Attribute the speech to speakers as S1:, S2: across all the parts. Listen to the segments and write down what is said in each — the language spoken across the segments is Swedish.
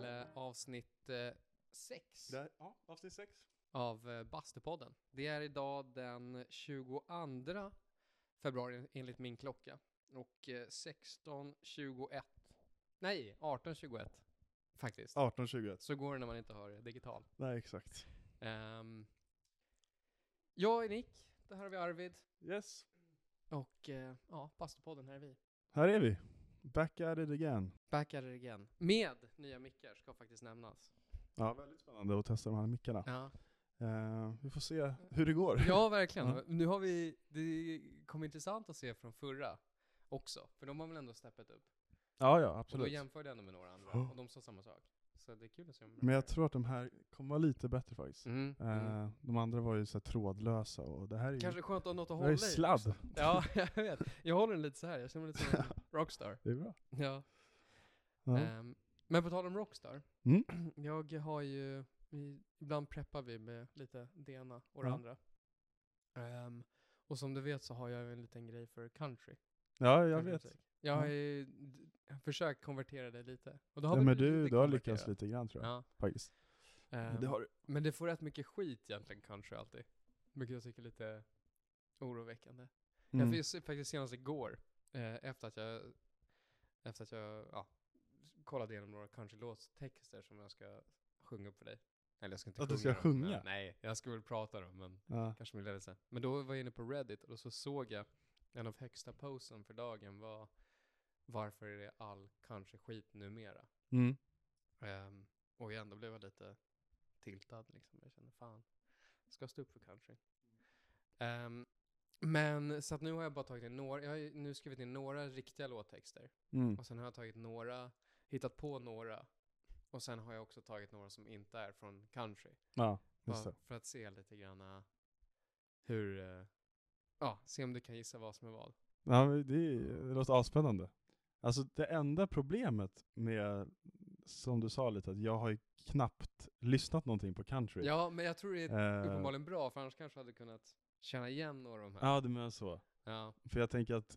S1: eh,
S2: avsnitt 6.
S1: av eh, Bastupodden. Det är idag den 22 februari enligt min klocka. Och eh, 16.21, nej 18.21 faktiskt.
S2: 18.21.
S1: Så går det när man inte hör det digital.
S2: Nej, exakt.
S1: Ehm, jag är Nick, det här har vi Arvid
S2: Yes,
S1: och eh, ja, Bastupodden, här är vi.
S2: här är vi. Back at it again.
S1: Back at it again. Med nya mickar ska faktiskt nämnas.
S2: Ja, väldigt spännande att testa de här mickarna.
S1: Ja,
S2: Eh, vi får se hur det går.
S1: ja verkligen.
S2: Ja.
S1: Nu har vi, det kommer intressant att se från förra också, för de har väl ändå steppat upp.
S2: Ja, ja,
S1: Och
S2: absolut.
S1: då jämförde jag ändå med några andra
S2: Ja.
S1: och de sa samma sak. Så det är kul att se om de
S2: Men jag
S1: gör det.
S2: tror att de här kommer vara lite bättre faktiskt.
S1: mm. Mm.
S2: Eh, de andra var ju så här trådlösa och det här är ju
S1: Kanske skönt att ha något att
S2: det
S1: hålla
S2: här är
S1: i. också.
S2: sladd.
S1: Ja, jag vet. Jag håller den lite så här. jag känner mig lite som en rockstar.
S2: Det är bra.
S1: Ja.
S2: Ja.
S1: Ehm, men på tal om rockstar,
S2: Mm.
S1: jag har ju, i- ibland preppar vi med lite det ena och det
S2: Ja.
S1: andra. Ehm, och som du vet så har jag ju en liten grej för country.
S2: ja, jag vet.
S1: countrymusik. Jag har
S2: Ja.
S1: ju d- försökt konvertera det lite. Och då
S2: Ja,
S1: vi
S2: men
S1: lite
S2: du, du har lyckats
S1: konvertera.
S2: lite grann tror jag.
S1: Ja.
S2: Faktiskt.
S1: ehm,
S2: Det har du.
S1: Men det får rätt mycket skit egentligen kanske alltid. Vilket jag tycker är lite oroväckande.
S2: Mm.
S1: Jag fick faktiskt senast igår, eh, efter att jag, efter att jag ja, kollade igenom några kanske låttexter som jag ska sjunga upp för dig. Eller jag ska inte
S2: Att du
S1: sjunga
S2: ska
S1: dem, men-
S2: sjunga?
S1: nej, jag ska väl prata dem, men
S2: Ja.
S1: kanske med ledelse. Men då var jag inne på Reddit och då så såg jag en av högsta posten för dagen var varför är det all kanske skit numera?
S2: Mm.
S1: Um, och jag ändå blev jag lite tiltad liksom. Jag kände fan, jag ska stå upp för country. Ehm, men så att nu har jag bara tagit in några, jag har ju nu skrivit in några riktiga låttexter.
S2: Mm.
S1: Och sen har jag tagit några, hittat på några. Och sen har jag också tagit några som inte är från country.
S2: Ja, just
S1: Bara
S2: det.
S1: för att se lite grann eh, hur, eh, ja, se om du kan gissa vad som är vad.
S2: Ja, men det, är- det låter avspännande. Alltså det enda problemet med, som du sa lite, att jag har ju knappt lyssnat någonting på country.
S1: Ja, men jag tror det är
S2: Eh,
S1: uppenbarligen bra, för annars kanske jag hade kunnat känna igen några av de här.
S2: Ja, du menar så.
S1: Ja.
S2: För jag tänker att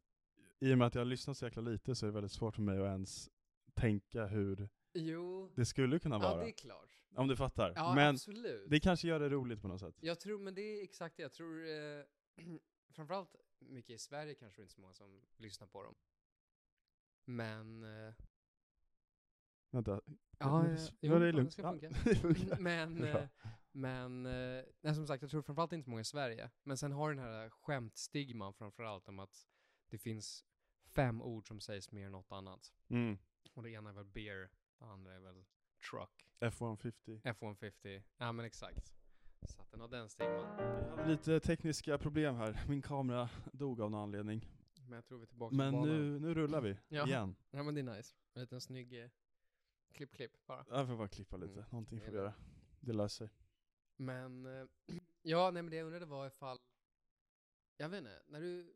S2: i och med att jag har lyssnat så jäkla lite så är det väldigt svårt för mig att ens tänka hur
S1: Jo,
S2: det skulle kunna
S1: ja
S2: vara.
S1: det är klart.
S2: Om du fattar.
S1: Ja,
S2: Men
S1: absolut.
S2: det kanske gör det roligt på något sätt.
S1: Jag tror, men det är exakt det. Jag tror, eh, framförallt mycket i Sverige kanske det är inte så många som lyssnar på dem. Men... Eh,
S2: Vänta.
S1: ja,
S2: det-
S1: eh,
S2: det
S1: jo,
S2: är
S1: fan,
S2: lugnt.
S1: ska
S2: Ja,
S1: funka.
S2: det funkar.
S1: Men,
S2: Bra.
S1: eh, men eh, nej, som sagt, jag tror framförallt inte så många i Sverige. Men sen har den här skämtstigman framförallt om att det finns fem ord som sägs mer än något annat.
S2: Mm.
S1: Och det ena är väl beer, det andra är väl truck.
S2: F150.
S1: F150, ja men exakt. Så att den har den stigman.
S2: Jag hade lite tekniska problem här. Min kamera dog av någon anledning.
S1: Men jag tror vi är tillbaka
S2: Men
S1: på banan.
S2: nu, nu rullar vi
S1: Ja.
S2: igen.
S1: Ja men det är nice. En liten snygg eh, klipp-klipp bara.
S2: Jag får bara klippa lite,
S1: Mm.
S2: någonting får
S1: Det
S2: vi
S1: är
S2: göra. Det löser sig.
S1: Men, eh, ja nej men det jag undrade var ifall, jag vet inte, när du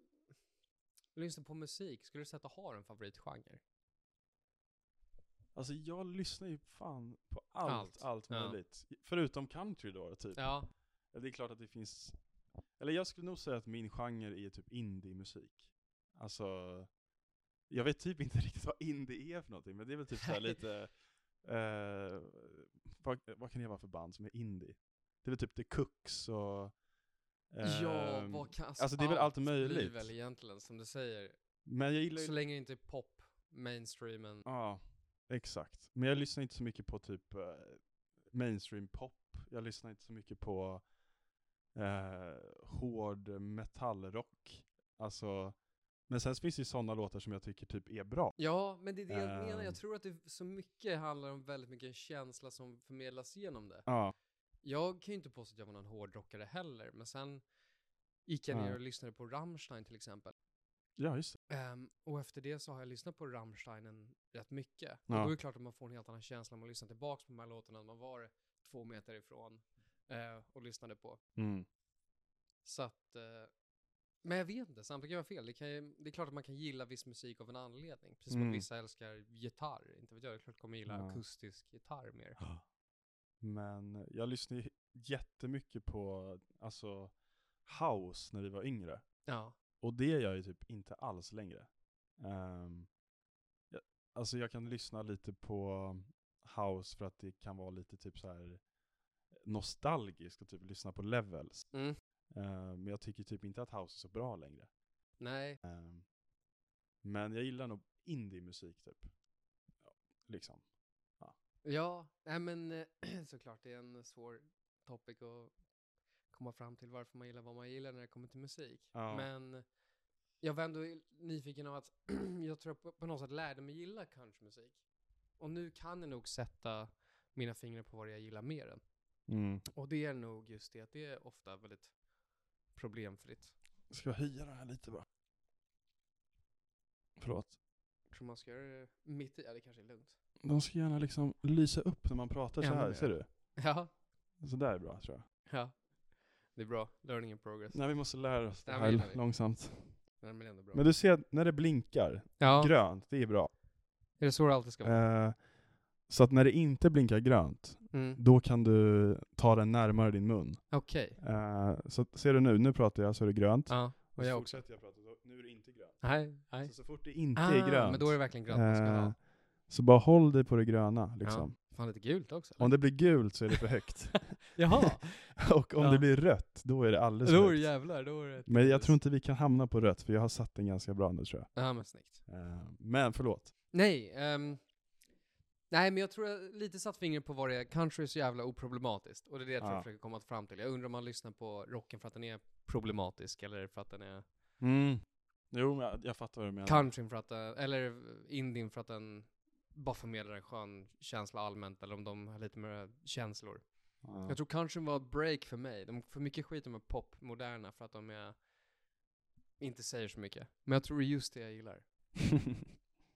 S1: lyssnar på musik, skulle du säga att du har en favoritgenre?
S2: Alltså jag lyssnar ju fan på allt,
S1: Allt.
S2: allt,
S1: Ja.
S2: möjligt. Förutom country då, typ.
S1: Ja.
S2: Ja, Det är klart att det finns, eller jag skulle nog säga att min genre är typ indie-musik. Alltså, jag vet typ inte riktigt vad indie är för någonting, men det är väl typ såhär
S1: Nej.
S2: lite, eh, vad, vad kan det vara för band som är indie? Det är väl typ The Cooks och...
S1: ja,
S2: ehm,
S1: vad kan,
S2: alltså, det är väl allt
S1: blir
S2: möjligt.
S1: väl egentligen som du säger,
S2: Men jag gillar ju
S1: så länge det inte är pop, mainstreamen.
S2: Ja, exakt. Men jag lyssnar inte så mycket på typ eh, mainstream pop. Jag lyssnar inte så mycket på eh, hård metallrock. Alltså, men sen finns det ju sådana låtar som jag tycker typ är bra.
S1: Ja, men det är det jag menar.
S2: Ehm.
S1: Jag tror att det så mycket handlar om väldigt mycket en känsla som förmedlas genom det.
S2: Ja,
S1: Jag kan ju inte påstå att jag var någon hårdrockare heller, men sen gick jag ner
S2: Nej.
S1: och lyssnade på Rammstein till exempel.
S2: ja just det.
S1: Ehm, och efter det så har jag lyssnat på Rammsteinen rätt mycket. Och
S2: Ja.
S1: då är det klart att man får en helt annan känsla när man lyssnar tillbaka på de här låtarna än man var två meter ifrån eh, och lyssnade på. Så att, eh, men jag vet inte, samtidigt kan jag ha fel. Det, kan, ju- det är klart att man kan gilla viss musik av en anledning. Precis som
S2: Mm.
S1: att vissa älskar gitarr. Inte vet jag, det är klart att kommer gilla
S2: Ja.
S1: akustisk gitarr mer.
S2: Men jag lyssnar ju jättemycket på alltså, house när vi var yngre.
S1: Ja.
S2: Och det gör jag ju typ inte alls längre. Um, jag, alltså jag kan lyssna lite på house för att det kan vara lite typ så här nostalgisk och typ lyssna på levels.
S1: Mm.
S2: Eh, men jag tycker typ inte att house är så bra längre.
S1: Nej,
S2: Eh, men jag gillar nog indie-musik typ. Ja, liksom.
S1: ja, nej men eh, såklart det är en svår topic att komma fram till varför man gillar vad man gillar när det kommer till musik.
S2: Ja.
S1: Men jag var ändå nyfiken av att jag tror jag på- på något sätt lärde mig gilla countrymusik. Och nu kan jag nog sätta mina fingrar på vad jag gillar mer än.
S2: Mm.
S1: Och det är nog just det att det är ofta väldigt problemfritt.
S2: Ska jag höja det här lite bara? Förlåt.
S1: Jag tror man ska göra det mitt i, ja det kanske är lugnt.
S2: De ska gärna liksom lysa upp när man pratar så
S1: Ännu
S2: här,
S1: mer.
S2: ser du?
S1: Ja,
S2: Så där är bra tror jag.
S1: ja. Det är bra. Learning in progress.
S2: Nej, vi måste lära oss det
S1: Ja, men gillar
S2: här
S1: vi.
S2: långsamt.
S1: Den är ändå bra.
S2: Men du ser, när det blinkar
S1: ja,
S2: grönt, det är bra.
S1: är det så det alltid ska vara?
S2: Eh, så att när det inte blinkar grönt,
S1: Mm.
S2: då kan du ta den närmare din mun.
S1: Okej.
S2: Eh, så att- ser du nu, nu pratar jag så är det grönt.
S1: Ja, och
S2: så
S1: jag också.
S2: fortsätter jag prata, då- nu är det inte grönt.
S1: Nej, nej.
S2: Så, så fort det inte
S1: Ah,
S2: är grönt,
S1: Men då är det verkligen grönt man ska
S2: eh,
S1: ha.
S2: så bara håll dig på det gröna. Liksom.
S1: Fan, lite gult också.
S2: Om det blir gult så är det för högt.
S1: Jaha,
S2: Och om
S1: Ja.
S2: det blir rött, då är det alldeles för
S1: då är det
S2: högt.
S1: jävlar. Då är det ett
S2: Men jag
S1: gult.
S2: tror inte vi kan hamna på rött, för jag har satt den ganska bra nu tror jag.
S1: Ja, men snyggt.
S2: Eh, men förlåt.
S1: Nej, ehm, nej men jag tror jag lite satt fingret på vad det är. Country är så jävla oproblematiskt. Och det är det jag tror
S2: Ja.
S1: jag försöker komma fram till. Jag undrar om man lyssnar på rocken för att den är problematisk eller för att den är
S2: Mm. Jo, men jag, jag fattar vad du menar.
S1: countryn för att den, eller indien för att den bara förmedlar en skön känsla allmänt eller om de har lite mer känslor.
S2: Ja.
S1: Jag tror countryn var ett break för mig. De får mycket skit om popmoderna för att de är inte säger så mycket. Men jag tror det är just det jag gillar.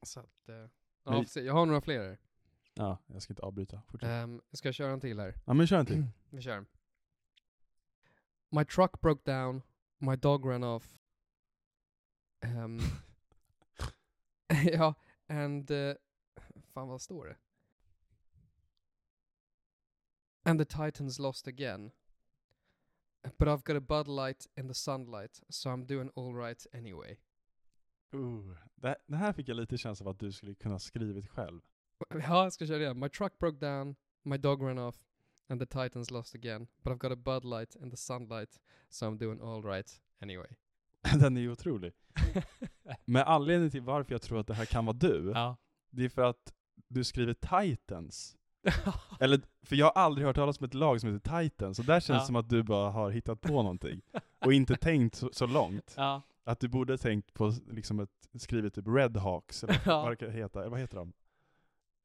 S1: Så att, eh, ja,
S2: Men-
S1: precis. jag har några fler. här.
S2: ja, jag ska inte avbryta. Fortsätt.
S1: Ehm, jag ska köra en till här.
S2: Ja, men kör en till.
S1: Vi kör. My truck broke down, my dog ran off. Ehm, ja, and... eh, fan vad står det? And the Titans lost again. But I've got a Bud Light in the sunlight, so I'm doing alright anyway.
S2: Uh, det, det här fick jag lite känsla av att du skulle kunna skrivit själv.
S1: Ja, jag ska köra igen. My truck broke down, my dog ran off, and the Titans lost again. But I've got a Bud Light in the sunlight, so I'm doing alright anyway.
S2: Den är ju otrolig. Men anledningen till varför jag tror att det här kan vara du,
S1: ja.
S2: det är för att du skriver Titans. Eller, för jag har aldrig hört talas om ett lag som heter Titans, så där känns det
S1: Ja.
S2: som att du bara har hittat på någonting. Och inte tänkt så, så långt.
S1: ja.
S2: Att du borde tänkt på s- liksom ett, skrivit typ Redhawks, eller
S1: Ja.
S2: vad det kan heta, eller vad heter de?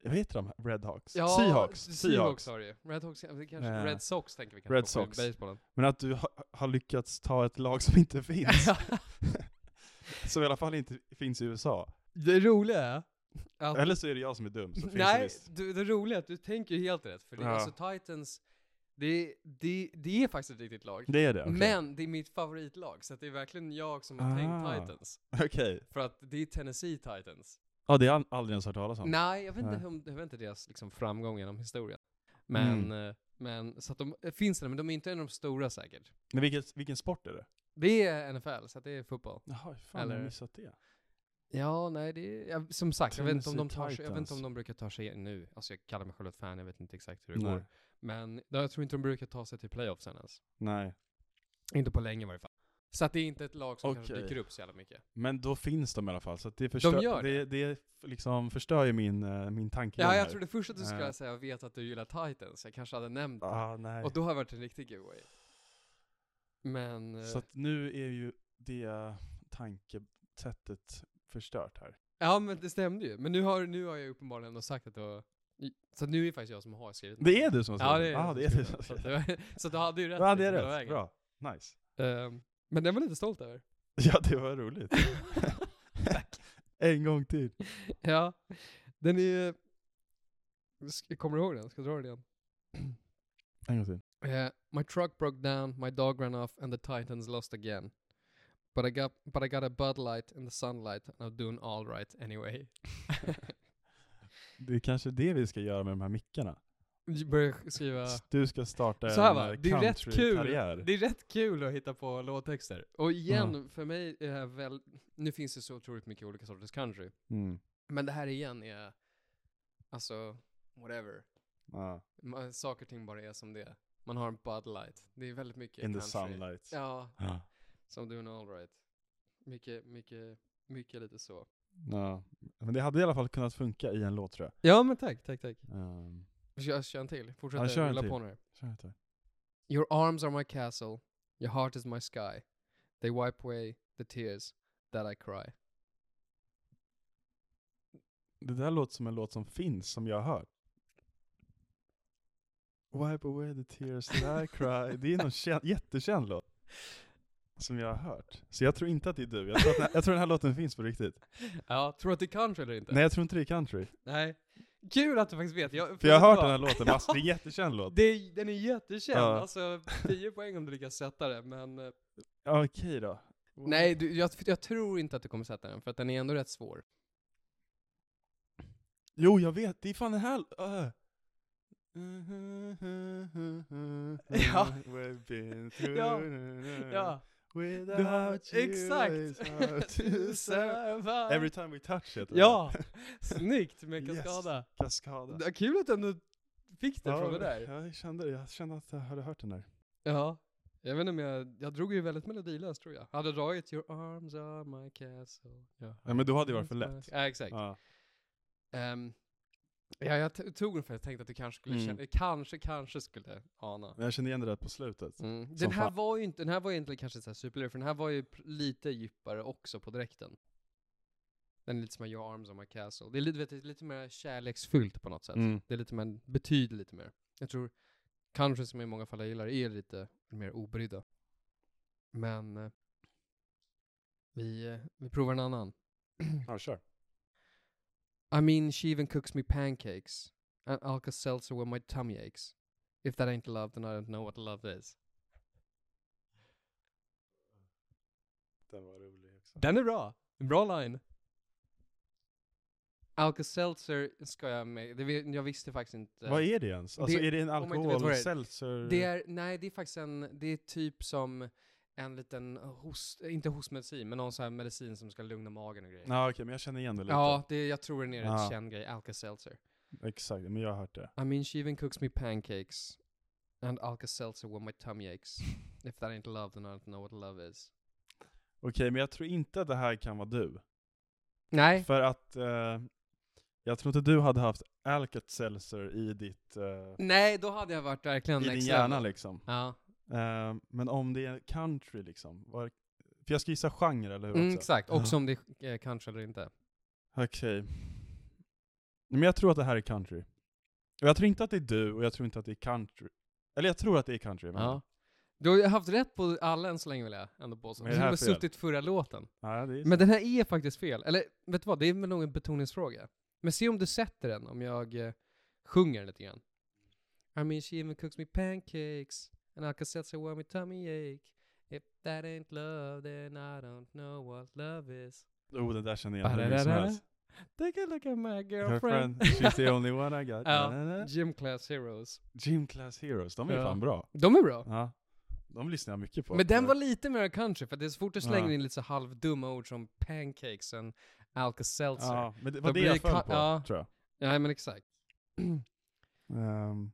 S2: Vad heter de? här? Redhawks? Seahawks?
S1: Seahawks har det ju. Red, Hawks, eller kanske
S2: Eh,
S1: Red Sox tänker vi kanske
S2: Red
S1: på
S2: Sox.
S1: i baseballen.
S2: Men att du ha, har lyckats ta ett lag som inte finns, som i alla fall inte finns i USA.
S1: det roliga är att...
S2: Eller så är det jag som är dum, så finns det
S1: nej,
S2: visst.
S1: du, det roliga är att du tänker ju helt rätt. För det,
S2: Ja.
S1: alltså Titans, det, det, det är faktiskt ett riktigt lag.
S2: Det är det? okej.
S1: Men det är mitt favoritlag, så att det är verkligen jag som har
S2: Ah.
S1: tänkt Titans.
S2: Okej.
S1: För att det är Tennessee Titans.
S2: Ja, det har jag aldrig ens hört talas om.
S1: Nej, jag vet inte,
S2: Nej.
S1: om, jag vet inte deras liksom, framgång genom historien. Men,
S2: Mm.
S1: eh, men så att de eh, finns där, men de är inte en av de stora säkert.
S2: Men vilket, vilken sport är det?
S1: Det är NFL, så att det är fotboll.
S2: Jaha, hur fan
S1: Eller-
S2: har jag missat det?
S1: Ja, nej, det är, ja, som sagt, jag vet, inte om de tar sig, jag vet inte
S2: Tennessee
S1: om
S2: Titans.
S1: de brukar ta sig nu. Alltså jag kallar mig själv ett fan, jag vet inte exakt hur det
S2: Nej.
S1: går. Men ja, jag tror inte de brukar ta sig till playoffsen ens.
S2: Nej.
S1: Inte på länge i varje fall. Så att det är inte ett lag som kanske
S2: Okej.
S1: dyker upp så jävla mycket.
S2: Men då finns de i alla fall, så att det, förstör,
S1: gör det.
S2: det. det f- liksom förstör ju min, eh, min tanke.
S1: Ja, jag trodde först att du
S2: Eh.
S1: skulle säga jag vet att du gillar Titans, jag kanske hade nämnt det.
S2: Ah, nej.
S1: Och då har jag varit en riktig giveaway. Men... eh,
S2: Så att nu är ju det tankesättet förstört här.
S1: Ja men det stämde ju. Men nu har, nu har jag uppenbarligen ändå sagt att det var... Så nu är det faktiskt jag som har skrivit
S2: Det är du som har
S1: Ja det
S2: skrivit
S1: är jag
S2: ah,
S1: som
S2: det är du
S1: skrivit
S2: som
S1: Så,
S2: har
S1: att
S2: skrivit
S1: det var- så du hade ju rätt.
S2: Ja, det är
S1: liksom, hela
S2: rätt.
S1: vägen.
S2: Bra. Nice.
S1: Ehm, men den var jag lite stolt över.
S2: Ja, det var roligt. en gång till.
S1: ja. Den är ju... Sk- Kommer du ihåg den? Ska jag dra den igen?
S2: En gång till.
S1: Eh, my truck broke down, my dog ran off and the Titans lost again. But I got, but I got a Bud Light in the sunlight and I'm doing all right anyway.
S2: Det är kanske det vi ska göra med de här mickarna.
S1: Du börjar skriva...
S2: Du ska starta
S1: Så här
S2: en
S1: va,
S2: eh,
S1: det är rätt kul.
S2: countrykarriär.
S1: Det är rätt kul att hitta på låttexter. Och igen, för mig är det här väl, nu finns det så otroligt mycket olika sorters country.
S2: Mm.
S1: Men det här igen är, alltså, whatever.
S2: Ja.
S1: Ma- Saker och ting bara är som det är. Man har en Bud Light. Det är väldigt mycket
S2: In the
S1: country.
S2: sunlight.
S1: Ja,
S2: Ja.
S1: som doing alright. Mycket, mycket, mycket lite så.
S2: Ja. Men det hade i alla fall kunnat funka i en låt tror jag.
S1: Ja men tack, tack, tack.
S2: Um,
S1: Kör, kör en till. Fortsätt
S2: Ja, kör en
S1: rulla
S2: till.
S1: på nu.
S2: kör inte.
S1: Your arms are my castle, your heart is my sky. They wipe away the tears that I cry.
S2: Det där låter som en låt som finns, som jag har hört. Wipe away the tears that I cry. Det är någon kä- jättekänd låt. Som jag har hört. Så jag tror inte att det är du. Jag tror, att den, jag tror den här låten finns på riktigt.
S1: Ja, tror du att det är country eller inte?
S2: Nej jag tror inte det är country.
S1: Nej. Kul att du faktiskt vet. Jag,
S2: För jag har hört
S1: vet
S2: den
S1: vad?
S2: här låten massor, det är en jättekänd låt.
S1: Det är, den är jättekänd,
S2: Ja.
S1: alltså 10 poäng om du lyckas sätta det, men... eh,
S2: Ja, Okej då.
S1: Nej, du, jag, jag tror inte att du kommer sätta den, för att den är ändå rätt svår.
S2: Jo jag vet, det är fan den här... Uh.
S1: Ja.
S2: We've been through
S1: Ja.
S2: ja.
S1: Du har-
S2: Without you it's
S1: exakt!
S2: hard to survive. Every time we touch it.
S1: Ja! Snyggt med
S2: Yes.
S1: kaskada.
S2: Kaskada.
S1: Det är Kul att du ändå fick det
S2: Ja,
S1: från det där.
S2: Jag kände, det. jag kände att jag hade hört den där.
S1: Ja. Jag vet inte om jag, jag drog ju väldigt melodilöst tror jag. Hade jag dragit Your arms are my castle. Ja,
S2: Ja, men då hade det varit för lätt.
S1: Ja, exakt.
S2: Ja.
S1: Ehm, ja, jag t- tog den för jag tänkte att du kanske skulle
S2: Mm.
S1: känna, kanske, kanske skulle ana.
S2: Men jag kände igen det där på slutet.
S1: Mm. Den
S2: Som
S1: här
S2: fan.
S1: var ju inte, den här var ju egentligen kanske så här superlurig, för den här var ju pr- lite djupare också på direkten. Den är lite som Your arms on my castle. Det är lite, vet, du, lite mer kärleksfyllt på något sätt.
S2: Mm.
S1: Det är lite mer, betyder lite mer. Jag tror kanske som i många fall jag gillar är lite mer obrydda. Men eh, vi, eh, vi provar en annan.
S2: Ja, kör.
S1: I mean, she even cooks me pancakes and Alka Seltzer where my tummy aches. If that ain't love, then I don't know what love is.
S2: Den var rolig också.
S1: Den är bra. En bra line. Alka Seltzer ska jag med. Det, vi- jag visste faktiskt inte.
S2: Vad är det ens? Alltså
S1: Det-
S2: är det en
S1: man inte vet vad det
S2: alkohol,
S1: är.
S2: seltzer?
S1: det? Är, nej, det är faktiskt en, det är typ som en liten host, inte hostmedicin, men någon sån här medicin som ska lugna magen och grejer.
S2: Ja okej, men jag känner igen det lite.
S1: Ja, det, jag tror den är rätt
S2: Ja.
S1: känd grej, Alka Seltzer.
S2: Exakt, men jag har hört det.
S1: I mean, she even cooks me pancakes and Alka Seltzer when my tummy aches. If that ain't love, then I don't know what love is.
S2: Okej, men jag tror inte att det här kan vara du.
S1: Nej,
S2: För att eh, jag tror inte du hade haft Alka-Seltzer i ditt... eh,
S1: nej, då hade jag varit verkligen
S2: I din
S1: next
S2: hjärna
S1: level.
S2: liksom.
S1: Ja,
S2: Eh, men om det är country liksom. Var, för jag ska gissa genre, eller hur?
S1: mm,
S2: också?
S1: exakt. Också
S2: Ja.
S1: om det är eh, kanske eller inte.
S2: Okej. Men jag tror att det här är country. Och jag tror inte att det är du och jag tror inte att det är country. Eller jag tror att det är country. men-
S1: Ja. Du har ju haft rätt på alla än så länge vill jag ändå påstå.
S2: Men
S1: Du
S2: är det här
S1: har
S2: fel?
S1: suttit förra låten.
S2: Ja, det är
S1: Men den här är faktiskt fel. Eller vet du vad, det är väl nog en betoningsfråga. Men se om du sätter den, om jag eh, sjunger den lite grann. I mean she even cooks me pancakes and I can set so where my tummy ache. If that ain't love then I don't know what love is.
S2: Oh, den där känner jag igen hur mycket som helst.
S1: Take a look at my
S2: Her friend,
S1: girlfriend.
S2: she's the only one I got.
S1: Ja.
S2: Na-na-na.
S1: Gym class heroes.
S2: Gym Class Heroes, de är
S1: Ja.
S2: fan bra.
S1: De är bra.
S2: Ja. De lyssnar jag mycket på.
S1: Men den var lite mer country, för det är så fort du slänger
S2: Ja.
S1: in lite så halvdumma ord som pancakes och Alka-Seltzer.
S2: Ja, men det
S1: alltså. Då
S2: var det
S1: blir
S2: jag
S1: det
S2: föll
S1: ka-
S2: på,
S1: ja.
S2: tror jag.
S1: Nej men exakt.
S2: Ehm,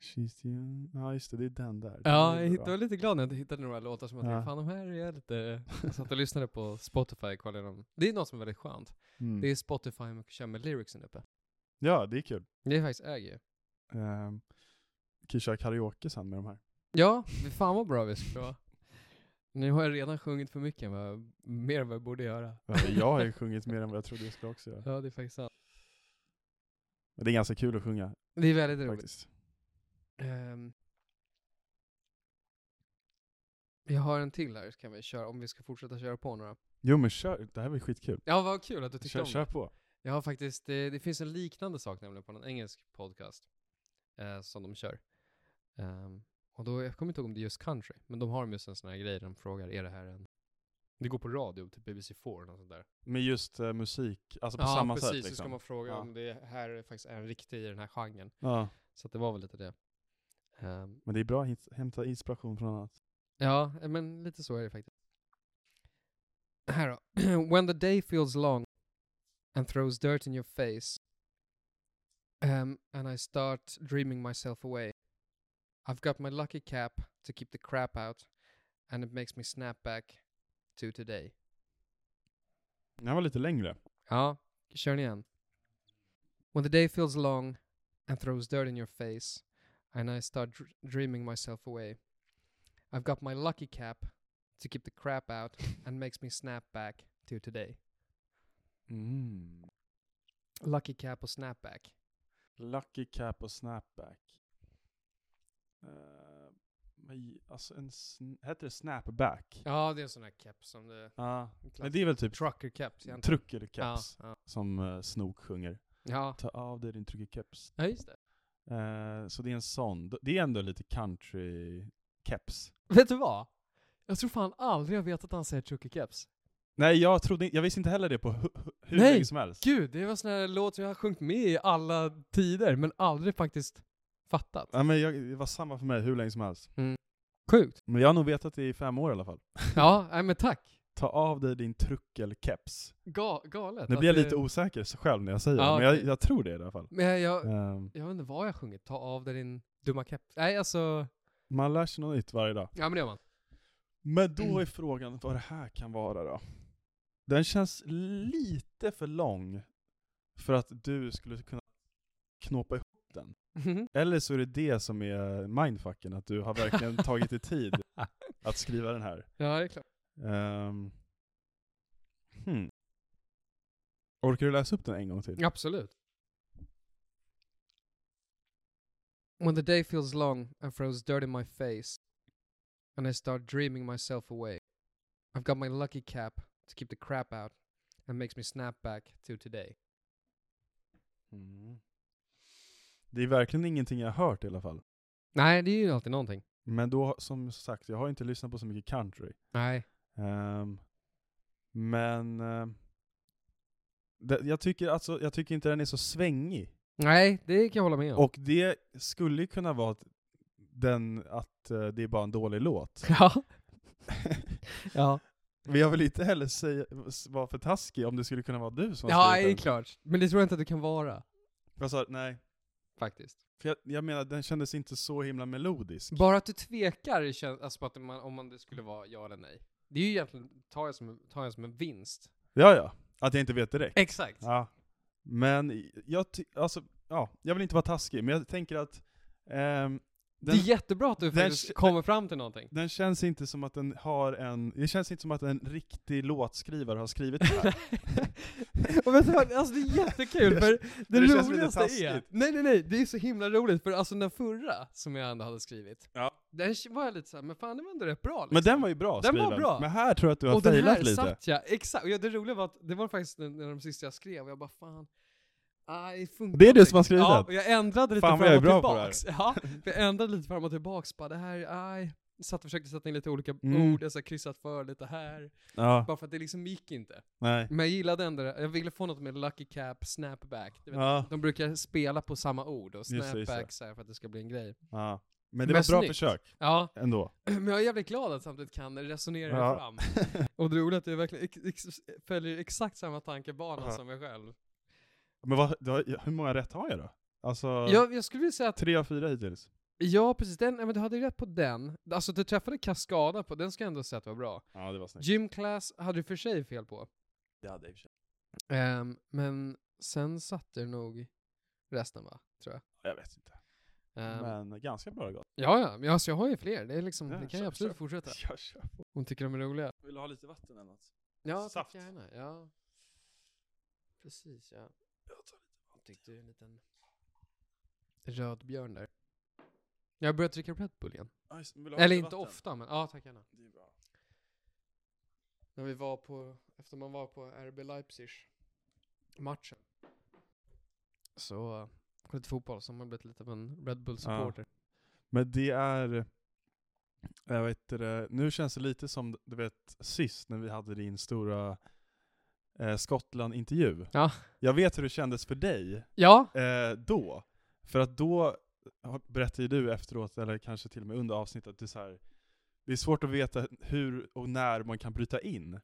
S2: she's the only... Ja, just det, det är den där. Den
S1: Ja,
S2: är
S1: jag hitt-
S2: bra.
S1: var lite glad när jag hittade några låtar som jag
S2: Ja.
S1: tänkte, fan de här är lite... Jag satt och lyssnade på Spotify, kollade igenom. Det är något som är väldigt skönt.
S2: Mm.
S1: Det är Spotify man kör med lyricsen uppe.
S2: Ja, det är kul.
S1: Det är faktiskt äger ju.
S2: Um, kan ju köra karaoke sen med de här.
S1: Ja, men fan vad bra vi skulle vara. Nu har jag redan sjungit för mycket, än vad jag, mer än vad jag borde göra.
S2: Ja, Jag har ju sjungit mer än vad jag trodde jag skulle också göra.
S1: Ja, det är faktiskt sant.
S2: Men det är ganska kul att sjunga
S1: Det är väldigt roligt.
S2: faktiskt.
S1: Ehm. jag har en till här, kan vi köra, om vi ska fortsätta köra på några.
S2: Jo men kör, det här var skitkul.
S1: Ja, vad kul att du tyckte
S2: Kör,
S1: om
S2: kör
S1: det.
S2: på.
S1: Jag har faktiskt, det, det finns en liknande sak nämligen på en engelsk podcast eh, som de kör. Ehm, och då, jag kommer inte ihåg om det är just country, men de har just en sån här grej där de frågar, är det här en... Det går på radio, typ BBC4 eller något sånt där.
S2: Med just eh, musik, alltså på samma
S1: precis,
S2: sätt
S1: så ska
S2: liksom.
S1: man fråga
S2: Ja.
S1: om det här faktiskt är en riktig i den här genren.
S2: Ja,
S1: Så att det var väl lite det. Ehm,
S2: men det är bra att hit- hämta inspiration från annat.
S1: Ja, eh, men lite så är det faktiskt. Här då. When the day feels long and throws dirt in your face um, and I start dreaming myself away I've got my lucky cap to keep the crap out and it makes me snap back to today.
S2: Den här var lite längre.
S1: Ja, kör den igen. When the day feels long and throws dirt in your face and I start dr- dreaming myself away. I've got my lucky cap to keep the crap out and makes me snap back to today.
S2: Mm.
S1: Lucky cap och snapback.
S2: Lucky cap och snapback. Eh, vad i- alltså en sn- heter det snapback?
S1: Ja, det är en sån här cap som det...
S2: Ja. Men det är väl typ
S1: Trucker caps egentligen.
S2: trucker caps
S1: Ja, ja.
S2: som uh, Snook sjunger.
S1: ja.
S2: Ta av dig din trucker caps.
S1: ja, just det.
S2: Eh, så det är en sån. D- Det är ändå lite country caps.
S1: Vet du vad? Jag tror fan aldrig jag vet att han säger trucker caps.
S2: Nej, jag trodde in- jag visste inte heller det på hu- hu- hur
S1: Nej,
S2: länge som helst.
S1: Gud, det var sån här låt som jag har sjungit med i alla tider, men aldrig faktiskt fattat.
S2: Ja, men jag, det var samma för mig hur länge som helst.
S1: Sjukt.
S2: Men jag har nog vetat det i fem år i alla fall.
S1: Ja, nej men tack.
S2: Ta av dig din truckelkeps.
S1: Ga- galet.
S2: Nu
S1: att
S2: blir jag
S1: det-
S2: lite osäker så själv när jag säger
S1: Ja,
S2: det, men jag,
S1: okej.
S2: jag tror det i alla fall.
S1: Men jag,
S2: Ehm,
S1: jag vet inte vad jag sjungit. Ta av dig din dumma keps. Nej, alltså...
S2: man lär sig något nytt varje dag.
S1: Ja, men det gör man.
S2: Men
S1: Mm.
S2: då är frågan vad det här kan vara då. Den känns lite för lång för att du skulle kunna knåpa ihop.
S1: Mhm.
S2: Eller så är det det som är mindfucken, att du har verkligen tagit dig tid att skriva den här.
S1: ja, det är klart.
S2: Ehm, hmm. Orkar du läsa upp den en gång till?
S1: Absolut. When the day feels long and throws dirt in my face and I start dreaming myself away. I've got my lucky cap to keep the crap out and makes me snap back to today.
S2: Mm. Det är verkligen ingenting jag har hört i alla fall.
S1: Nej, det är ju alltid någonting.
S2: Men då, som sagt, jag har inte lyssnat på så mycket country.
S1: Nej.
S2: Ehm, men ehm, det, jag, tycker, alltså, jag tycker inte den är så svängig.
S1: Nej, det kan jag hålla med om.
S2: Och det skulle ju kunna vara att, den, att eh, det är bara en dålig låt.
S1: ja. ja.
S2: Men jag vill inte heller säga, s- vara för taskig om det skulle kunna vara du som har
S1: Ja,
S2: skrivit
S1: det är
S2: den.
S1: klart. Men det tror jag inte att du kan vara,
S2: Jag sa, nej.
S1: faktiskt.
S2: För jag, jag menar, den kändes inte så himla melodisk.
S1: Bara att du tvekar känns, alltså, på att man, om man, det skulle vara ja eller nej. Det är ju egentligen, tar jag som, en- tar jag som en vinst.
S2: Ja, ja. Att jag inte vet direkt.
S1: Exakt.
S2: Ja. Men i- jag, ty- alltså, ja, jag vill inte vara taskig, men jag tänker att ehm,
S1: Det
S2: den,
S1: är jättebra att du
S2: den
S1: faktiskt
S2: kä-
S1: kommer fram till någonting.
S2: den känns inte som att den har en, det känns inte som att en riktig låtskrivare har skrivit det här.
S1: Och vet du vad, alltså det är jättekul
S2: Det
S1: för det,
S2: det känns lite
S1: roligaste är...
S2: taskigt.
S1: Nej nej nej, det är så himla roligt för alltså den förra som jag ändå hade skrivit.
S2: Ja.
S1: Den k- var jag lite såhär, men fan det var ändå rätt bra liksom.
S2: Men den var ju bra
S1: Den var
S2: skriven.
S1: bra.
S2: Men här tror jag att du har
S1: Och den här
S2: failat lite.
S1: satt jag, exakt. Och ja, det roliga var att det var faktiskt en en av de sista jag skrev och jag bara fan, ah, det funkar
S2: Det är du
S1: inte
S2: som har
S1: riktigt.
S2: skrivit
S1: Ja,
S2: den.
S1: och jag ändrade lite
S2: Fan, vad
S1: fram
S2: jag
S1: och
S2: är bra på det här.
S1: tillbaks. Ja, för jag ändrade lite fram och tillbaks bara det här, aj. Satt och försökte sätta in lite olika
S2: Mm.
S1: ord, jag så här kryssat för lite här.
S2: Ja,
S1: Bara för att det liksom gick inte.
S2: nej.
S1: Men jag gillade ändå det. Jag ville få något med lucky cap, snapback. Du vet,
S2: Ja,
S1: De brukar spela på samma ord och
S2: det, just det.
S1: snapback så här för att det ska bli en grej.
S2: ja. Men
S1: Men
S2: det var ett bra
S1: snyggt.
S2: försök
S1: Ja,
S2: ändå.
S1: men jag är jävligt glad att samtidigt kan resonera
S2: Ja.
S1: fram. Och det roliga är att jag verkligen ex- ex- följer exakt samma tankebana
S2: Ja.
S1: som jag själv.
S2: Men vad, du har, hur många rätt har jag då? Alltså,
S1: Jag, jag skulle vilja säga att,
S2: tre av fyra hittills.
S1: ja precis, den, ja, men du hade ju rätt på den. Alltså du träffade Cascada på, den ska jag ändå säga att var bra.
S2: Ja, det var snyggt.
S1: Gym class hade du för sig fel på.
S2: Det hade jag i och för sig.
S1: Ehm, men sen satte du nog resten va, tror jag.
S2: Jag vet inte.
S1: Ehm,
S2: Men ganska bra gott.
S1: Ja, ja, men alltså, jag har ju fler. Det, är liksom,
S2: Ja,
S1: det kan
S2: kör,
S1: jag absolut
S2: kör.
S1: fortsätta.
S2: Jag kör.
S1: Hon tycker de är roliga.
S2: Vill du ha lite vatten eller något?
S1: Ja, tack
S2: Saft.
S1: gärna. Ja. Precis, ja.
S2: Jag tar
S1: Jag tyckte du är en liten rödbjörn där. Jag börjar dricka Red Bull igen. Eller inte ofta, men ja, tack gärna.
S2: Det är bra.
S1: När vi var på, efter man var på RB Leipzig matchen. Så, uh, lite fotboll, så har man blivit lite av en Red Bull-supporter.
S2: Men det är, jag vet inte, det, nu känns det lite som du vet sist när vi hade din stora eh, Skottland-intervju.
S1: Ja.
S2: Jag vet hur det kändes för dig
S1: Ja,
S2: eh, då. För att då har- berättade ju du efteråt, eller kanske till och med under avsnittet, att det är, så här, det är svårt att veta hur och när man kan bryta in.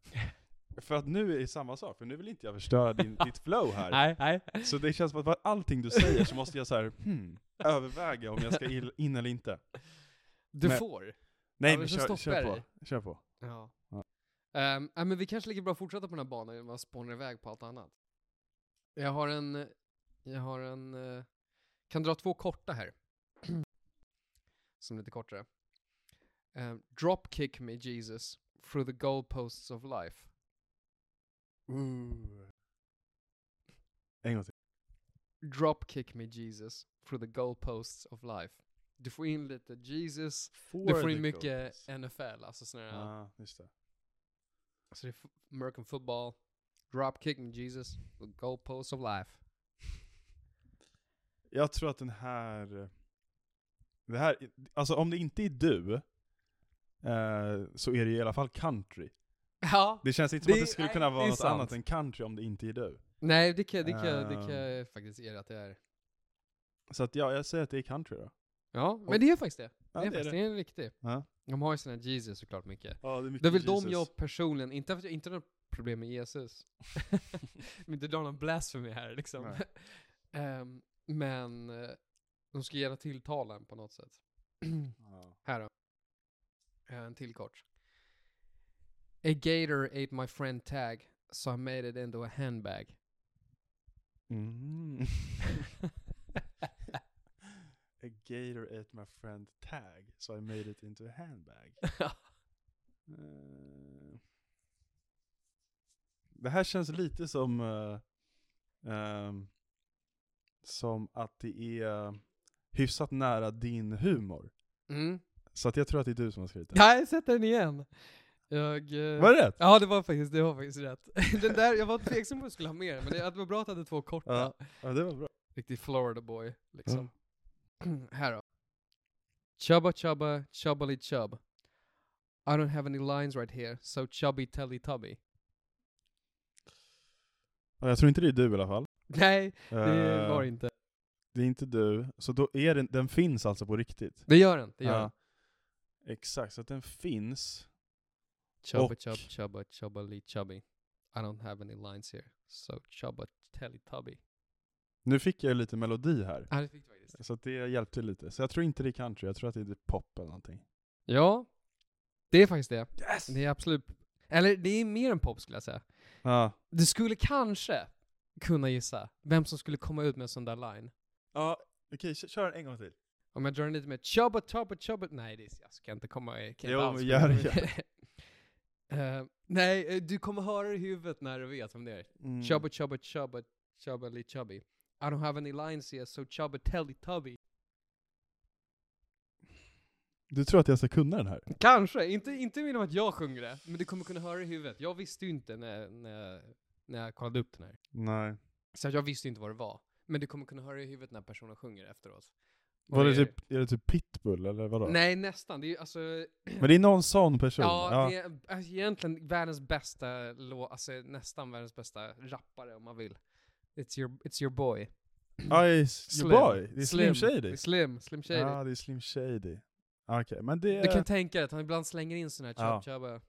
S2: För att nu är det samma sak, för nu vill inte jag förstöra din, ditt flow här.
S3: Nej, nej.
S2: Så det känns som att vad- allting du säger så måste jag så här, hmm, överväga om jag ska il- in eller inte.
S1: Du
S2: Men-
S1: får.
S2: Nej
S1: Ja,
S2: men
S1: men så
S2: kör,
S1: stoppar
S2: kör
S1: jag
S2: på,
S1: dig.
S2: kör på.
S1: Ja.
S2: Ja.
S1: Ehm, ja, men vi kanske lika bra fortsätter på den här banan genom att spåna iväg på allt annat. Jag har en... Jag har en... eh, Kan dra två korta här. Som är lite kortare. Ehm, Dropkick me Jesus through the goalposts of life.
S2: En gång till.
S1: Dropkick me Jesus through the goalposts of life. Du får in lite Jesus,
S2: Får
S1: du får in mycket NFL, alltså sådana här...
S2: Ja, just det.
S1: Så det är f- American football, dropkick med Jesus, the goalposts of life.
S2: Jag tror att den här... Det här, alltså om det inte är du, eh, så är det i alla fall country.
S1: Ja.
S2: Det känns inte som
S3: Det-
S2: att det skulle
S3: nej,
S2: kunna
S3: det
S2: vara
S3: är
S2: något
S3: sant.
S2: annat än country om det inte är du.
S1: Nej, det kan, det kan, det kan
S2: Ehm.
S1: jag faktiskt ge dig att det är.
S2: Så att ja, jag säger att det är country då.
S1: Ja, men
S2: Och-
S1: det är faktiskt det.
S2: Ja,
S1: det, är faktiskt, det. är riktigt.
S2: Ja.
S1: De har ju sina Jesus såklart mycket.
S2: Ja, det är mycket
S1: Det är väl de
S2: Jesus.
S1: jag personligen, inte för att jag inte har några problem med Jesus. men inte dra någon blasphemy här liksom.
S2: Nej.
S1: Ehm, men eh, de ska gärna tilltala en på något sätt.
S2: Ja.
S1: Här då. Eh, En till kort. A gator ate my friend tag, so I made it into a handbag.
S2: Mm. a gator ate my friend tag, so I made it into a handbag. Eh, Det här känns lite som eh, ehm, som att det är hyfsat nära din humor.
S1: mm.
S2: Så att jag tror att det är du som har skrivit det.
S1: Nej, sätt den igen. Jag... eh,
S2: Var det rätt?
S1: Ja, det var faktiskt, det var faktiskt rätt. den där, jag var tveksam om jag skulle ha mer, men det, det var bra att jag hade två korta.
S2: Ja. Ja, det var bra.
S1: Riktig Florida boy, liksom. Här då. Chubba chubba chubbly chub. I don't have any lines right here, so chubby telly tubby.
S2: Ja, Jag tror inte det är du i alla fall.
S1: Nej, det
S2: Eh,
S1: var inte.
S2: det är inte du. Så då är den, den finns alltså på riktigt?
S1: Det gör den, det gör den.
S2: Ja. Exakt, så att den finns.
S1: Chubba
S2: Och-
S1: chub chubba chubba lee chubby. I don't have any lines here. So chubba telly tubby.
S2: Nu fick jag ju lite melodi här.
S1: Ja, det fick du faktiskt.
S2: Så att det hjälpte lite. Så jag tror inte det är country, jag tror att det är typ pop eller någonting.
S1: Ja, det är faktiskt det.
S2: Yes!
S1: Det är absolut... Eller det är mer än pop skulle jag säga.
S2: Ja.
S1: Du skulle kanske kunna gissa vem som skulle komma ut med en sån där line.
S2: Ja, okej, kö- kör en gång till.
S1: Om jag drar den lite mer chubba chubba chubba... Nej, det är, jag ska inte komma... Jag kan
S2: Jo,
S1: inte alls
S2: men gör det, gör
S1: Eh, nej, eh, du kommer höra det i huvudet när du vet vem det är.
S2: Mm.
S1: Chubba chubba chubba chubba lee chubby. I don't have any lines here, so chubba telly tubby.
S2: Du tror att jag ska kunna den här?
S1: Kanske, inte, inte genom att jag sjunger det, men du kommer kunna höra det i huvudet. Jag visste ju inte när, när, när jag kollade upp den här.
S2: Nej.
S1: Så att jag visste ju inte vad det var. Men du kommer kunna höra det i huvudet när personen sjunger efteråt. Och
S2: Var det
S1: är-
S2: typ, är det typ pitbull eller vadå?
S1: Nej, nästan. Det är ju alltså...
S2: Men det är någon sån person?
S1: Ja, det är alltså, egentligen världens bästa låt, alltså nästan världens bästa rappare om man vill. It's your, it's your boy.
S2: Ice your boy? Det är Slim,
S1: Det
S2: Shady?
S1: är Slim, Slim Shady.
S2: Ja, det är Slim Shady. Okej, men det...
S1: Du kan tänka dig att han ibland slänger in såna här
S2: Ja.
S1: chub chubba.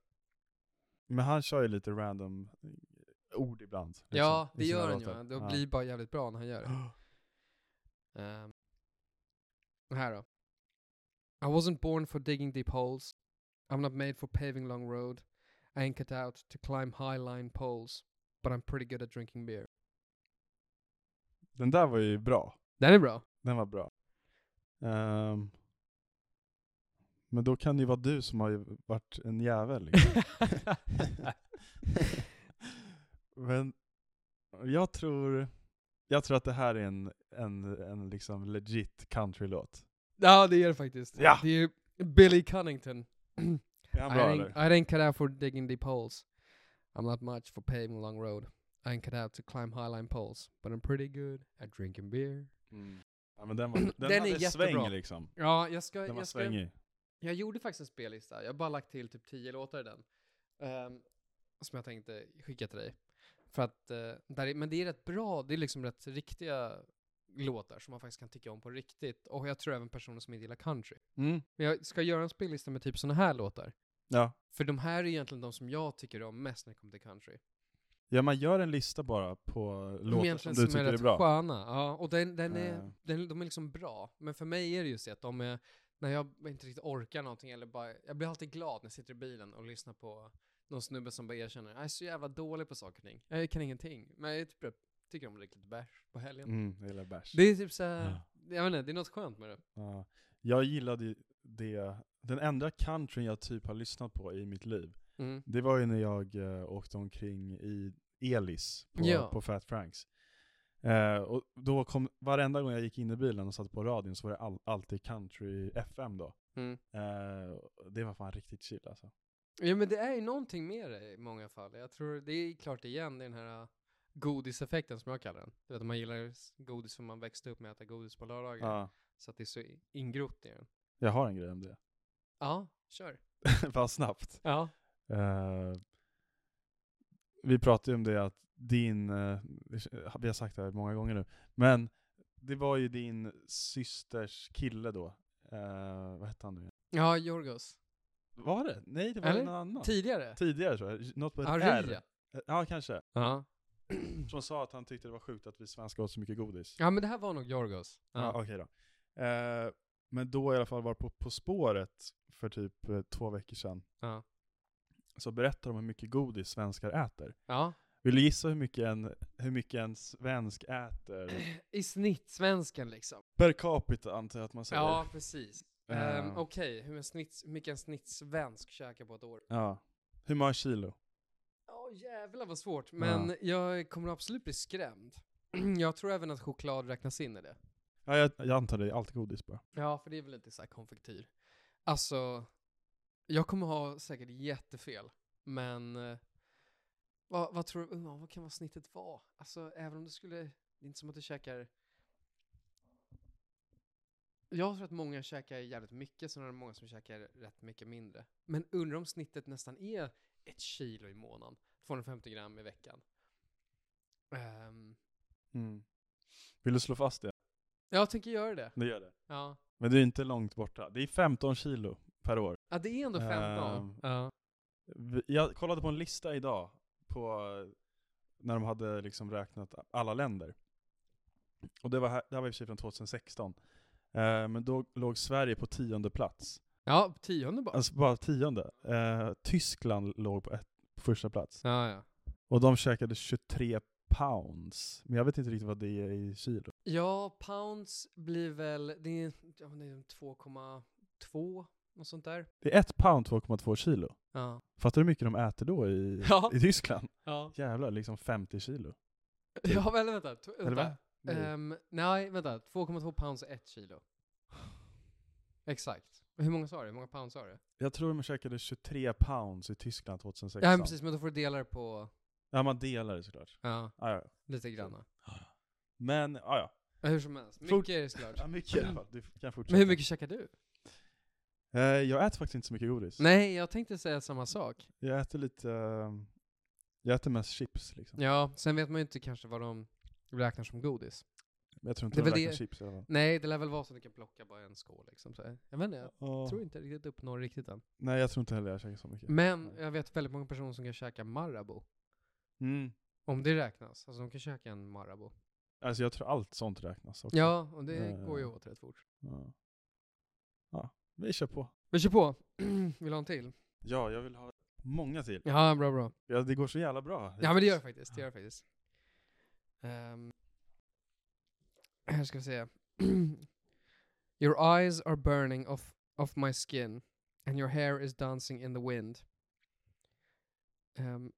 S2: men han kör ju lite random eh, ord ibland. liksom,
S1: Ja,
S2: i
S1: det
S2: sina
S1: gör han ju.
S2: låtar.
S1: Det blir bara jävligt bra när han gör det. Um, här då. I wasn't born for digging deep holes. I'm not made for paving long road. I ain't cut out to climb high line poles. But I'm pretty good at drinking beer.
S2: Den där var ju bra.
S1: Den är bra.
S2: Den var bra. Ehm, men då kan det ju vara du som har ju varit en jävel. Liksom. men jag tror, jag tror att det här är en, en, en liksom legit countrylåt.
S1: ja, det är det faktiskt.
S2: Ja.
S1: Det är ju Billy Cunnington.
S2: Är han
S1: I
S2: bra
S1: ain't,
S2: eller?
S1: I ain't cut out for digging deep holes. I'm not much for paving long road. I ain't cut out to climb high line poles. But I'm pretty good at drinking beer.
S2: Mm. Ja, men den, var, den,
S1: Den är
S2: hade
S1: jättebra.
S2: sväng liksom.
S1: Ja, jag ska...
S2: Den var
S1: jag ska
S2: svängig.
S1: Jag gjorde faktiskt en spellista. Jag har bara lagt till typ 10 låtar i den. Ehm, som jag tänkte skicka till dig. För att, eh, där är, men det är rätt bra, det är liksom rätt riktiga låtar som man faktiskt kan tycka om på
S2: Mm.
S1: riktigt. Och jag tror även personer som inte gillar country. Men jag ska göra en spellista med typ såna här låtar.
S2: Ja.
S1: För de här är egentligen de som jag tycker om mest när det kommer till country.
S2: ja, man gör en lista bara på
S1: De
S2: låtar som
S1: egentligen
S2: du tycker är,
S1: rätt
S2: bra.
S1: sköna. Ja, och den, den är,
S2: Eh.
S1: den, de är liksom bra. Men för mig är det just det att de är, när jag inte riktigt orkar någonting eller bara, jag blir alltid glad när jag sitter i bilen och lyssnar på någon snubbe som bara erkänner, jag är så jävla dålig på saker och ting. Jag kan ingenting. Men jag är typ, tycker om att dricka lite bärs på helgen.
S2: Mm, jag gillar bärs.
S1: Det är typ såhär, jag vet inte, det är något skönt med det.
S2: Ja. Jag gillade ju det, den enda countryn jag typ har lyssnat på i mitt liv,
S1: Mm.
S2: det var ju när jag eh, åkte omkring i Elis på,
S1: Ja.
S2: på Fat Franks. Eh, och då kom, varenda gång jag gick in i bilen och satte på radion så var det all, alltid country FM då.
S1: Mm.
S2: Eh, det var fan riktigt chill alltså.
S1: Ja men det är ju någonting med det i många fall. Jag tror det är klart igen det är den här äh, godiseffekten som jag kallar den. Du vet man gillar s- godis för man växte upp med att äta godis på lördagar.
S2: Ja.
S1: Så att det är så i- ingrott i den.
S2: Jag har en grej om det.
S1: Ja, kör.
S2: Bara snabbt.
S1: Ja.
S2: Eh, vi pratade ju om det att din, eh, vi har sagt det här många gånger nu, men det var ju din systers kille då. Eh, vad hette han nu igen?
S1: Ja, Jorgos.
S2: Var det? Nej, det var
S1: Eller?
S2: någon annan.
S1: Tidigare?
S2: Tidigare tror jag. Något på
S1: Ah,
S2: ett R.
S1: Aria.
S2: Eh, Ja, kanske.
S1: Ja.
S2: Som sa att han tyckte det var sjukt att vi svenskar åt så mycket godis.
S1: ja men det här var nog Jorgos.
S2: Ja.
S1: Ja.
S2: Okej då. Eh, men då i alla fall var på På spåret för typ eh, två veckor sedan.
S1: Ja.
S2: Så berättar de hur mycket godis svenskar äter.
S1: ja.
S2: Vill du gissa hur mycket en, hur mycket en svensk äter?
S1: I snitt svensken liksom.
S2: Per capita antar jag att man säger.
S1: Ja, precis.
S2: Eh,
S1: Ehm, Okej, hur en snitts- hur mycket en snittsvensk käkar på ett år?
S2: ja. Hur många kilo?
S1: Ja, jävlar vad svårt. Men jag kommer absolut bli skrämd. jag tror även att choklad räknas in i det.
S2: Ja, jag, jag antar det är allt godis bara.
S1: Ja, för det är väl inte så här konfektyr. Alltså, jag kommer ha säkert jättefel, men eh, vad, vad tror du, ja, vad kan vad snittet vara? Alltså, även om det skulle, det är inte som att du käkar... Jag tror att många käkar jävligt mycket, sen är det många som käkar rätt mycket mindre. Men undrar om snittet nästan är ett kilo i månaden, 250 gram i veckan. Ehm,
S2: Mm. Vill du slå fast det?
S1: jag tänker göra det.
S2: Det gör det.
S1: Ja.
S2: Men det är inte långt borta. Det är 15 kilo per år.
S1: ja, det är ändå 15.
S2: Ehm,
S1: ja.
S2: Vi- Jag kollade på en lista idag på eh, när de hade liksom räknat alla länder. Och det var, här, det här var i och för sig från 2016. Eh, men då låg Sverige på tionde plats.
S1: Ja, tionde bara.
S2: Alltså bara tionde. Eh, Tyskland låg på, ett, på första plats.
S1: ja, ja.
S2: Och de käkade 23 pounds. Men jag vet inte riktigt vad det är i kilo.
S1: ja, pounds blir väl, det är, ja, men det är 2,2 och sånt där.
S2: Det är ett pound 2,2 kilo.
S1: Ja.
S2: Fattar du hur mycket de äter då i,
S1: Ja.
S2: i Tyskland?
S1: Ja.
S2: Jävlar, liksom 50 kilo.
S1: Ja, eller vänta. t-
S2: Eller
S1: vänta.
S2: vad? Nej.
S1: Ehm, nej, vänta. 2,2 pounds är 1 kilo. Exakt. Hur många sa du? Hur många pounds sa du?
S2: Jag tror de käkade 23 pounds i Tyskland 2016.
S1: Ja, men precis. Men då får du dela det på,
S2: Ja, man delar det såklart.
S1: ja,
S2: Ja, ja.
S1: lite granna.
S2: Men, ja, ja.
S1: Ja, Hur som helst.
S2: Fort-
S1: Mycket är det såklart.
S2: ja mycket i alla fall. Du kan fortsätta.
S1: Men hur mycket käkar du?
S2: Eh, jag äter faktiskt inte så mycket godis.
S1: Nej, jag tänkte säga samma sak.
S2: Jag äter lite... eh, jag äter mest chips liksom.
S1: Ja, sen vet man ju inte kanske vad de räknar som godis.
S2: Men jag tror inte
S1: Det är
S2: det
S1: väl
S2: räknar
S1: det-
S2: chips i alla fall.
S1: Nej, det lär väl vara så att du kan plocka bara en skål liksom. Så här. jag vet inte, jag
S2: Ja.
S1: tror inte riktigt uppnår riktigt än.
S2: Nej, jag tror inte heller jag käkar så mycket.
S1: Men jag vet väldigt många personer som kan käka Marabou.
S2: Mm.
S1: Om det räknas. Alltså de kan käka en Marabou.
S2: Alltså jag tror allt sånt räknas också.
S1: Ja, och det
S2: Eh.
S1: går ju åt rätt fort.
S2: Ja. Ja, vi kör på.
S1: Vi kör på. Vill du ha en till?
S2: Ja, jag vill ha många till.
S1: Ja, bra, bra.
S2: Ja, det går så jävla bra.
S1: Ja, men det gör det faktiskt. Det gör det faktiskt. Ehm, här ska vi se. your eyes are burning off, off my skin and your hair is dancing in the wind. Ehm,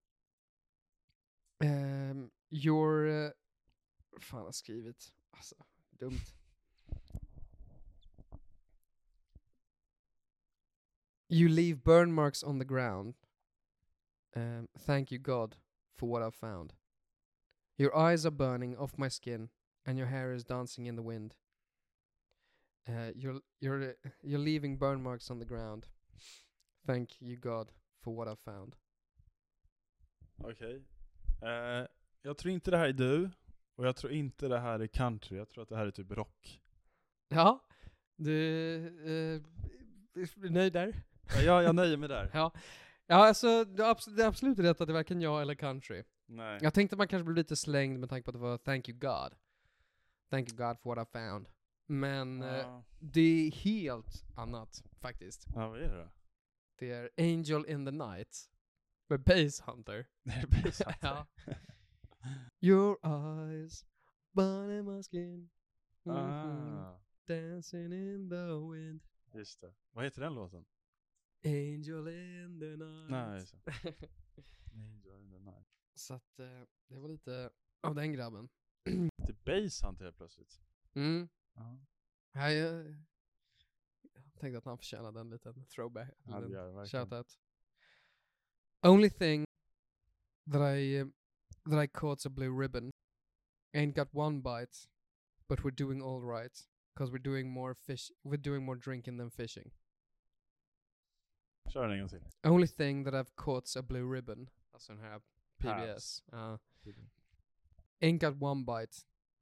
S1: ehm, your... Uh, fan, jag har skrivit. Alltså, dumt. You leave burn marks on the ground. Ehm, thank you God for what I've found. Your eyes are burning off my skin, and your hair is dancing in the wind. Uh, you're you're you're leaving burn marks on the ground. Thank you God for what I've found.
S2: Okej. Eh, jag tror inte det här är du, och jag tror inte det här är country. Jag tror att det här är typ rock.
S1: Ja, du eh, är du nöjd där?
S2: Ja, jag nöjer mig där.
S1: Ja, ja alltså det är absolut, det är absolut rätt att det är varken jag eller country.
S2: Nej.
S1: Jag tänkte att man kanske blev lite slängd med tanke på att det var Thank You God. Thank You God for what I found. Men eh,
S2: Ja,
S1: det är helt annat faktiskt.
S2: ja vad är det då?
S1: Det är Angel in the Night med Base Hunter.
S2: Det är besatt.
S1: ja. Your eyes, burning my skin, mhm,
S2: Ah,
S1: dancing in the wind,
S2: just det. Vad heter den låten?
S1: angel in the night.
S2: Nej, just det. Angel in the night.
S1: Så att eh, det var lite av den grabben.
S2: Till Bass Hunter helt plötsligt.
S1: Mm.
S2: Ja,
S1: Ja, jag, eh, jag tänkte att han förtjänade en liten throwback.
S2: ja, det
S1: en
S2: gör det verkligen.
S1: shoutout. Only thing that I, um, that I caught's a blue ribbon. Ain't got one bite, but we're doing all right. Cause we're doing more fish, we're doing more drinking than fishing.
S2: Kör den en gång till.
S1: Only thing that I've caught's a blue ribbon. Alltså den här PBS. ja. Ain't uh, got one bite,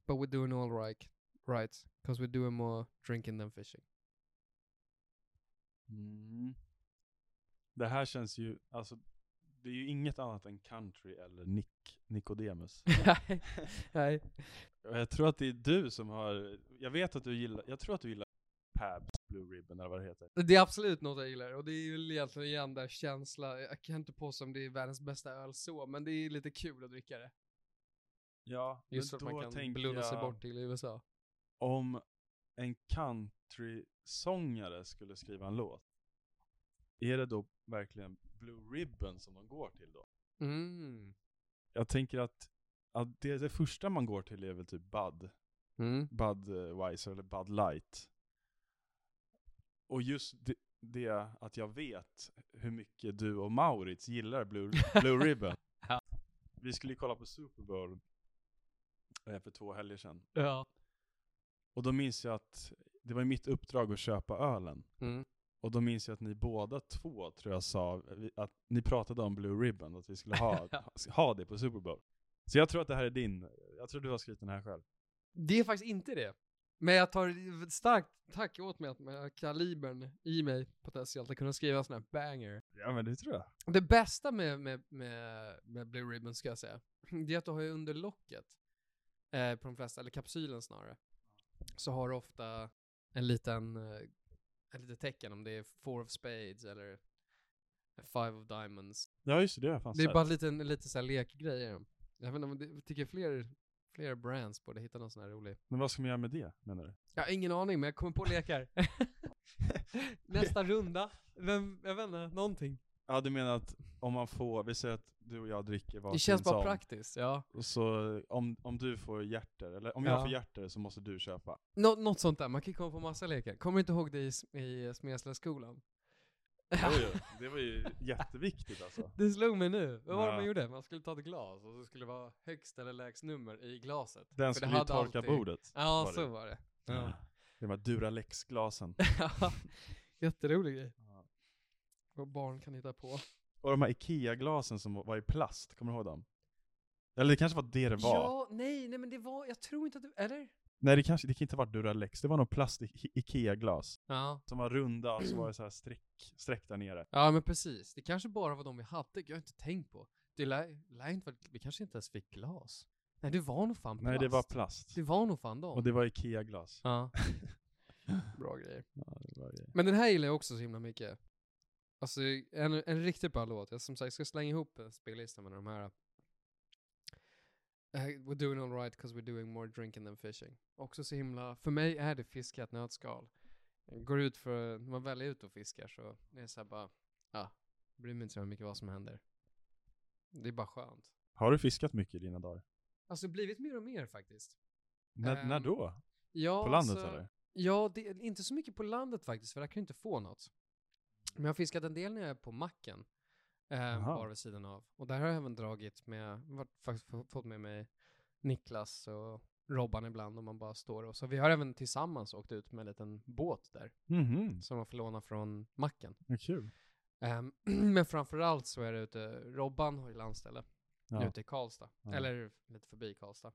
S1: but we're doing all right. Right, cause we're doing more drinking than fishing.
S2: Mm. Det här känns ju, alltså det är ju inget annat än country eller Nick, Nicodemus.
S1: Nej, nej.
S2: Och Jag tror att det är du som har, jag vet att du gillar, jag tror att du gillar Pabs Blue Ribbon eller vad det heter.
S1: Det är absolut något jag gillar och det är ju egentligen igen där känsla, jag kan inte påstå om det är världens bästa öl så, men det är lite kul att dricka det.
S2: Ja,
S1: Just för att man kan blunda sig bort till USA.
S2: om en country-sångare skulle skriva en låt, är det då verkligen Blue Ribbon som de går till då?
S1: Mm.
S2: Jag tänker att, att det, det första man går till är väl typ Bud.
S1: Mm.
S2: Budweiser eh, eller Bud Light. Och just det, det att jag vet hur mycket du och Maurits gillar Blue, Blue Ribbon.
S1: Ja.
S2: Vi skulle ju kolla på Super Bowl eh, för två helger sedan.
S1: Ja.
S2: Och då minns jag att det var ju mitt uppdrag att köpa ölen.
S1: Mm.
S2: Och då minns jag att ni båda två, tror jag, sa vi- att ni pratade om Blue Ribbon, att vi skulle ha, ha det på Super Bowl. Så jag tror att det här är din, jag tror du har skrivit den här själv.
S1: Det är faktiskt inte det. Men jag tar starkt tack åt mig att jag har kalibern i mig potentiellt att kunna skriva en sån här banger.
S2: Ja men det tror jag.
S1: Det bästa med, med, med, med Blue Ribbon ska jag säga, det är att du har ju under locket, eh, på de flesta, eller kapsylen snarare, så har du ofta en liten, eh, ett litet tecken om det är four of spades eller five of diamonds.
S2: Ja just det, det har jag fan
S1: Det är
S2: sett.
S1: bara en liten, lite så här lekgrej i dem. Jag vet inte om det, jag tycker fler, fler brands borde hitta någon sån här rolig.
S2: Men vad ska man göra med det, menar du?
S1: Jag har ingen aning, men jag kommer på lekar. Nästa runda, vem, jag vet inte, någonting.
S2: Ja, du menar att om man får, vi säger att du och jag dricker varsin
S1: Det känns bara
S2: sån,
S1: praktiskt, ja.
S2: och Så om, om du får hjärter, eller om jag
S1: Ja.
S2: får hjärter så måste du köpa.
S1: Nå något sånt där, man kan komma på massa lekar. Kommer inte ihåg det i, Sm- i Smedslaskolan?
S2: Det var ju, det var ju jätteviktigt alltså.
S1: Det slog mig nu. Vad var det
S2: Ja.
S1: man gjorde? Man skulle ta ett glas och så skulle det vara högst eller lägst nummer i glaset.
S2: Den
S1: För det
S2: skulle ju
S1: hade
S2: torka
S1: alltid-
S2: bordet.
S1: Ja,
S2: var det.
S1: så var det. Ja.
S2: Det var Duralex-glasen.
S1: Jätterolig grej.
S2: Ja.
S1: Vad barn kan hitta på.
S2: Och de här IKEA-glasen som var i plast, kommer du ihåg dem? Eller det kanske var det det var?
S1: Ja, nej, nej men det var, jag tror inte att du, eller?
S2: Nej, det, kanske, det kan inte ha varit Duralex, det var nog plast i- IKEA-glas.
S1: Ja.
S2: Som var runda och så var det så här streck, streck där nere.
S1: Ja, men precis. Det kanske bara var de vi hade, jag har inte tänkt på. Det lär, lär inte vara, vi kanske inte ens fick glas. Nej, det var nog fan plast.
S2: Nej, det var plast.
S1: Det var nog fan dem.
S2: Och det var IKEA-glas.
S1: Ja. Bra grejer.
S2: Ja, det var det.
S1: Men den här gillar jag också så himla mycket. Alltså en, en riktigt bra låt. Jag som sagt ska slänga ihop en spellista med de här. Eh, we're doing all right cause we're doing more drinking than fishing. Också så himla, för mig är det fiska i ett nötskal. Går ut för, när man väl är ute och fiskar så är det så här bara, ja, bryr mig inte så mycket vad som händer. Det är bara skönt.
S2: Har du fiskat mycket i dina dagar?
S1: Alltså det har blivit mer och mer faktiskt.
S2: När, när
S1: Ehm,
S2: då?
S1: Ja,
S2: På landet
S1: alltså,
S2: eller?
S1: Ja, det, inte så mycket på landet faktiskt, för där kan du inte få något. Men jag har fiskat en del när jag är på macken, eh,
S2: Aha.
S1: bara vid sidan av. Och där har jag även dragit med, varit, faktiskt få- fått med mig Niklas och Robban ibland om man bara står och så. Vi har även tillsammans åkt ut med en liten båt där,
S2: Mhm,
S1: som man får låna från macken.
S2: vad kul.
S1: Ehm, men framförallt så är det ute, Robban har ju landställe
S2: Ja.
S1: ute i Karlstad.
S2: Ja.
S1: Eller lite förbi Karlstad.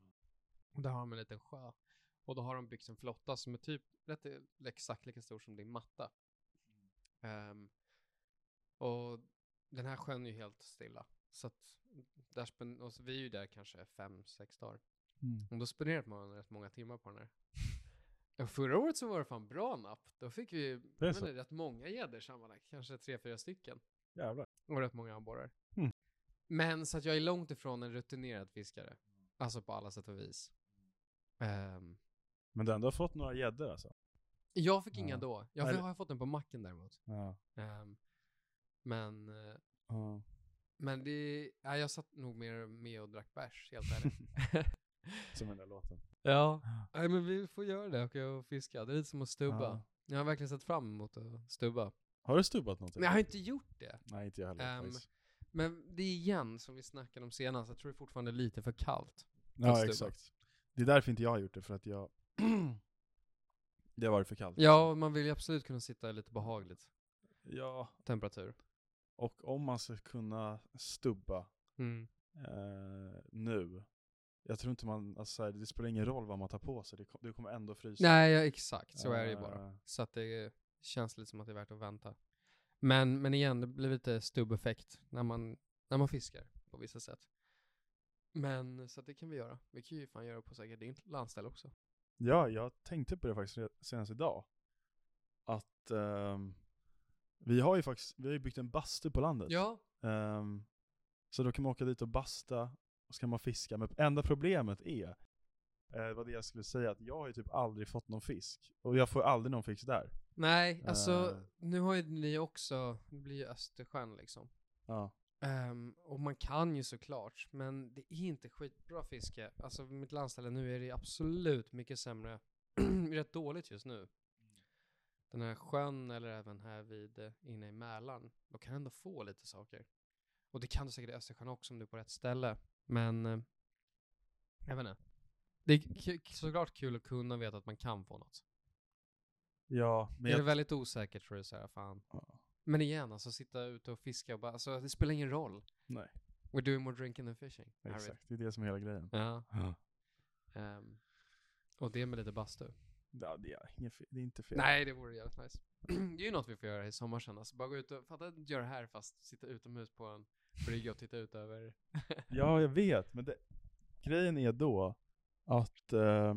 S1: Och där har de en liten sjö. Och då har de byggt en eh, flotta som är typ rätt exakt lika stor som din matta. Ehm, den här sjön är ju helt stilla. Så att där spen- och så vi är ju där kanske fem, sex dagar.
S2: Mm.
S1: Och då spenderade man rätt många timmar på den här. Och förra året så var det fan bra napp. Då fick vi
S2: Det är
S1: men,
S2: så.
S1: rätt många gäddor sammanlagt, kanske tre, fyra stycken.
S2: Jävlar.
S1: Och rätt många abborrar.
S2: Mm.
S1: Men så att jag är långt ifrån en rutinerad fiskare. Alltså på alla sätt och vis. Ehm,
S2: Men du har ändå fått några gäddor alltså?
S1: jag fick inga
S2: Ja.
S1: då. Jag
S2: Eller-
S1: har fått den på macken däremot.
S2: Ja.
S1: Ehm, men, eh,
S2: Ja.
S1: men det, ja, jag satt nog mer med och drack bärs, helt ärligt.
S2: Som den där låten.
S1: ja. Nej, men vi får göra det, åka och fiska. Det är lite som att stubba.
S2: Ja.
S1: Jag har verkligen sett fram emot att stubba.
S2: Har du stubbat någonting?
S1: Men jag har inte gjort det.
S2: Nej, inte jag heller.
S1: Ehm,
S2: faktiskt.
S1: Men det är igen som vi snackade om senast, jag tror det är fortfarande lite för kallt.
S2: ja,
S1: stubba.
S2: exakt. Det är därför inte jag har gjort det, för att jag... det har varit för kallt. liksom.
S1: Ja, man vill ju absolut kunna sitta i lite behagligt
S2: Ja,
S1: temperatur.
S2: och om man ska kunna stubba
S1: Mm.
S2: eh, nu. Jag tror inte man, alltså, så här, det spelar ingen roll vad man tar på sig, det, kom- du kommer ändå frysa.
S1: Nej, ja, exakt, så är det ju bara.
S2: Eh,
S1: Så att det känns lite som att det är värt att vänta. Men, men igen, det blir lite stubbeffekt när man, när man fiskar på vissa sätt. Men så att det kan vi göra. Vi kan ju fan göra på säkert din landställe också.
S2: Ja, jag tänkte på det faktiskt re- senast idag. Att ehm, vi har ju faktiskt, vi har ju byggt en bastu på landet.
S1: Ja,
S2: Ehm, så då kan man åka dit och basta och så kan man fiska. Men enda problemet är, eh, vad det jag skulle säga, att jag har ju typ aldrig fått någon fisk. Och jag får aldrig någon fisk där.
S1: nej, alltså
S2: Eh.
S1: nu har ju ni också, det blir ju Östersjön liksom.
S2: Ja.
S1: Ehm, och man kan ju såklart, men det är inte skitbra fiske. Alltså mitt landställe nu är det absolut mycket sämre, rätt dåligt just nu. Den här sjön eller även här vid eh, inne i Mälaren, då kan du ändå få lite saker. Och det kan du säkert i Östersjön också om du är på rätt ställe. Men, eh, jag vet inte. Det är k- såklart kul att kunna veta att man kan få något.
S2: Ja, men
S1: är
S2: jag,
S1: det väldigt osäkert tror du så här, fan.
S2: Ja.
S1: Men igen, alltså sitta ute och fiska och bara, alltså det spelar ingen roll.
S2: Nej.
S1: We're doing more drinking than fishing. Harry.
S2: exakt, det är det som är hela grejen.
S1: Ja.
S2: Ja.
S1: ehm, och det med lite bastu.
S2: Ja, det, är inget fe- det är inte fel.
S1: Nej, det vore jävligt nice. det är ju något vi får göra i sommar sen. Alltså bara gå ut och, fatta, göra det här fast sitta utomhus på en brygga och titta ut över.
S2: Ja, jag vet, men det, grejen är då att eh,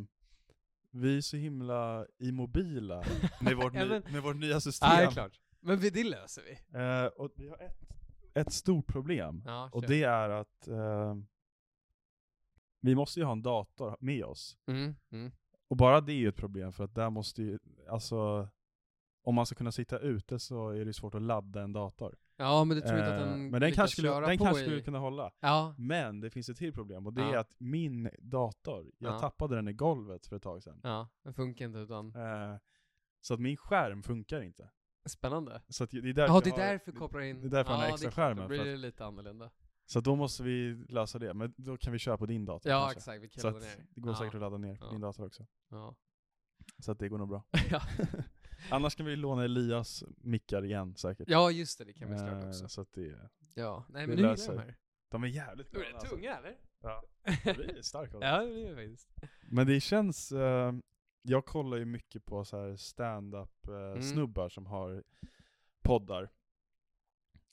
S2: vi är så himla immobila med vårt,
S1: Ja,
S2: ny,
S1: men-
S2: med vårt nya system.
S1: Nej, klart. Men vi, det löser vi.
S2: Eh, och vi har ett, ett stort problem.
S1: Ja,
S2: Och
S1: kör.
S2: det är att eh, vi måste ju ha en dator med oss.
S1: Mm, mm.
S2: Och bara det är ju ett problem för att där måste ju, alltså om man ska kunna sitta ute så är det ju svårt att ladda en dator.
S1: Ja, men du tror inte att
S2: Eh,
S1: den
S2: men den
S1: lyckas
S2: kanske, skulle,
S1: köra
S2: den
S1: på
S2: kanske
S1: i-
S2: skulle kunna hålla.
S1: Ja,
S2: Men det finns ett till problem och det är
S1: Ja.
S2: att min dator, jag
S1: Ja.
S2: tappade den i golvet för ett tag sedan.
S1: ja, den funkar inte utan.
S2: Eh, så att min skärm funkar inte.
S1: Spännande.
S2: Så att det är därför
S1: Ja, det är
S2: jag har-
S1: därför vi kopplar in.
S2: det är därför han
S1: ja,
S2: har
S1: det är
S2: extra
S1: klart,
S2: skärmen,
S1: Då blir
S2: för att-
S1: det lite annorlunda.
S2: Så att då måste vi lösa det, men då kan vi köra på din dator
S1: Ja,
S2: kanske.
S1: exakt. Vi kan
S2: Så
S1: ladda
S2: att
S1: ner.
S2: det går
S1: ja,
S2: säkert att ladda ner på
S1: Ja.
S2: din dator också.
S1: Ja.
S2: Så att det går nog bra.
S1: Ja.
S2: Annars kan vi låna Elias mickar igen säkert.
S1: ja, just det. Det kan vi såklart
S2: typ. Eh,
S1: också.
S2: Så att det,
S1: Ja, nej
S2: Det
S1: men nu gillar
S2: löser
S1: de här.
S2: de är jävligt
S1: Är det
S2: alltså.
S1: tunga eller?
S2: Ja. Vi är starka av det.
S1: ja, det blir det faktiskt.
S2: Men det känns, eh, jag kollar ju mycket på så här stand-up eh,
S1: Mm.
S2: snubbar som har poddar.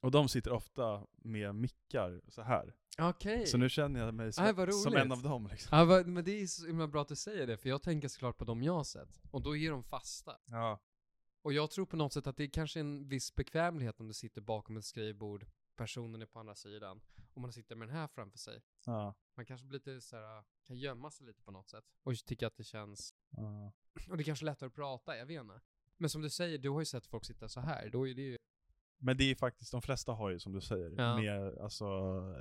S2: Och de sitter ofta med mickar så här.
S1: Okej.
S2: Så nu känner jag mig som,
S1: Aj, vad
S2: som
S1: roligt.
S2: en av dem liksom.
S1: Ja, vad- men det är så himla bra att du säger det, för jag tänker såklart på de jag har sett. Och då är de fasta.
S2: Ja.
S1: Och jag tror på något sätt att det är kanske en viss bekvämlighet om du sitter bakom ett skrivbord, personen är på andra sidan, och man sitter med den här framför sig.
S2: ja.
S1: Man kanske blir lite så här, ah, kan gömma sig lite på något sätt. Och tycka att det känns,
S2: ja.
S1: och det är kanske är lättare att prata, jag vet inte. Men som du säger, du har ju sett folk sitta så här, då är det ju,
S2: Men det är faktiskt, de flesta har ju som du säger,
S1: Ja.
S2: med alltså,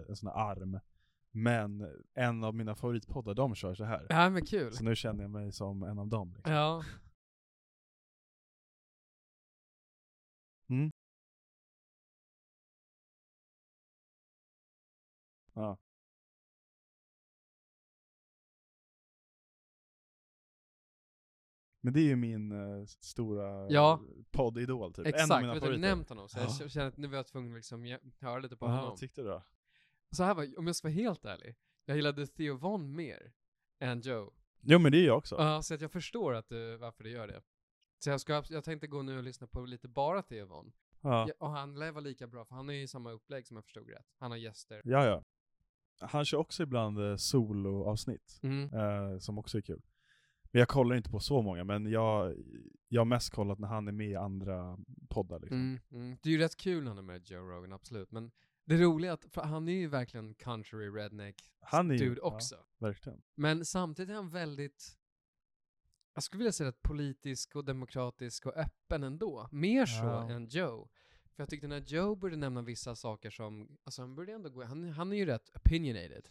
S2: en sån här arm. Men en av mina favoritpoddar, de kör så här.
S1: ja men kul.
S2: Så nu känner jag mig som en av dem. Liksom.
S1: Ja.
S2: Mm. Ja. Men det är ju min eh, stora
S1: Ja.
S2: poddidol typ. en av
S1: Exakt,
S2: mina
S1: vet du,
S2: favoriter.
S1: nämnt honom så jag
S2: Ja.
S1: känner att nu var jag tvungen att liksom ge- höra lite på
S2: Aha,
S1: honom.
S2: vad tyckte du då?
S1: Så här var, om jag ska vara helt ärlig, jag gillade Theo Von mer än Joe.
S2: Jo men det är jag också.
S1: Ja, så att eh, jag förstår att du, varför du gör det. Så jag, ska, jag tänkte gå nu och lyssna på lite bara Theo Von.
S2: Ja.
S1: Ja, och han lär vara lika bra, för han är ju i samma upplägg som jag förstod rätt. Han har gäster.
S2: ja, ja. Han kör också ibland eh, soloavsnitt, eh, som också är kul. Men jag kollar inte på så många, men jag, jag har mest kollat när han är med i andra poddar. Liksom.
S1: Mm, mm. Det är ju rätt kul när han är med Joe Rogan, absolut. Men det roliga är att för han är ju verkligen country redneck
S2: Han är ju-
S1: dude
S2: ja.
S1: också.
S2: Verkligen.
S1: Men samtidigt är han väldigt, jag skulle vilja säga att politisk och demokratisk och öppen ändå. Mer så
S2: Ja.
S1: än Joe. För jag tyckte när Joe började nämna vissa saker som, alltså han började ändå gå, han, han är ju rätt opinionated.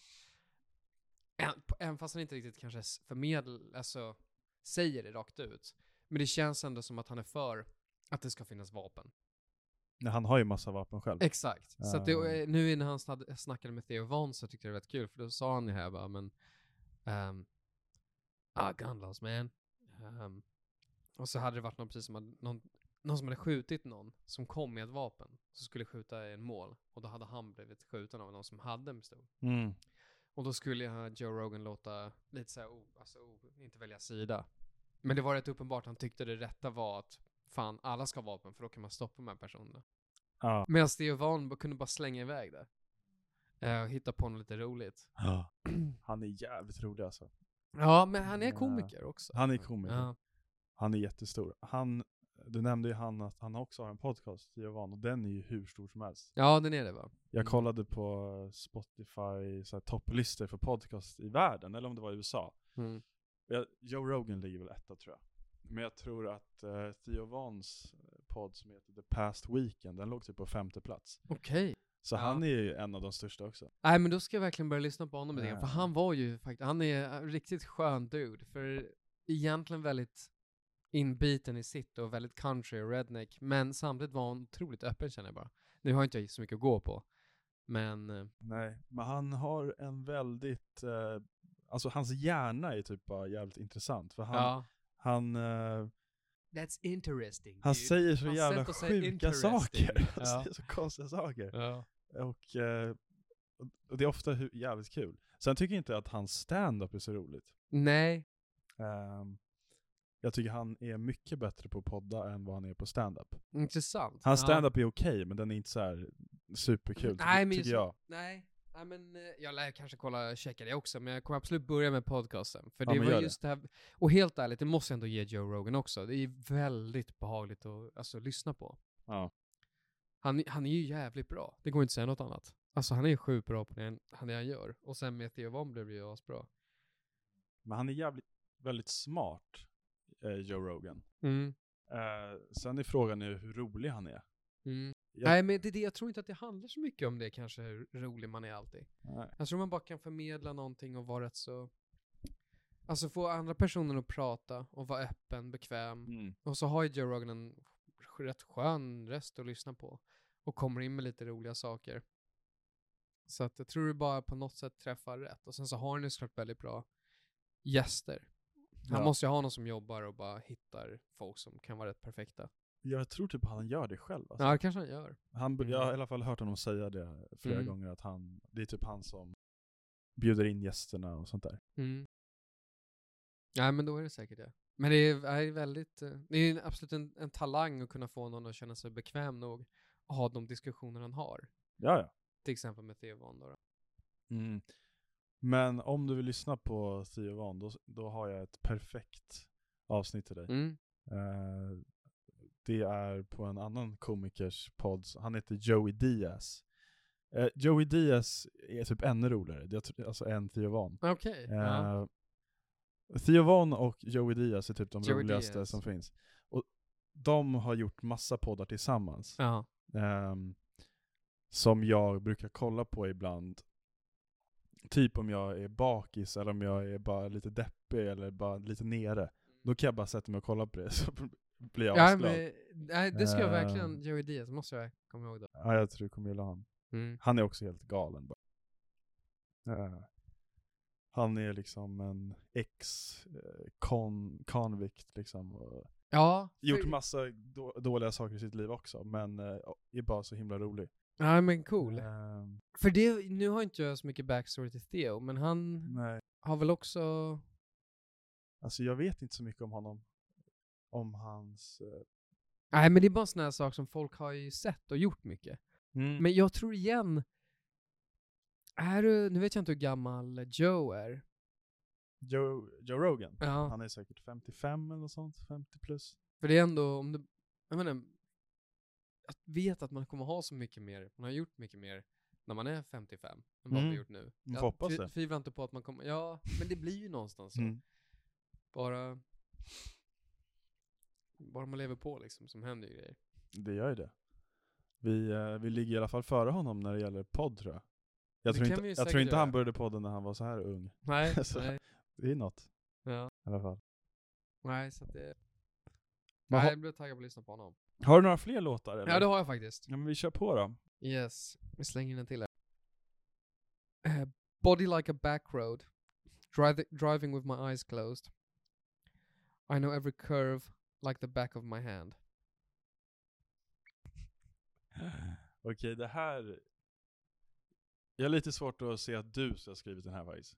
S1: Än- på- Även fast han inte riktigt kanske s- förmedl, alltså säger det rakt ut. Men det känns ändå som att han är för att det ska finnas vapen.
S2: Nej, Han har ju massa vapen själv.
S1: Exakt. Så att det, och,
S2: Ah.
S1: eh, nu när han snad- snackade med Theo Von så tyckte jag det var rätt kul, för då sa han ju här bara, men... ehm, ah, gun laws man. Ehm, och så hade det varit någon precis som hade, någon, någon som hade skjutit någon som kom med ett vapen, som skulle skjuta i en mål. Och då hade han blivit skjuten av någon som hade en pistol.
S2: Mm.
S1: Och då skulle jag Joe Rogan låta lite såhär, o- alltså o- inte välja sida. Men det var rätt uppenbart, han tyckte det rätta var att fan, alla ska ha vapen för då kan man stoppa de här personerna.
S2: Ja.
S1: Medan Theo Van b- kunde bara slänga iväg det. Eh, och hitta på något lite roligt.
S2: Han är jävligt rolig alltså.
S1: Ja, men han är
S2: Ja.
S1: komiker också.
S2: Han är komiker.
S1: Ja.
S2: Han är jättestor. Han, du nämnde ju han att han också har en podcast, Jovan, och den är ju hur stor som helst.
S1: ja, den är det va?
S2: Jag
S1: Mm.
S2: kollade på Spotify så här, topplistor för podcast i världen, eller om det var i USA.
S1: Mm.
S2: Jag, Joe Rogan ligger väl etta tror jag. Men jag tror att uh, Theo Vans podd som heter The Past Weekend, den låg typ på femte plats.
S1: Okej.
S2: Så
S1: Ja.
S2: han är ju en av de största också.
S1: Nej, men då ska jag verkligen börja lyssna på honom lite grann. För
S2: Ja.
S1: han var ju faktiskt, han är en riktigt skön dude. För egentligen väldigt inbiten i sitt och väldigt country och redneck. Men samtidigt var han otroligt öppen känner jag bara. Nu har inte jag så mycket att gå på. Men eh,
S2: Nej, men han har en väldigt, eh, alltså hans hjärna är typ bara jävligt intressant. För han,
S1: ja.
S2: han, eh,
S1: That's interesting.
S2: han säger så
S1: Hans
S2: jävla
S1: sätt att säga
S2: sjuka
S1: interesting.
S2: saker.
S1: Ja.
S2: Han säger så konstiga saker.
S1: Ja.
S2: Och, eh, och det är ofta hu- jävligt kul. Sen tycker jag inte att hans stand-up är så roligt.
S1: Nej.
S2: Ehm, jag tycker han är mycket bättre på att podda än vad han är på stand-up.
S1: Intressant.
S2: Hans stand-up är okej, men den är inte så här superkul, ty-
S1: Nej, men
S2: tycker
S1: just-
S2: jag.
S1: Nej, nej men eh, jag lär kanske kolla checka det också, men jag kommer absolut börja med podcasten. För
S2: Ja,
S1: det
S2: men
S1: var
S2: gör det.
S1: just det här, och helt ärligt, det måste jag ändå ge Joe Rogan också. Det är väldigt behagligt att alltså, lyssna på.
S2: Ja.
S1: Han, han är ju jävligt bra, det går inte att säga något annat. Alltså han är sjukt bra på det han- han, det han gör. Och sen med Theo Von blev det ju asbra.
S2: Men han är jävligt, väldigt smart, eh, Joe Rogan.
S1: Mm.
S2: Eh, sen är frågan ju hur rolig han är.
S1: Mm.
S2: Jag-
S1: Nej men det är det, jag tror inte att det handlar så mycket om det kanske, hur rolig man är alltid.
S2: Nej.
S1: Jag tror man bara kan förmedla någonting och vara rätt så... Alltså få andra personer att prata och vara öppen, bekväm.
S2: Mm.
S1: Och så har ju Joe Rogan en sk- rätt skön röst att lyssna på och kommer in med lite roliga saker. Så att jag tror du bara på något sätt träffar rätt. Och sen så har han ju såklart väldigt bra gäster. Han
S2: Ja.
S1: måste ju ha någon som jobbar och bara hittar folk som kan vara rätt perfekta.
S2: Jag tror typ han gör det själv. Alltså.
S1: Ja, det kanske han gör.
S2: Han,
S1: Mm.
S2: Jag har i alla fall hört honom säga det flera
S1: Mm.
S2: gånger, att han, det är typ han som bjuder in gästerna och sånt där.
S1: Mm. Nej, men då är det säkert det. Men det är, är väldigt, eh, det är ju absolut en, en talang att kunna få någon att känna sig bekväm nog och ha de diskussioner han har.
S2: Ja, ja.
S1: Till exempel med Theo Von då. då.
S2: Mm. Men om du vill lyssna på Theo Van, då, då har jag ett perfekt avsnitt till dig.
S1: Mm.
S2: Eh, det är på en annan komikers podd, så- han heter Joey Diaz. Eh, Joey Diaz är typ ännu roligare, jag tror, alltså än Theo Van.
S1: Okej. ja.
S2: Eh, Theo Von och Joey Diaz är typ de
S1: Joey
S2: roligaste
S1: Diaz.
S2: som finns. Och de har gjort massa poddar tillsammans.
S1: Ja.
S2: ehm, som jag brukar kolla på ibland. Typ om jag är bakis eller om jag är bara lite deppig eller bara lite nere. Då kan jag bara sätta mig och kolla på det så blir
S1: Mm.
S2: jag
S1: Ja,
S2: asglad.
S1: men, nej, det ska jag
S2: Eh.
S1: verkligen, Joey Diaz måste jag komma ihåg då.
S2: Ja, jag tror du kommer gilla honom. Han är också helt galen. bara. Eh, han är liksom en ex-convict liksom. Och
S1: Ja,
S2: gjort
S1: för-
S2: massa då- dåliga saker i sitt liv också, men eh, är bara så himla rolig.
S1: ja men cool.
S2: Eh,
S1: För det, nu har inte jag så mycket backstory till Theo, men han
S2: nej,
S1: har väl också,
S2: alltså jag vet inte så mycket om honom. Om hans eh,
S1: Nej, men det är bara en sån här sak som folk har ju sett och gjort mycket.
S2: Mm.
S1: Men jag tror igen, är du, nu vet jag inte hur gammal Joe är.
S2: Joe, Joe Rogan,
S1: Ja,
S2: han är säkert 55 eller något sånt, 50 plus.
S1: för det är ändå, om du, jag menar, jag vet att man kommer ha så mycket mer, man har gjort mycket mer när man är 55 än vad man
S2: Mm.
S1: har gjort nu.
S2: Man
S1: jag
S2: får hoppas
S1: tvi-
S2: det.
S1: tvivlar inte på att man kommer, ja, men det blir ju någonstans så.
S2: Mm.
S1: Bara, bara man lever på liksom, som händer ju grejer.
S2: Det gör ju det. Vi, eh, vi ligger i alla fall före honom när det gäller podd tror jag. Jag
S1: Det
S2: tror,
S1: kan
S2: inte,
S1: vi ju
S2: jag tror
S1: säkert
S2: inte han
S1: göra.
S2: började podden när han var så här ung.
S1: Nej,
S2: Så-
S1: nej,
S2: Det är något
S1: ja.
S2: i alla fall.
S1: nej så att det,
S2: Men
S1: nej,
S2: ha-
S1: jag blev taggad på att lyssna på honom.
S2: Har du några fler låtar eller?
S1: Ja, det har jag faktiskt.
S2: ja men vi kör på då.
S1: Yes, vi slänger in en till här. Eh, Body like a back road. Driv- driving with my eyes closed. I know every curve like the back of my hand.
S2: Okej, det här... Jag har lite svårt att se att du ska ha skrivit den här faktiskt.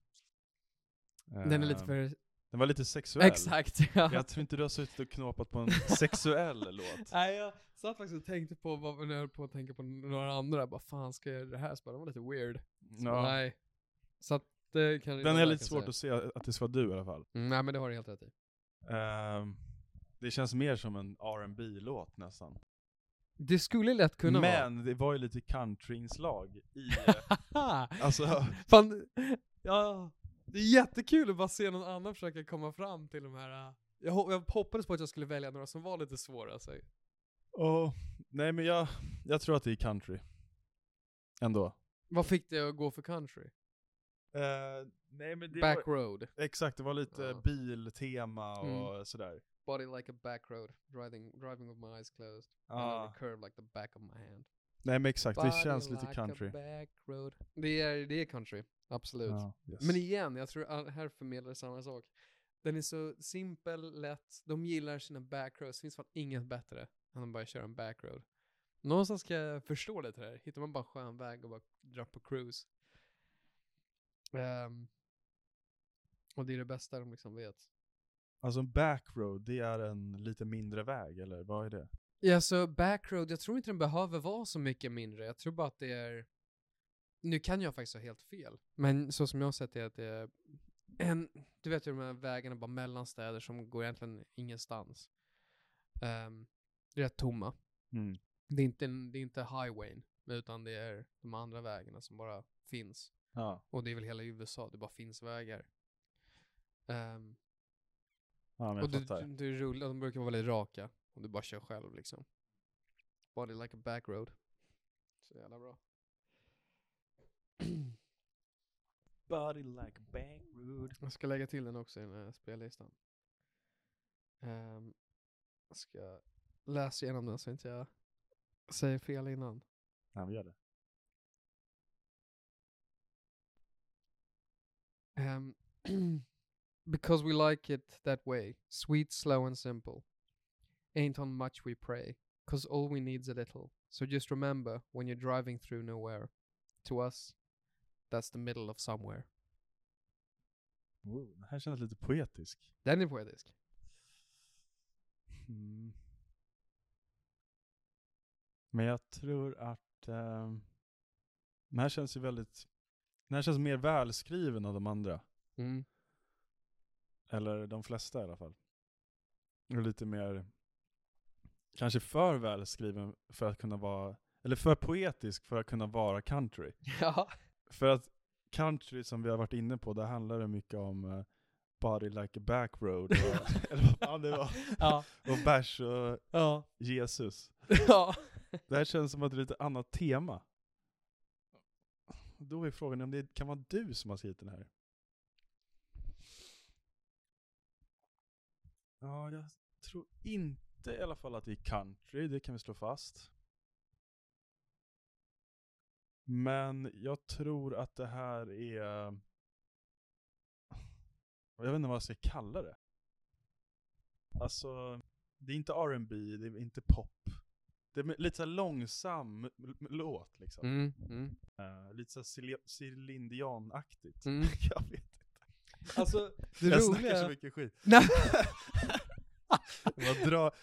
S1: Den är
S2: Eh,
S1: lite för...
S2: Den var lite sexuell.
S1: Exakt, ja.
S2: Jag tror inte du har suttit och knåpat på en sexuell låt.
S1: Nej, jag satt faktiskt och tänkte på, vad, när jag höll på att tänka på några andra, bara fan ska jag göra det här? Så bara, det var lite weird. Så bara,
S2: Ja.
S1: Nej. Så att det kan
S2: Den är lite svårt att se att det ska vara du i alla fall.
S1: Mm, nej, men det har du helt rätt i.
S2: Ehm, det känns mer som en rb låt nästan.
S1: Det skulle lätt kunna vara.
S2: Men det var ju lite countryinslag i... eh, alltså,
S1: Fan, ja, det är jättekul att bara se någon annan försöka komma fram till de här... äh, Jag, ho- jag hoppades på att jag skulle välja några som var lite svåra. alltså. Så.
S2: åh, nej men jag, jag tror att det är country. Ändå.
S1: Vad fick det att gå för country?
S2: Eh, nej men det var-
S1: Back road.
S2: Exakt, det var lite
S1: Ja. Mm.
S2: biltema och sådär.
S1: Body like a back road. Driving, driving with my eyes closed.
S2: Ja.
S1: And on a curve like the back of my hand.
S2: Nej men exakt, Ah. det
S1: Body
S2: känns lite
S1: like
S2: country.
S1: A back road. Det, är, det är country, absolut.
S2: Ja, yes.
S1: Men igen, jag tror all- här förmedlar samma sak. Den är så simpel, lätt, de gillar sina backroads, det finns fan inget bättre än att bara köra en backroad. Någonstans ska jag förstå det här, hittar man bara en skön väg och bara dra på cruise. Ehm, och det är det bästa de liksom vet.
S2: Alltså en backroad, det är en lite mindre väg eller vad är det?
S1: Ja, så backroad, jag tror inte den behöver vara så mycket mindre. Jag tror bara att det är... Nu kan jag faktiskt ha helt fel, men så som jag har sett det är att det är en... Du vet ju de här vägarna bara mellan städer som går egentligen ingenstans. Um, det är rätt tomma.
S2: Mm.
S1: Det är, inte, en- det är inte highwayn, utan det är de andra vägarna som bara finns.
S2: Ja.
S1: Och det är väl hela USA, det bara finns vägar. Ehm,
S2: ja, men
S1: och
S2: jag
S1: du,
S2: fattar.
S1: du, du rullar, de brukar vara väldigt raka. Och du bara kör själv liksom. Body like a back road. Så jävla bra.
S2: Body like backroad.
S1: Jag ska lägga till den också i den här spellistan. Ehm, jag ska läsa igenom den så inte jag säger fel innan.
S2: Ja, vi gör det.
S1: Ehm, because we like it that way. Sweet, slow and simple. Ain't on much we pray. Cause all we need's a little. So just remember when you're driving through nowhere. To us, that's the middle of somewhere.
S2: Wow, det här känns lite poetisk.
S1: Den är poetisk.
S2: Mm. Men jag tror att ehm, den här känns ju väldigt, den här känns mer välskriven av de andra.
S1: Mm.
S2: Eller de flesta i alla fall. Och lite mer, kanske för välskriven för att kunna vara, eller för poetisk för att kunna vara country.
S1: Ja.
S2: För att country som vi har varit inne på, där handlar det mycket om eh, body like a back road, och, eller vad fan det var,
S1: Ja.
S2: och bärs och
S1: Ja.
S2: Jesus.
S1: ja.
S2: Det här känns som att det är lite annat tema. Då är frågan om det kan vara du som har skrivit den här. Ja, jag tror inte i alla fall att det är country, det kan vi slå fast. Men jag tror att det här är... Jag vet inte vad jag ska kalla det. Alltså, det är inte R&B, det är inte pop. Det är lite så här långsam m- m- låt liksom.
S1: Mm. Mm.
S2: Eh, lite såhär Céline Dion-aktigt.
S1: Mm.
S2: Jag vet inte.
S1: Alltså, det
S2: jag
S1: roliga...
S2: snackar så mycket skit.
S1: Nej.
S2: Jag bara drar,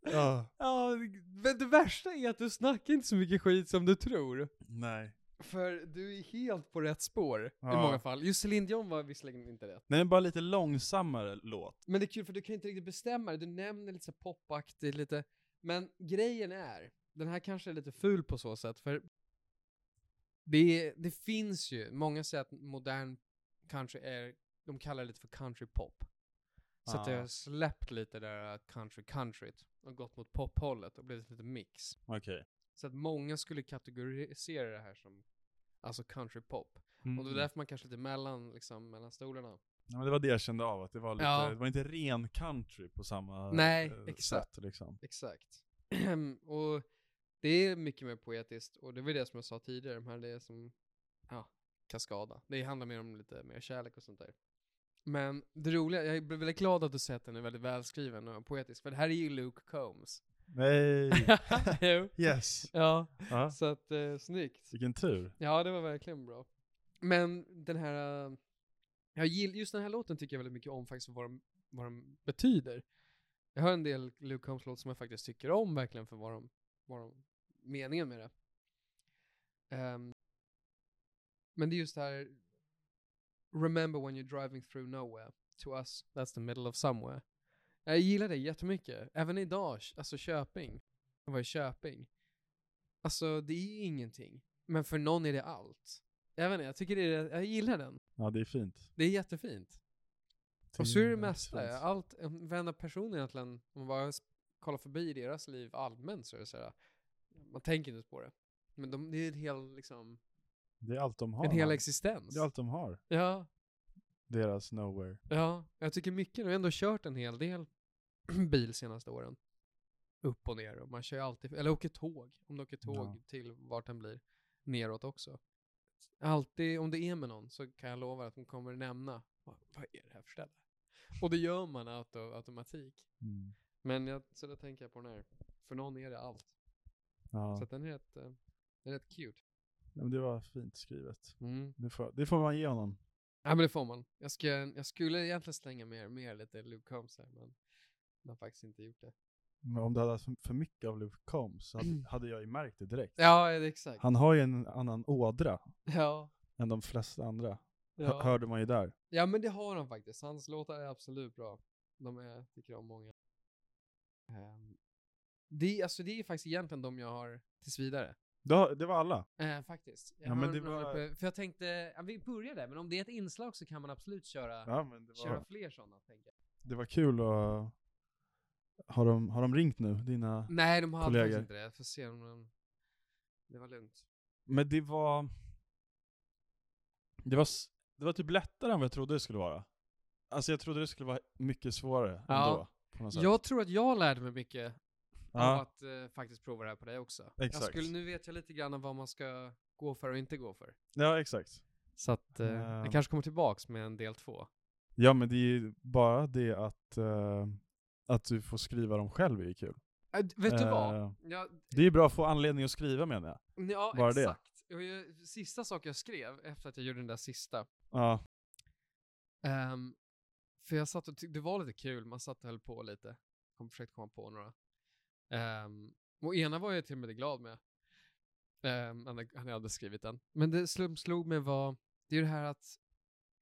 S2: Ja,
S1: Ja, men det värsta är att du snackar inte så mycket skit som du tror.
S2: nej.
S1: För du är helt på rätt spår i
S2: Ja.
S1: många fall. Just Celine Dion var visserligen inte rätt.
S2: Nej men bara lite långsammare låt.
S1: Men det är kul för du kan inte riktigt bestämma det. Du nämner lite så här popaktigt lite. Men grejen är, den här kanske är lite ful på så sätt för det, är- det finns ju, många säger att modern country är, de kallar det lite för country pop. Så att det
S2: Ah.
S1: har släppt lite det där country countryt och gått mot pophållet och blivit lite mix.
S2: Okej.
S1: Så att många skulle kategorisera det här som alltså country pop. Och
S2: Mm.
S1: det är därför man kanske är lite mellan, liksom, mellan stolarna.
S2: Ja, men det var det jag kände av, att det var lite,
S1: Ja.
S2: det var inte ren country på samma
S1: Nej,
S2: eh,
S1: exakt.
S2: sätt liksom.
S1: Exakt. och det är mycket mer poetiskt och det var det som jag sa tidigare, de här det är som, ja, Kaskada. Det handlar mer om lite mer kärlek och sånt där. Men det roliga, jag blev väldigt glad att du sett att den är väldigt välskriven och poetisk, för det här är ju Luke Combs.
S2: Nej!
S1: Jo.
S2: yes!
S1: ja,
S2: Typ. Ja.
S1: så att eh, snyggt.
S2: Vilken tur.
S1: Ja, det var verkligen bra. Men den här, eh, jag gill, just den här låten tycker jag väldigt mycket om faktiskt, vad de, vad de betyder. Jag har en del Luke Combs-låtar som jag faktiskt tycker om verkligen för vad de, vad de meningen med det. Ehm, men det är just det här, remember when you're driving through nowhere, to us that's the middle of somewhere. Jag gillar det jättemycket, även idag, alltså Köping. Jag var i Köping. Alltså det är ingenting. Men för någon är det allt. Jag vet inte, jag tycker det är, jag gillar den.
S2: Ja, det är fint.
S1: Det är jättefint. Och så är det mesta,
S2: fint.
S1: allt, varenda person egentligen, om man bara s- kollar förbi deras liv allmänt så är det så här, man tänker inte på det. Men de, det är en hel, liksom,
S2: Det är allt de har.
S1: en hel
S2: man.
S1: existens.
S2: det är allt de har.
S1: Ja,
S2: Deras nowhere.
S1: ja, jag tycker mycket, jag har ändå kört en hel del bil senaste åren. Upp och ner och man kör ju alltid, eller åker tåg, om du åker tåg
S2: Ja.
S1: till vart den blir, neråt också. Alltid, om det är med någon så kan jag lova att de kommer nämna, vad, vad är det här för ställe? Och det gör man auto, automatik.
S2: Mm.
S1: Men jag, så då tänker jag på den här, för någon är det allt.
S2: Ja.
S1: Så att den är rätt, eh, den är rätt cute.
S2: Ja, men det var fint skrivet.
S1: Mm.
S2: Det får, det får man ge honom.
S1: Ja men det får man. Jag, ska, jag skulle egentligen slänga mer, mer lite Luke Combs här, men jag har faktiskt inte gjort det.
S2: Men om du hade haft för- för mycket av Luke Combs så
S1: Mm.
S2: hade, hade jag ju märkt det direkt.
S1: Ja, det är exakt.
S2: Han har ju en annan ådra
S1: Ja.
S2: än de flesta andra. Hör-
S1: Ja.
S2: Hörde man ju där.
S1: ja, men det har han faktiskt. Hans låtar är absolut bra. De är, tycker jag om många. Ehm, det, är- alltså, det är faktiskt egentligen de jag har tills vidare.
S2: Det, har- det var alla.
S1: Eh, faktiskt. Jag
S2: Ja, men
S1: har
S2: det
S1: några
S2: var-
S1: på- eh, För jag tänkte, ja, vi börjar där, men om det är ett inslag så kan man absolut köra,
S2: Ja, men det,
S1: köra
S2: var,
S1: fler sådana. Tänker jag.
S2: det var kul att... Har de, har de ringt nu, dina...
S1: Nej, de har
S2: Kollegor.
S1: faktiskt inte det. Jag får se om de... Det var lugnt.
S2: Men det var... Det var, s- det var typ lättare än vad jag trodde det skulle vara. Alltså jag trodde det skulle vara mycket svårare
S1: Ja.
S2: ändå. På något sätt.
S1: Jag tror att jag lärde mig mycket av
S2: ja.
S1: att eh, faktiskt prova det här på dig också. Jag
S2: Exakt.
S1: skulle, nu vet jag lite grann om vad man ska gå för och inte gå för.
S2: ja, exakt.
S1: Så att eh,
S2: Ehm.
S1: jag kanske kommer tillbaks med en del två.
S2: Ja men det är ju bara det att, eh, att du får skriva dem själv är ju kul.
S1: Äh, d- vet du vad?
S2: Eh,
S1: Ja, d-
S2: Det är ju bra att få anledning att skriva menar jag.
S1: ja
S2: bara det.
S1: exakt. Och jag, sista sak jag skrev efter att jag gjorde den där sista.
S2: Ja.
S1: ehm, för jag satt och tyckte det var lite kul, man satt och höll på lite. Kom, försökte komma på några. Ehm, och ena var jag till och med glad med. Um, han, han hade skrivit den. Men det slog, slog mig var, det är ju det här att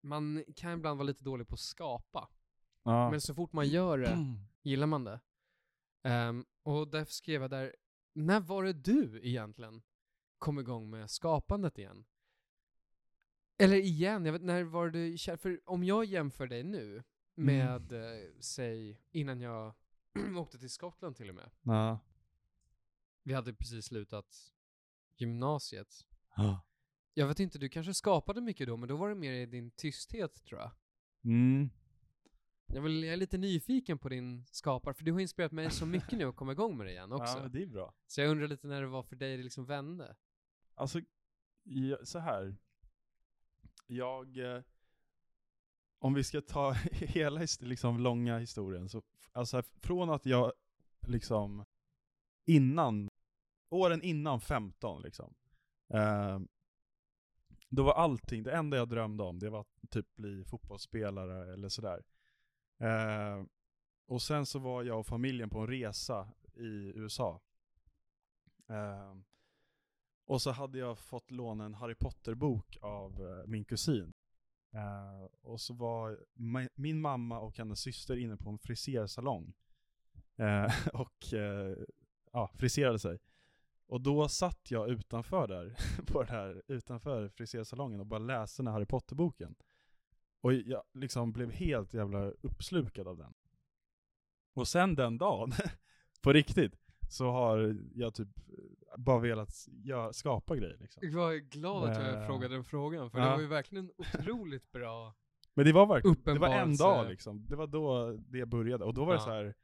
S1: man kan ibland vara lite dålig på att skapa.
S2: ja.
S1: Men så fort man gör det gillar man det. Ehm, och därför skrev jag där, när var det du egentligen kom igång med skapandet igen? Eller igen, jag vet, när var det, kä- för om jag jämför dig nu med, eh, säg, innan jag åkte till Skottland till och med.
S2: Ja.
S1: Vi hade precis slutat gymnasiet.
S2: Ja.
S1: Jag vet inte, du kanske skapade mycket då, men då var det mer i din tysthet tror jag.
S2: Mm.
S1: Jag, vill, jag är lite nyfiken på din skapar, för du har inspirerat mig så mycket nu att komma igång med det igen också.
S2: ja men det är bra.
S1: Så jag undrar lite när det var för dig det liksom vände.
S2: Alltså, ja, så här. Jag, eh, om vi ska ta hela his- liksom långa historien, så f- alltså här, från att jag liksom innan, åren innan 15 liksom, eh, då var allting, det enda jag drömde om, det var att typ bli fotbollsspelare eller sådär. Eh, och sen så var jag och familjen på en resa i USA. Eh, och så hade jag fått låna en Harry Potter-bok av eh, min kusin. Eh, och så var ma- min mamma och hennes syster inne på en frisersalong eh, och eh, ja, friserade sig. Och då satt jag utanför där, på den här, utanför frisersalongen och bara läste den här Harry Potter-boken. Och jag liksom blev helt jävla uppslukad av den. Och sen den dagen, på riktigt, så har jag typ bara velat gö- skapa grejer liksom.
S1: Jag var glad att jag
S2: Eh,
S1: frågade den frågan, för det
S2: ja.
S1: var ju verkligen en otroligt bra...
S2: Men det var verkligen, det var en
S1: Uppenbarelse.
S2: dag liksom. Det var då det började. Och då var det
S1: Ja.
S2: så här.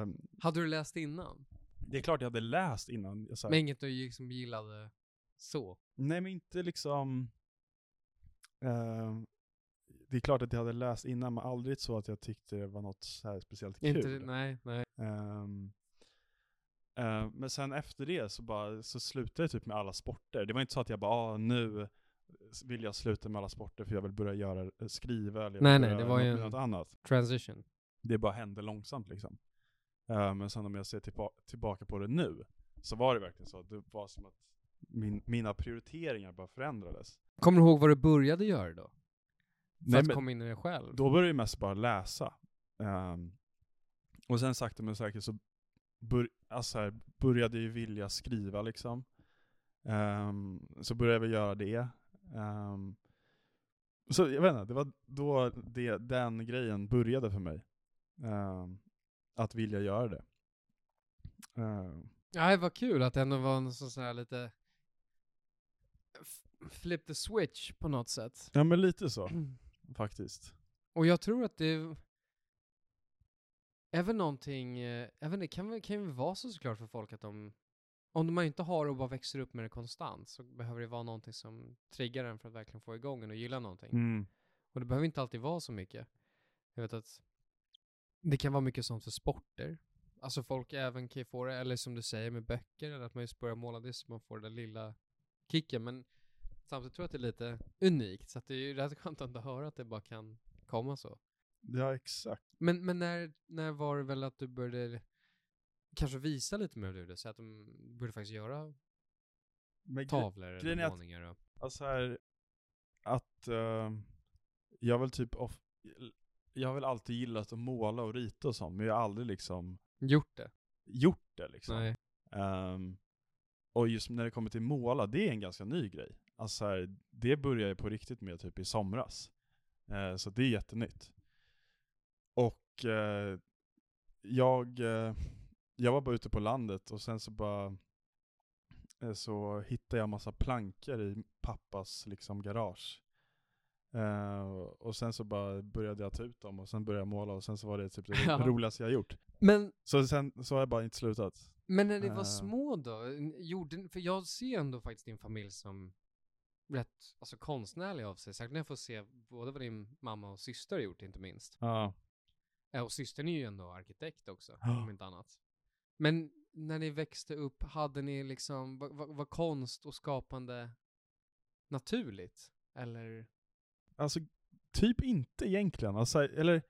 S2: Eh,
S1: Hade du läst innan?
S2: det är klart jag hade läst innan. Jag, så här,
S1: Men inget du liksom gillade så?
S2: Nej men inte liksom... Eh, det är klart att jag hade läst innan, men aldrig så att jag tyckte det var något så här speciellt kul.
S1: Inte, nej, nej.
S2: Ehm, eh, men sen efter det så, bara, så slutade jag typ med alla sporter. Det var inte så att jag bara, ah, nu s- vill jag sluta med alla sporter för jag vill börja göra, skriva eller jag
S1: Nej,
S2: vill
S1: nej, det
S2: börja göra
S1: var ju
S2: något,
S1: en-
S2: något annat.
S1: Transition.
S2: Det bara hände långsamt liksom. Eh, men sen om jag ser tillba- tillbaka på det nu, så var det verkligen så. Det var som att min, mina prioriteringar bara förändrades.
S1: Kommer du ihåg vad du började göra då? För
S2: Nej,
S1: att
S2: men-
S1: komma in i det själv?
S2: Då började jag mest bara läsa. Ehm, och sen sakta men säkert så bör, alltså här, började jag ju vilja skriva liksom. Ehm, så började jag göra det. Ehm, så jag vet inte, det var då det, den grejen började för mig. Ehm, att vilja göra det. Ehm,
S1: Nej, vad kul att det ändå var en sån så här lite... f- Flip the switch på något sätt.
S2: ja men lite så faktiskt.
S1: Och jag tror att det... Även någonting... eh, Även det kan, väl- kan ju vara så såklart för folk att de... Om man inte har och bara växer upp med det konstant så behöver det vara någonting som triggar en för att verkligen få igång en och gilla någonting.
S2: Mm.
S1: Och det behöver inte alltid vara så mycket. Jag vet att det kan vara mycket sånt för sporter. Alltså folk även kan ju få det, eller som du säger med böcker, eller att man just börjar måla det så man får den där lilla kicken. Men samtidigt tror jag att det är lite unikt, så att det är ju rätt skönt att inte höra att det bara kan komma så.
S2: Ja exakt.
S1: Men, men när, när var det väl att du började kanske visa lite mer hur du gjorde? Så att de började faktiskt göra
S2: Men gre-
S1: tavlor
S2: grejen är
S1: eller
S2: att-
S1: målningar? och-
S2: Alltså här, att eh, jag väl typ of, jag har väl alltid gillat att måla och rita och sånt, men jag har aldrig liksom
S1: Gjort det?
S2: gjort det liksom.
S1: Nej.
S2: Ehm, och just när det kommer till måla, det är en ganska ny grej. Alltså så här, det började jag på riktigt med typ i somras. Eh, så det är jättenytt. Och eh, jag, eh, jag var bara ute på landet och sen så bara eh, så hittade jag massa plankor i pappas liksom garage. Eh, och sen så bara började jag ta ut dem och sen började jag måla och sen så var det typ det
S1: Ja.
S2: roligaste jag gjort.
S1: Men
S2: Så sen så har jag bara inte slutat.
S1: Men när ni var
S2: Eh.
S1: små då? n- Gjorde, för jag ser ändå faktiskt din familj som rätt alltså konstnärlig av sig. Särskilt när jag får se både vad din mamma och syster har gjort, inte minst.
S2: Ja.
S1: Eh, Och systern är ju ändå arkitekt också,
S2: Ja.
S1: om inte annat. Men när ni växte upp, hade ni liksom, var, var, var konst och skapande naturligt? Eller?
S2: Alltså typ inte egentligen. Alltså, eller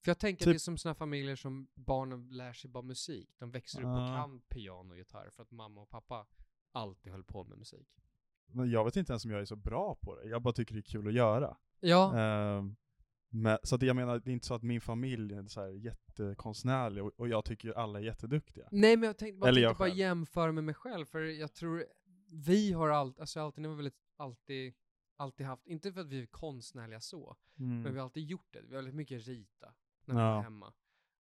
S1: För jag tänker
S2: Typ-
S1: att det är som såna familjer som barnen lär sig bara musik. De växer upp och
S2: Ja.
S1: kan piano och gitarr för att mamma och pappa alltid höll på med musik.
S2: men jag vet inte ens om jag är så bra på det. Jag bara tycker det är kul att göra.
S1: Ja,
S2: Ehm, men, så att jag menar, det är inte så att min familj är så här jättekonstnärlig och, och jag tycker alla är jätteduktiga.
S1: Nej, men jag tänkte bara,
S2: Eller jag
S1: tänkte bara
S2: själv.
S1: jämföra med mig själv, för jag tror vi har allt, alltså alltid, nu har vi väl alltid, alltid haft, inte för att vi är konstnärliga så, men vi har alltid gjort det. Vi har väldigt mycket rita när man
S2: Mm. Ja.
S1: var hemma.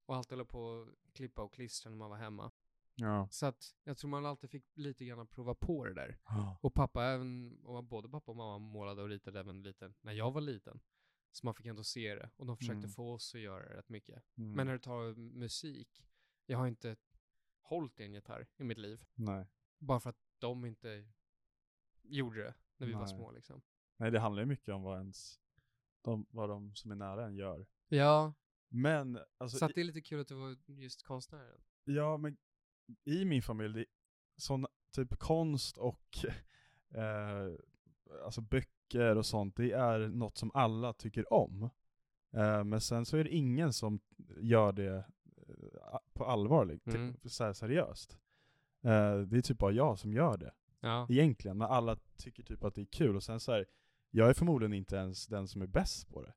S1: Och alltid hålla på och klippa och klistra när man var hemma.
S2: Ja.
S1: Så att jag tror man alltid fick lite grann prova på det där. Och pappa, även, och både pappa och mamma målade och ritade även lite när jag var liten. Så man fick ändå se det. Och de försökte
S2: Mm.
S1: få oss att göra det rätt mycket.
S2: Mm.
S1: Men när du tar musik, jag har inte hållit i en gitarr i mitt liv.
S2: Nej.
S1: Bara för att de inte gjorde det när vi var
S2: Nej.
S1: små liksom.
S2: Nej, det handlar ju mycket om vad ens, de, vad de som är nära en gör.
S1: Ja,
S2: Men, alltså,
S1: så att det är lite kul att du var just konstnären.
S2: i, ja, men i min familj, det, sån typ konst och eh, alltså böcker och sånt, det är något som alla tycker om. Eh, men sen så är det ingen som gör det eh, på allvar, liksom,
S1: Mm.
S2: till- så här seriöst. Eh, det är typ bara jag som gör det,
S1: Ja.
S2: egentligen, när alla tycker typ att det är kul. Och sen så här, jag är förmodligen inte ens den som är bäst på det.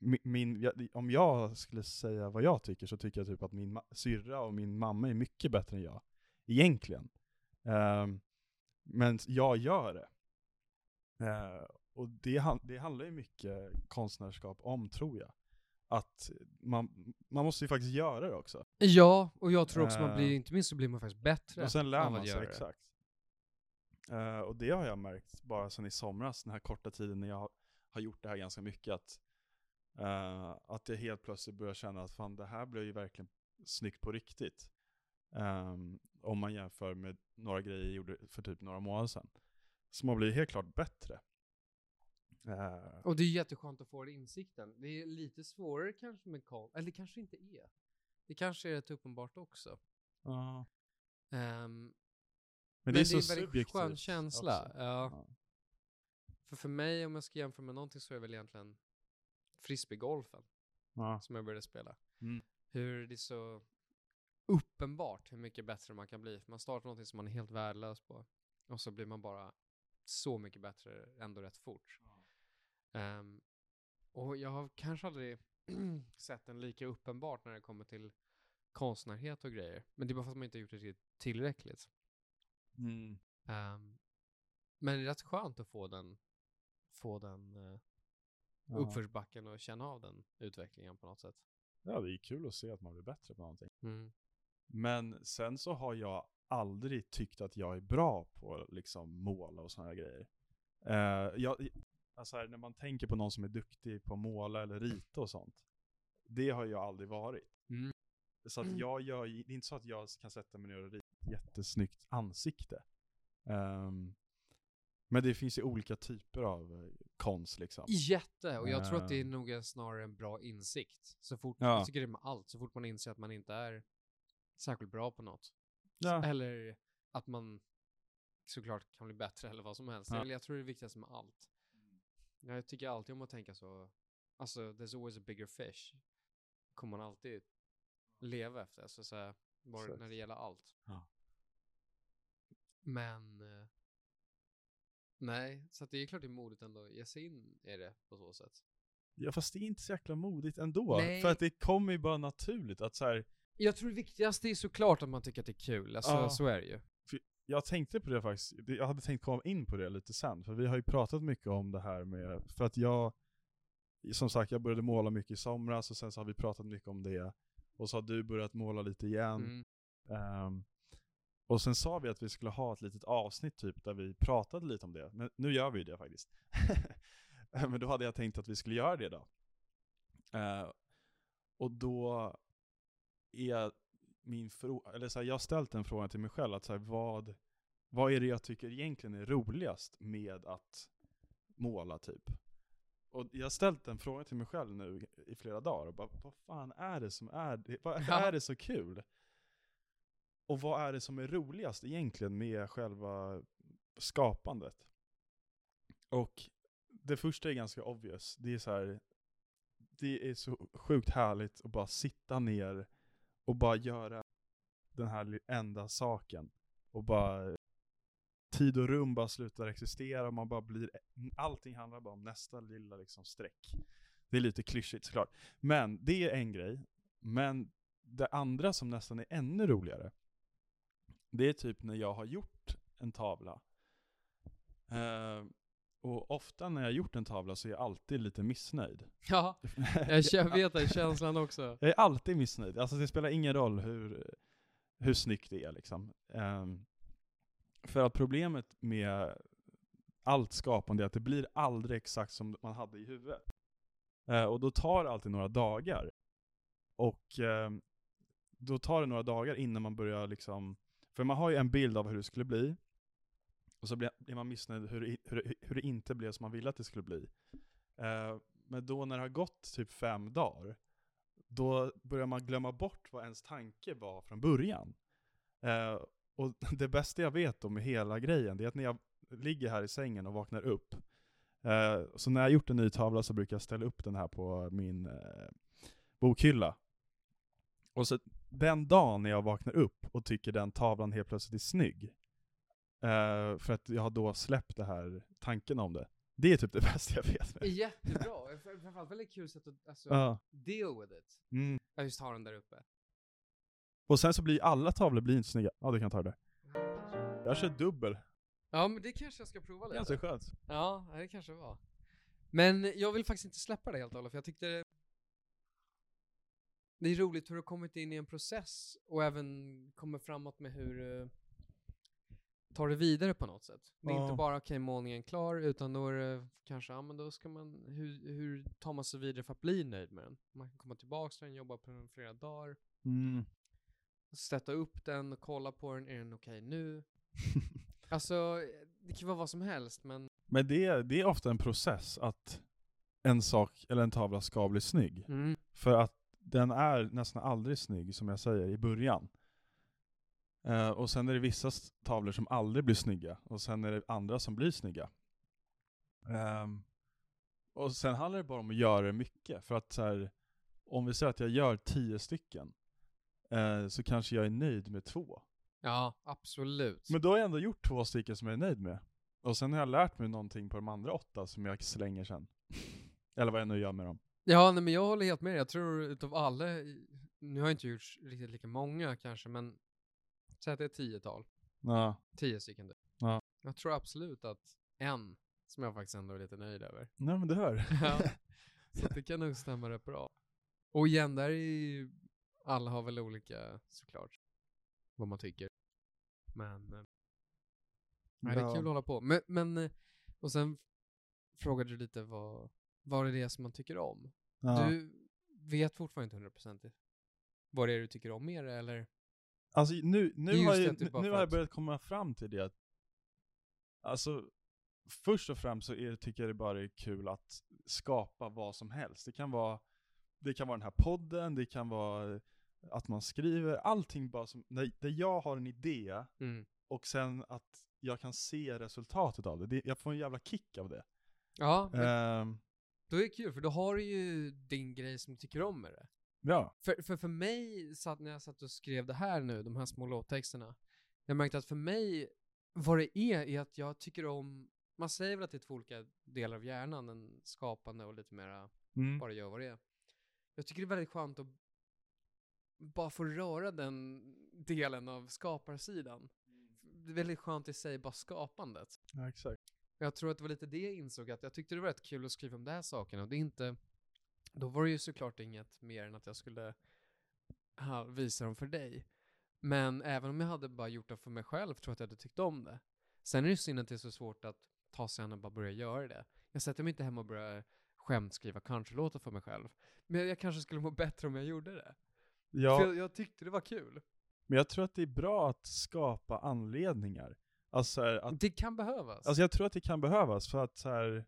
S2: Min, min, jag, om jag skulle säga vad jag tycker så tycker jag typ att min ma- syrra och min mamma är mycket bättre än jag, egentligen. Ehm, men jag gör det. Eh, och det, han- det handlar ju mycket konstnärskap om, tror jag. Att man, man måste ju faktiskt göra det också.
S1: ja, och jag tror också man
S2: Eh.
S1: blir, inte minst så blir man faktiskt bättre.
S2: Och sen lär
S1: av
S2: man
S1: att
S2: sig,
S1: göra det.
S2: exakt. Eh, och det har jag märkt bara sen i somras, den här korta tiden när jag har- har gjort det här ganska mycket, att, eh, att jag helt plötsligt börjar känna att fan, det här blir ju verkligen snyggt på riktigt. Ehm, om man jämför med några grejer jag gjorde för typ några månader sedan. Som har blivit helt klart bättre. Eh,
S1: Och det är jätteskönt att få den insikten. Det är lite svårare kanske med konst, eller det kanske inte är. Det kanske är rätt uppenbart också.
S2: ja.
S1: Ehm, men,
S2: men,
S1: det är,
S2: så
S1: en väldigt skön
S2: subjektivt
S1: känsla.
S2: också.
S1: Ja.
S2: Ja.
S1: För, för mig, om jag ska jämföra med någonting, så är det väl egentligen frisbeegolfen
S2: Ja.
S1: som jag började spela.
S2: Mm.
S1: Hur det är så uppenbart hur mycket bättre man kan bli. För man startar någonting som man är helt värdelös på och så blir man bara så mycket bättre ändå rätt fort. Ehm, och jag har kanske aldrig sett den lika uppenbart när det kommer till konstnärhet och grejer. Men det är bara för att man inte har gjort det riktigt tillräckligt.
S2: Mm.
S1: Ehm, men det är rätt skönt att få den, få den eh,
S2: Ja.
S1: uppförsbacken och känna av den utvecklingen på något sätt. Mm.
S2: ja, det är kul att se att man blir bättre på någonting. Men sen så har jag aldrig tyckt att jag är bra på liksom måla och sådana grejer. Eh, jag, alltså här, när man tänker på någon som är duktig på att måla eller rita och sånt, det har jag aldrig varit.
S1: Mm.
S2: Så
S1: Mm.
S2: att jag gör, ju- det är inte så att jag kan sätta mig ner och rita ett jättesnyggt ansikte. Ehm, men det finns ju olika typer av eh, konst liksom.
S1: Jätte! Och jag tror att det är
S2: Ehm.
S1: nog en- snarare en bra insikt. Så fort,
S2: Ja.
S1: Jag tycker det är med allt, så fort man inser att man inte är särskilt bra på något.
S2: Ja.
S1: Eller att man såklart kan bli bättre eller vad som helst.
S2: Ja.
S1: Eller Jag tror det är viktigast med allt. Jag tycker alltid om att tänka så. Alltså, there's always a bigger fish. Kommer man alltid leva efter. Alltså, Så, så här, bara
S2: Exakt.
S1: när det gäller allt.
S2: Ja.
S1: Men eh, nej, så att det är klart det är modigt ändå att ge sig in i det på så sätt.
S2: ja, fast det är inte så jäkla modigt ändå.
S1: Nej.
S2: För att det kommer ju bara naturligt att så här,
S1: Jag tror det viktigaste är såklart att man tycker att det är kul. Alltså,
S2: Ja.
S1: så är det ju.
S2: Jag tänkte på det faktiskt, Det- jag hade tänkt komma in på det lite sen, för vi har ju pratat mycket om det här med, för att jag, som sagt, jag började måla mycket i somras och sen så har vi pratat mycket om det, och så har du börjat måla lite igen.
S1: Mm.
S2: Ehm, och sen sa vi att vi skulle ha ett litet avsnitt typ där vi pratade lite om det, men nu gör vi ju det faktiskt. men då hade jag tänkt att vi skulle göra det då. Eh, och då är min fråga, eller så här, jag har ställt den frågan till mig själv, att så här, vad, vad är det jag tycker egentligen är roligast med att måla typ? Och jag har ställt den frågan till mig själv nu i flera dagar och bara, vad fan är det som är, det- vad
S1: Ja.
S2: är det så kul? Och vad är det som är roligast egentligen med själva skapandet? Och det första är ganska obvious. Det är så här, det är så sjukt härligt att bara sitta ner och bara göra den här li- enda saken. Och bara tid och rum bara slutar existera och man bara blir, allting handlar bara om nästa lilla liksom streck. Det är lite klyschigt såklart. Men det är en grej. Men det andra som nästan är ännu roligare, det är typ när jag har gjort en tavla. Eh, och ofta när jag har gjort en tavla så är jag alltid lite missnöjd.
S1: Ja, jag kö- vet den känslan också.
S2: Jag är alltid missnöjd. Alltså det spelar ingen roll hur, hur snyggt det är liksom. Ehm, för att problemet med allt skapande är att det blir aldrig exakt som man hade i huvudet. Eh, och då tar det alltid några dagar. Och ehm, då tar det några dagar innan man börjar liksom, för man har ju en bild av hur det skulle bli. Och så blir blir man missnöjd hur, det i- hur, det- hur det inte blev som man ville att det skulle bli. Eh, men då när det har gått typ fem dagar, då börjar man glömma bort vad ens tanke var från början. Eh, och det bästa jag vet om hela grejen, det är att när jag ligger här i sängen och vaknar upp, eh, så när jag gjort en ny tavla så brukar jag ställa upp den här på min eh, bokhylla. Och så den dagen när jag vaknar upp och tycker den tavlan helt plötsligt är snygg, eh, för att jag har då släppt det här tanken om det, det är typ det bästa jag vet.
S1: Det är jättebra. Framförallt väldigt kul sätt att alltså,
S2: Ja.
S1: deal with it.
S2: Mm.
S1: Jag just har den där uppe.
S2: Och sen så blir alla tavlor blir inte snygga. Ja, du kan ta det där. Jag kör dubbel.
S1: Ja, men det kanske jag ska prova lite.
S2: Ganska skönt.
S1: Ja, det kanske var. Men jag vill faktiskt inte släppa det helt och hållet, för jag tyckte det... Det är roligt hur du har kommit in i en process och även kommer framåt med hur du tar det vidare på något sätt. Det är
S2: Ja.
S1: inte bara okej, målningen är klar, utan då är det kanske, ja men då ska man, hur, hur tar man sig vidare för att bli nöjd med den? Man kan komma tillbaka till den, jobba på den flera dagar,
S2: Mm.
S1: stötta upp den och kolla på den, är den okej nu? alltså, det kan vara vad som helst, men
S2: Men det, det är ofta en process att en sak eller en tavla ska bli snygg.
S1: mm.
S2: För att den är nästan aldrig snygg, som jag säger, i början. Eh, och sen är det vissa s- tavlor som aldrig blir snygga, och sen är det andra som blir snygga. Ehm, och sen handlar det bara om att göra det mycket, för att så här, om vi säger att jag gör tio stycken, eh, så kanske jag är nöjd med två.
S1: Ja, absolut.
S2: Men då har jag ändå gjort två stycken som jag är nöjd med. Och sen har jag lärt mig någonting på de andra åtta som jag slänger sen. Eller vad jag nu gör med dem.
S1: Ja, nej, men jag håller helt med dig. Jag tror utav alla, i- nu har jag inte gjort riktigt lika många kanske, men säg att det är tiotal,
S2: Ja.
S1: tio stycken. typ.
S2: Ja.
S1: Jag tror absolut att en som jag faktiskt ändå är lite nöjd över.
S2: Nej men du hör.
S1: Ja. Så att det kan nog stämma rätt bra. Och igen, där är ju, alla har väl olika såklart, vad man tycker. Men eh, Nej, det är kul att hålla på. Men, men eh, och sen frågade du lite vad, vad är det som man tycker om?
S2: Ja.
S1: Du vet fortfarande inte 100% vad det är du tycker om mer eller?
S2: Alltså nu,
S1: Det är
S2: nu,
S1: just
S2: har,
S1: det
S2: jag,
S1: att det
S2: nu
S1: bara
S2: har
S1: för
S2: jag
S1: att-
S2: börjat komma fram till det att, alltså först och främst så är, tycker jag det bara är kul att skapa vad som helst. Det kan vara, det kan vara den här podden, det kan vara eh, att man skriver, allting bara som, när, där jag har en idé
S1: Mm.
S2: och sen att jag kan se resultatet av det. det jag får en jävla kick av det.
S1: Ja, men
S2: Ehm,
S1: då är det kul för då har du ju din grej som du tycker om med det.
S2: ja.
S1: För, för, för mig, satt, när jag satt och skrev det här nu, de här små låttexterna, jag märkte att för mig, vad det är, är att jag tycker om, man säger väl att det är två olika delar av hjärnan, den skapande och lite mera
S2: Mm.
S1: bara gör vad det är. Jag tycker det är väldigt skönt att bara få röra den delen av skaparsidan. Det är väldigt skönt i sig, bara skapandet.
S2: ja, exakt.
S1: Och Jag tror att det var lite det jag insåg, att jag tyckte det var rätt kul att skriva om de här sakerna. Och det är inte, då var det ju såklart inget mer än att jag skulle ha, visa dem för dig. Men även om jag hade bara gjort det för mig själv tror jag att jag hade tyckt om det. Sen är det synd att det är så svårt att ta sig an och bara börja göra det. Jag sätter mig inte hem och börjar skämtskriva kanske-låtar för mig själv. Men jag, jag kanske skulle må bättre om jag gjorde det.
S2: Ja.
S1: För jag, jag tyckte det var kul.
S2: Men jag tror att det är bra att skapa anledningar. Alltså så här, att
S1: Det kan behövas.
S2: Alltså jag tror att det kan behövas för att så här,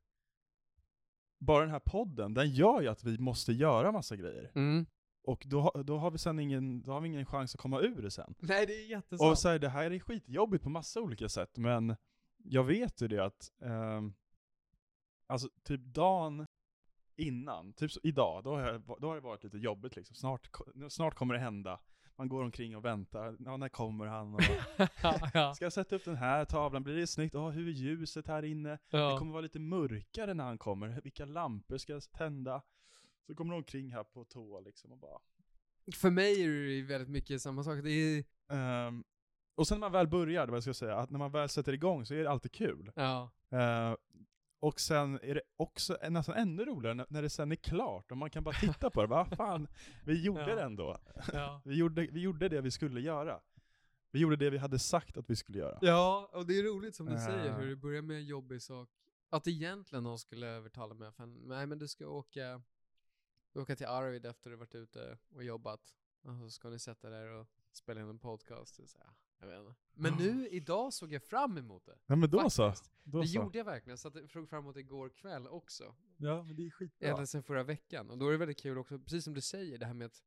S2: bara den här podden, den gör ju att vi måste göra massa grejer.
S1: mm.
S2: Och då, ha- då har vi sen ingen, då har vi ingen chans att komma ur det sen.
S1: Nej, det är jättesant.
S2: Och så här, det här är skitjobbigt på massa olika sätt, men jag vet ju det att, ehm, alltså typ dagen innan, typ så, idag, då har, jag, va- då har det varit lite jobbigt liksom. Snart, ko- nu- snart kommer det hända. Man går omkring och väntar, ja, när kommer han? Och,
S1: ja, ja,
S2: ska jag sätta upp den här tavlan? Blir det snyggt? Ja, hur är ljuset här inne? Det
S1: ja.
S2: kommer vara lite mörkare när han kommer. Vilka lampor ska jag tända? Så kommer de omkring här på toa liksom och bara...
S1: För mig är det ju väldigt mycket samma sak. Det är,
S2: Ehm, och sen när man väl börjar, vad jag ska säga, att när man väl sätter igång så är det alltid kul.
S1: ja.
S2: Ehm, och sen är det också nästan ännu roligare när, när det sen är klart och man kan bara titta på det. Vad fan, vi gjorde
S1: Ja.
S2: det ändå.
S1: ja.
S2: Vi gjorde, vi gjorde det vi skulle göra. Vi gjorde det vi hade sagt att vi skulle göra.
S1: Ja, och det är roligt som du säger
S2: Eh.
S1: hur det börjar med en jobbig sak. Att egentligen någon skulle övertala mig, för nej men du ska åka, åka till Arvid efter du varit ute och jobbat. Och så ska ni sätta er och spela in en podcast. Det är Så här, jag vet inte. Men nu, idag såg jag fram emot det.
S2: Nej men då så.
S1: faktiskt.
S2: Då
S1: Det
S2: så.
S1: gjorde jag verkligen, så att jag såg fram emot det igår kväll också.
S2: Ja, men det är skitbra.
S1: Ända sedan förra veckan. Och då är det väldigt kul också, precis som du säger, det här med att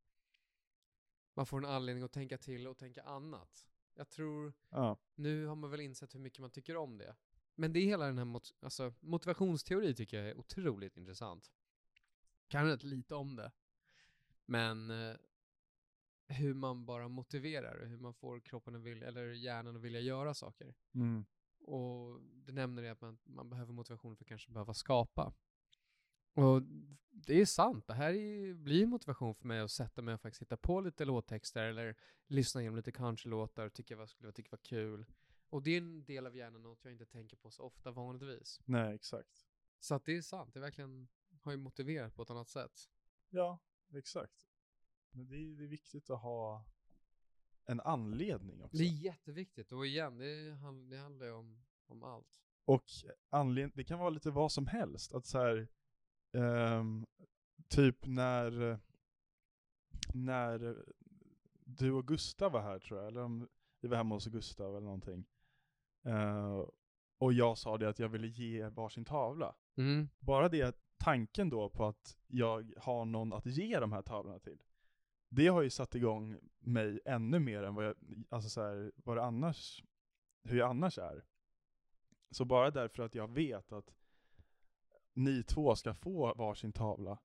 S1: man får en anledning att tänka till och tänka annat. Jag tror
S2: Ja.
S1: nu har man väl insett hur mycket man tycker om det. Men det är hela den här mot alltså, motivationsteori tycker jag är otroligt intressant. Kan rätt lite om det. Men eh, hur man bara motiverar och hur man får kroppen att vilja, eller hjärnan att vilja göra saker.
S2: Mm.
S1: Och det nämner det att man, man behöver motivation för att kanske behöva skapa. Och det är sant, det här är, ju- blir ju motivation för mig att sätta mig och faktiskt hitta på lite låttexter eller lyssna igenom lite countrylåtar och tycka vad skulle jag tycka var kul. Och det är en del av hjärnan, något jag inte tänker på så ofta vanligtvis.
S2: Nej, exakt.
S1: Så att det är sant, det verkligen har ju motiverat på ett annat sätt.
S2: Ja, exakt. Men det är, det är viktigt att ha en anledning också.
S1: Det är jätteviktigt och igen, det, han- det handlar ju om, om allt.
S2: Och anled- det kan vara lite vad som helst. Att så här, ehm, typ när, när du och Gustav var här tror jag, eller om vi var hemma hos Gustav eller någonting. Eh, och jag sa det att jag ville ge varsin tavla.
S1: Mm.
S2: Bara det tanken då på att jag har någon att ge de här tavlorna till. Det har ju satt igång mig ännu mer än vad jag, alltså så här, vad det annars, hur jag annars är. Så bara därför att jag vet att ni två ska få varsin tavla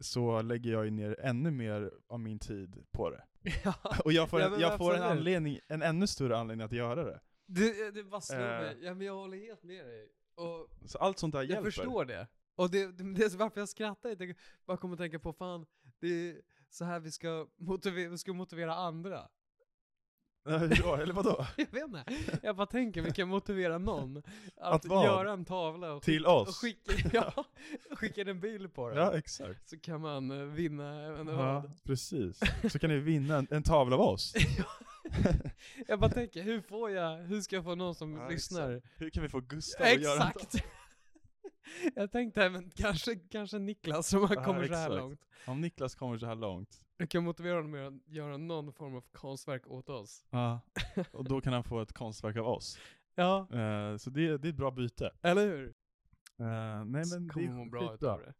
S2: så lägger jag ju ner ännu mer av min tid på det. Och jag får,
S1: Ja,
S2: en,
S1: men
S2: jag får en,
S1: absolut.
S2: anledning, en ännu större anledning att göra det.
S1: Det, det bara slår
S2: Eh.
S1: mig. Ja, men jag håller helt med dig. Och
S2: Så allt sånt där
S1: jag
S2: hjälper.
S1: förstår det. Och det, det, det är så varför jag skrattar är att jag bara kommer att tänka på fan, det är så här vi ska motivera, vi ska motivera andra.
S2: Hur då? Eller vadå?
S1: Jag vet inte. Jag bara tänker, vi kan motivera någon att,
S2: Att vad?
S1: göra en tavla och,
S2: Till
S1: och
S2: oss?
S1: skicka, ja, och skicka en bild på den.
S2: Ja, exakt.
S1: Så kan man eh, vinna, jag vet inte
S2: Ja,
S1: vad.
S2: precis. Så kan ni vinna en, en tavla av oss.
S1: Jag bara tänker, hur får jag, hur ska jag få någon som
S2: Ja,
S1: lyssnar?
S2: Hur kan vi få Gustav att göra en
S1: Exakt! Jag tänkte även kanske, kanske Niklas som har
S2: Ja,
S1: kommit så här
S2: exakt.
S1: långt.
S2: tavla? Om Niklas kommer så här långt,
S1: Jag kan motivera honom med att göra någon form av konstverk åt oss.
S2: ja, och då kan han få ett konstverk av oss.
S1: Ja,
S2: Eh, så det, det är ett bra byte.
S1: eller hur?
S2: Eh, nej
S1: Så
S2: men det
S1: kommer hon
S2: är
S1: må bra utav
S2: skitbra.
S1: det.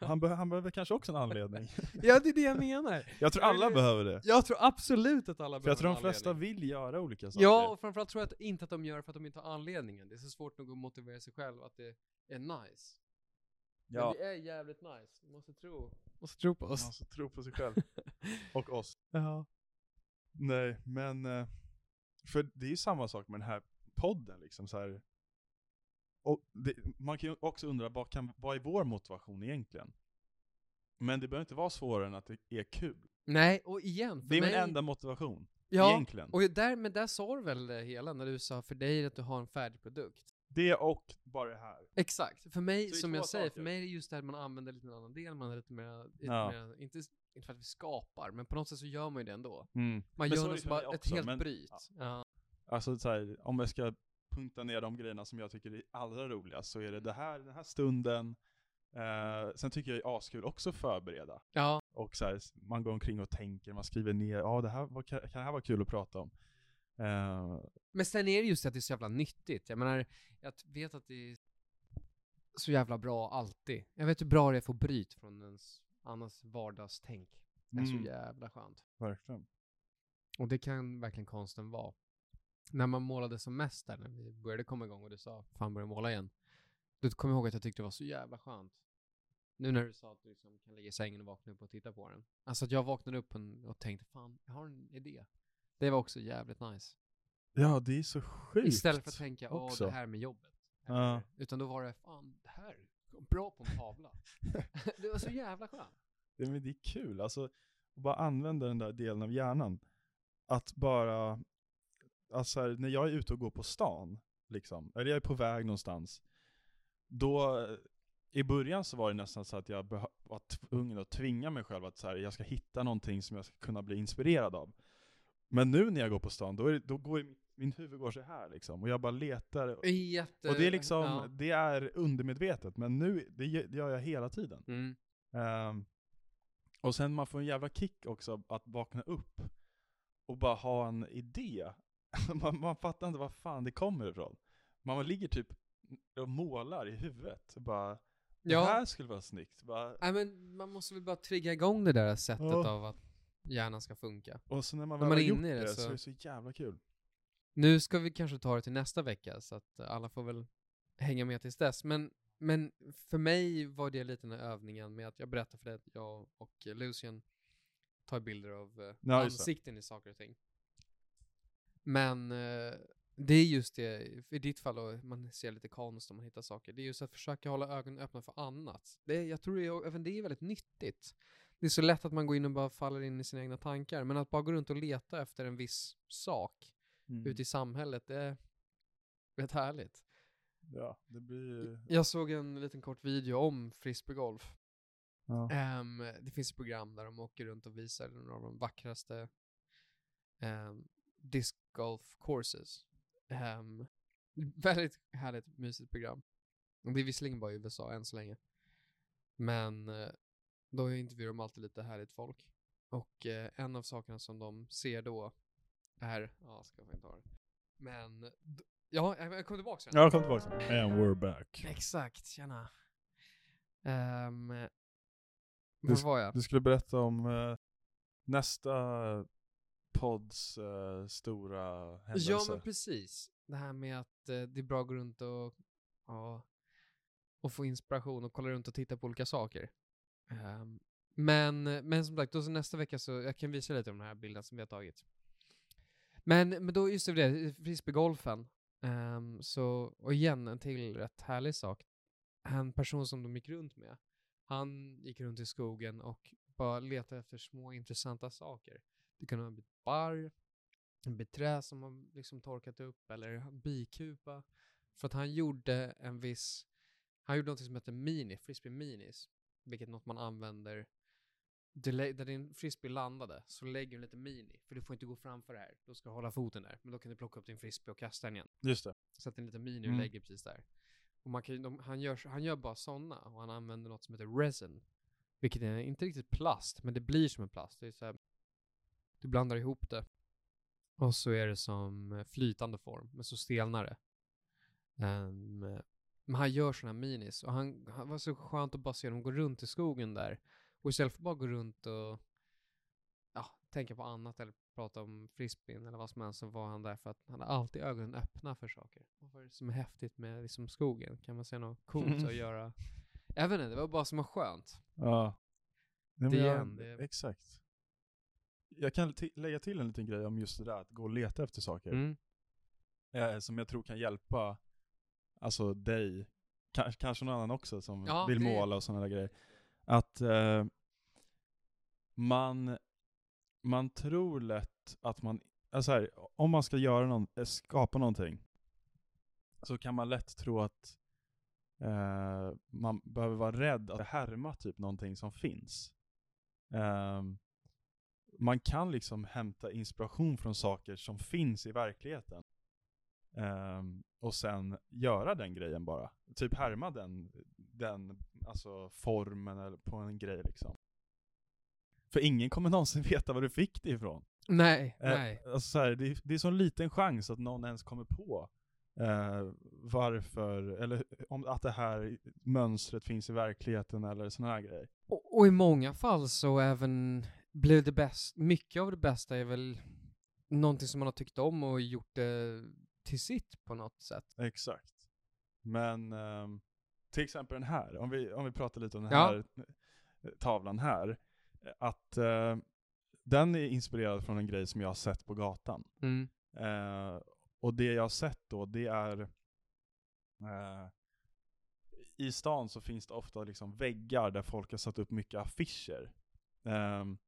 S2: Han, be- han behöver kanske också en anledning.
S1: Ja, det är det jag menar.
S2: Jag tror
S1: Jag
S2: alla
S1: vill-
S2: behöver det.
S1: Jag tror absolut att alla
S2: För jag
S1: behöver
S2: tror
S1: en
S2: de flesta
S1: anledning.
S2: vill göra olika saker.
S1: Ja, och framförallt tror jag att, inte att de gör för att de inte har anledningen. Det är så svårt nog att motivera sig själv att det är nice.
S2: ja.
S1: Men det är jävligt nice. Du måste tro. Måste tro på
S2: Man
S1: oss.
S2: måste tro på sig själv. Och oss.
S1: Ja.
S2: Nej, men eh, för det är ju samma sak med den här podden liksom så här. Och det, man kan ju också undra, vad, kan, vad är vår motivation egentligen? Men det behöver inte vara svårare än att det är kul.
S1: Nej, och igen. För
S2: Det är
S1: mig,
S2: min enda motivation,
S1: ja,
S2: egentligen.
S1: Och där, men där sa du väl det hela när du sa för dig att du har en färdig produkt?
S2: Det och bara det här.
S1: Exakt. För mig,
S2: Så det är
S1: som
S2: två
S1: jag säger, för
S2: saker.
S1: mig är det just det här att man använder lite en annan del, man är lite mer, lite
S2: Ja.
S1: mer inte, inte för att vi skapar, men på något sätt så gör man ju det ändå. Man
S2: Men så
S1: gör
S2: är
S1: något
S2: det
S1: som
S2: för mig
S1: bara, ett
S2: också,
S1: helt
S2: men-
S1: bryt. Ja.
S2: ja. Alltså så här, om jag ska punta ner de grejerna som jag tycker är allra roligast så är det det här, den här stunden. Eh, sen tycker jag det är askul också att förbereda.
S1: ja.
S2: och så här, man går omkring och tänker, man skriver ner, ja det här var, kan det här vara kul att prata om? Eh,
S1: Men sen är det just det att det är så jävla nyttigt. Jag menar, jag t- vet att det är så jävla bra alltid. Jag vet hur bra det är att få bryt från ens annars vardagstänk. Det är
S2: Mm.
S1: så jävla skönt.
S2: verkligen.
S1: Och det kan verkligen konsten vara. När man målade som mest där, när vi började komma igång och du sa fan börja måla igen. Då kom jag ihåg att jag tyckte det var så jävla skönt. Nu när du sa att du liksom kan ligga i sängen och vakna upp och titta på den. Alltså att jag vaknade upp en- och tänkte fan, jag har en idé. Det var också jävligt nice.
S2: Ja, det är så sjukt.
S1: Istället för att tänka åh
S2: också.
S1: det här med jobbet. Eh,
S2: Ja.
S1: Utan då var det fan, det här är bra på en tavla. det var så jävla skönt.
S2: det, men det är kul, alltså att bara använda den där delen av hjärnan. Att bara, alltså så här, när jag är ute och går på stan, liksom, eller jag är på väg någonstans, då eh, i början så var det nästan så att jag behö- var tvungen att tvinga mig själv att så här, jag ska hitta någonting som jag ska kunna bli inspirerad av. Men nu när jag går på stan, då, är det, då går ju- min huvud går så här liksom, och jag bara letar. Och
S1: Jätte...
S2: det är liksom,
S1: Ja.
S2: det är undermedvetet, men nu, det gö- det gör jag hela tiden.
S1: Mm.
S2: Ehm, och sen man får en jävla kick också att vakna upp och bara ha en idé. man, man fattar inte var fan det kommer ifrån. Man ligger typ och målar i huvudet. och Bara, Det här skulle vara snyggt. Bara,
S1: Nej men man måste väl bara trigga igång det där sättet
S2: Ja.
S1: av att hjärnan ska funka.
S2: och så när man
S1: När
S2: väl
S1: man
S2: har
S1: är
S2: gjort
S1: inne i
S2: det,
S1: det
S2: så...
S1: så-
S2: är det så jävla kul.
S1: Nu ska vi kanske ta det till nästa vecka så att alla får väl hänga med tills dess. Men, men för mig var det lite den här övningen med att jag berättade för dig att jag och Lucian tar bilder av eh,
S2: Ja, just det.
S1: ansikten i saker och ting. Men eh, det är just det, i ditt fall då, man ser lite konst och man hittar saker. Det är just att försöka hålla ögonen öppna för annat. Det, jag tror det är, även det är väldigt nyttigt. Det är så lätt att man går in och bara faller in i sina egna tankar, men att bara gå runt och leta efter en viss sak
S2: Mm.
S1: ute i samhället, det är rätt härligt.
S2: Ja, det blir...
S1: Jag såg en liten kort video om frisbeegolf.
S2: Ja.
S1: Ehm, det finns ett program där de åker runt och visar några av de vackraste um, disc golf courses. Ehm, väldigt härligt, mysigt program. Och Det är visserligen bara i USA än så länge. Men eh, då intervjuar de alltid lite härligt folk. Och eh, en av sakerna som de ser då är, ja, ska jag inte ha det. Men, d- ja, jag jag kommer tillbaka sen.
S2: Ja, kom tillbaka. And we're back.
S1: Exakt, tjena. Um,
S2: Du
S1: var
S2: sk-
S1: var jag?
S2: Du skulle berätta om eh, nästa pods eh, stora händelse.
S1: Ja, men precis. Det här med att eh, det är bra att gå runt och, ja, och få inspiration och kolla runt och titta på olika saker. Ehm, men, men som sagt, då så nästa vecka så jag kan visa lite om den här bilden som vi har tagit. Men, men då just det, i frisbeegolfen. ehm, så, och igen, en till rätt härlig sak. En person som de gick runt med, han gick runt i skogen och bara letade efter små intressanta saker. Det kunde vara en bit barr, en bit trä som har liksom torkat upp eller en bikupa. För att han gjorde en viss, han gjorde något som heter mini, frisbee minis, vilket är något man använder det lä- där din frisbee landade så lägger du en liten mini, för du får inte gå framför det här. Då ska du hålla foten där, men då kan du plocka upp din frisbee och kasta den igen.
S2: Just det.
S1: Så att en liten mini
S2: Mm.
S1: lägger precis där. Och man kan, ju- de, han, gör, så- han gör bara sådana och han använder något som heter resin. Vilket är inte riktigt plast, men det blir som en plast. Det är så här, du blandar ihop det. Och så är det som eh, flytande form, men så stelnar det. Ehm, men han gör sådana här minis och han, han var så skönt att bara se dem gå runt i skogen där. Och istället för att bara gå runt och ja, tänka på annat eller prata om frisbeen eller vad som helst så var han där för att han hade alltid ögonen öppna för saker. Och vad är det som är häftigt med liksom skogen? Kan man säga något coolt att göra? Jag vet inte, det var bara som var skönt.
S2: Ja. Nej, men
S1: Det
S2: jag-
S1: igen, det-
S2: Exakt. Jag kan ti- lägga till en liten grej om just det där att gå och leta efter saker.
S1: Mm.
S2: eh, som jag tror kan hjälpa alltså dig, ka- kanske någon annan också som
S1: Ja,
S2: vill
S1: det-
S2: måla och sådana där grejer. Att eh, man, man tror lätt att man, alltså här, om man ska göra någon, eh, skapa någonting så kan man lätt tro att eh, man behöver vara rädd att härma typ någonting som finns. Ehm, man kan liksom hämta inspiration från saker som finns i verkligheten. Ehm, och sen göra den grejen bara. Typ härma den, den alltså formen eller på en grej liksom. För ingen kommer någonsin veta var du fick det ifrån.
S1: Nej,
S2: Eh,
S1: nej.
S2: Alltså så här, det, är- det är så liten chans att någon ens kommer på eh, varför, eller om, att det här mönstret finns i verkligheten eller sådana här grejer.
S1: Och, och i många fall så även blev det bäst, mycket av det bästa är väl någonting som man har tyckt om och gjort det till sitt på något sätt.
S2: Exakt. Men ehm, till exempel den här, om vi, om vi pratar lite om den
S1: Ja.
S2: här eh, tavlan här. eh, Att eh, den är inspirerad från en grej som jag har sett på gatan.
S1: Mm.
S2: Eh, och det jag har sett då, det är eh, i stan så finns det ofta liksom väggar där folk har satt upp mycket affischer. Ehm,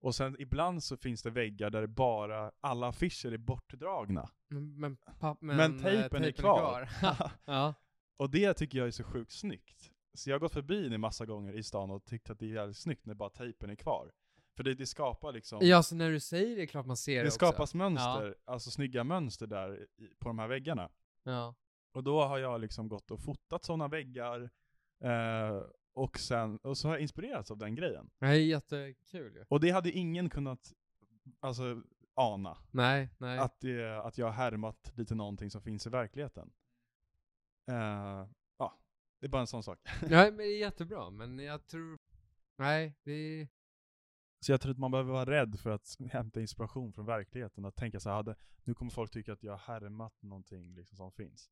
S2: och sen ibland så finns det väggar där det bara, alla affischer är bortdragna.
S1: Men, men, papp, men,
S2: Men,
S1: eh,
S2: tejpen, är kvar.
S1: ja.
S2: Och det tycker jag är så sjukt snyggt. Så jag har gått förbi den en massa gånger i stan och tyckt att det är jävligt snyggt när bara tejpen är kvar. För det, det skapar liksom,
S1: ja, så när du säger det är klart man ser det,
S2: det
S1: också.
S2: skapas mönster, alltså snygga mönster där i, på de här väggarna.
S1: Ja.
S2: Och då har jag liksom gått och fotat sådana väggar, eh, och, sen, och så har jag inspirerats av den grejen.
S1: Det är jättekul ju.
S2: Och det hade ingen kunnat, alltså ana.
S1: Nej, nej.
S2: Att, det, att jag har härmat lite någonting som finns i verkligheten. Eh, ja, det är bara en sån sak.
S1: Nej, men det är jättebra, men jag tror... Nej, det är...
S2: Så jag tror att man behöver vara rädd för att hämta inspiration från verkligheten. Att tänka så här, hade- nu kommer folk tycka att jag har härmat någonting liksom som finns.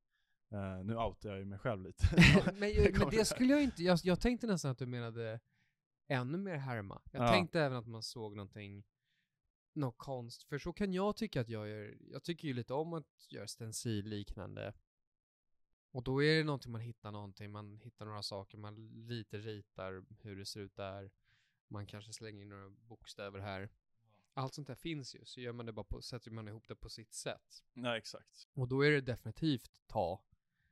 S2: Eh, nu outar jag ju mig själv lite.
S1: men,
S2: Det
S1: men
S2: kommer
S1: det
S2: där.
S1: skulle jag inte... Jag, jag tänkte nästan att du menade ännu mer härma. Jag
S2: Ja.
S1: tänkte även att man såg någonting, någon konst, för så kan jag tycka att jag gör, jag tycker ju lite om att göra stencilliknande. Och då är det någonting man hittar någonting, man hittar några saker, man lite ritar hur det ser ut där, man kanske slänger in några bokstäver här. Allt sånt där finns ju, så gör man det bara på, sätter man ihop det på sitt sätt.
S2: Nej, exakt.
S1: Och då är det definitivt ta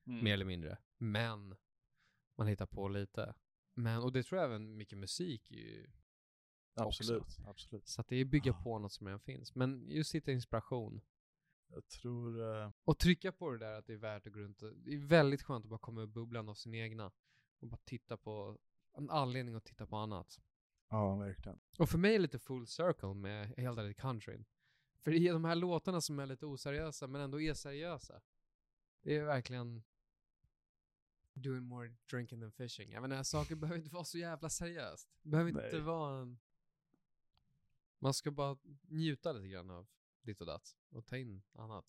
S2: Mm.
S1: mer eller mindre. Men man hittar på lite. Men, och det tror jag även mycket musik ju.
S2: Absolut, absolut.
S1: Så att det är bygga
S2: Ja.
S1: på något som redan finns. Men just hitta inspiration.
S2: Jag tror... eh,
S1: Och trycka på det där att det är värt att gå runt. och- Det är väldigt skönt att bara komma ur bubblan av sin egna. Och bara titta på, en anledning att titta på annat.
S2: ja, verkligen.
S1: Och för mig är det lite full circle med hela den här countryn. För i de här låtarna som är lite oseriösa men ändå är seriösa. Det är verkligen doing more drinking than fishing. Jag menar, saker behöver inte vara så jävla seriöst. Det behöver inte
S2: Nej.
S1: vara en... Man ska bara njuta lite grann av ditt och datt och ta in annat.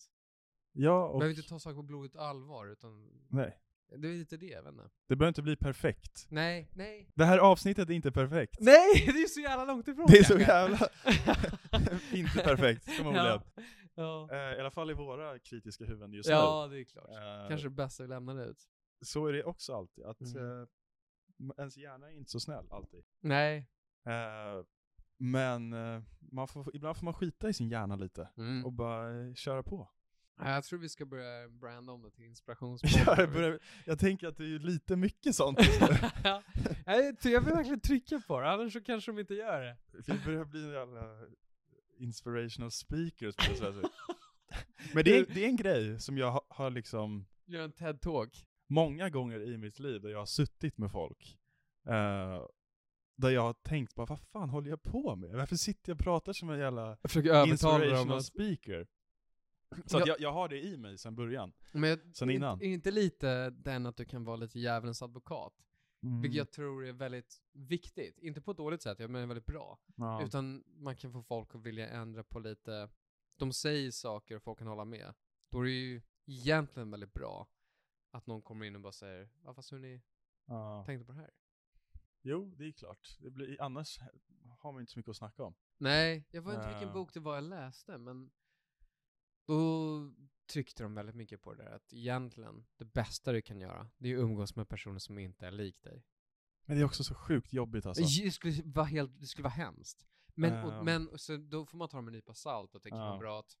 S2: Ja, och...
S1: Behöver inte ta saker på blodigt allvar utan
S2: Nej.
S1: det är lite det, jag vet inte.
S2: Det behöver inte bli perfekt.
S1: Nej, nej.
S2: Det här avsnittet är inte perfekt.
S1: Nej, det är så jävla långt ifrån
S2: Det är så
S1: kanske.
S2: jävla... inte perfekt, förmodligen.
S1: Ja. ja.
S2: Eh, I alla fall i våra kritiska huvuden just
S1: Ja, det är klart.
S2: nu. Eh,
S1: Kanske det bästa vi lämnar ut.
S2: Så är det också alltid, att
S1: Mm.
S2: eh, m- ens hjärna är inte så snäll alltid.
S1: Nej.
S2: Eh, men eh, man får, ibland får man skita i sin hjärna lite och bara eh, köra på.
S1: Ja, Mm. Jag tror vi ska börja branda om det till inspirationspodden.
S2: Ja, jag, börjar, jag tänker att det är ju lite mycket sånt just nu.
S1: Ja. Nej, ty- jag vill verkligen trycka på det, annars så kanske de inte gör det.
S2: Vi börjar bli alla inspirational speakers på det sättet. Men det är, det är en grej som jag har, har liksom
S1: Gör en TED-talk.
S2: många gånger i mitt liv där jag har suttit med folk. eh, där jag har tänkt bara, vad fan håller jag på med? Varför sitter jag och pratar som en jävla
S1: Jag försöker övertala dem.
S2: inspirational
S1: Att,
S2: speaker? Så
S1: Ja.
S2: att jag, jag har det i mig sedan början.
S1: men jag-
S2: Sen innan.
S1: Är inte lite den att du kan vara lite djävulens advokat? Mm.
S2: Mm.
S1: Vilket jag tror är väldigt viktigt. Inte på ett dåligt sätt, jag menar väldigt bra.
S2: Mm. ja.
S1: Utan man kan få folk att vilja ändra på lite, de säger saker och folk kan hålla med. Då är det ju egentligen väldigt bra att någon kommer in och bara säger ja fast hörni,
S2: ja.
S1: tänkte på det här.
S2: Jo, det är klart. Det blir, annars har man inte så mycket att snacka om.
S1: Nej, jag vet inte vilken
S2: Ja.
S1: bok det var jag läste men då tryckte de väldigt mycket på det där att egentligen det bästa du kan göra det är att umgås med personer som inte är lik dig.
S2: Men det är också så sjukt jobbigt alltså.
S1: Det skulle vara, helt, det skulle vara hemskt. Men, och,
S2: Ehm.
S1: men och så då får man ta dem med en nypa salt och tycka det
S2: Ja.
S1: var bra att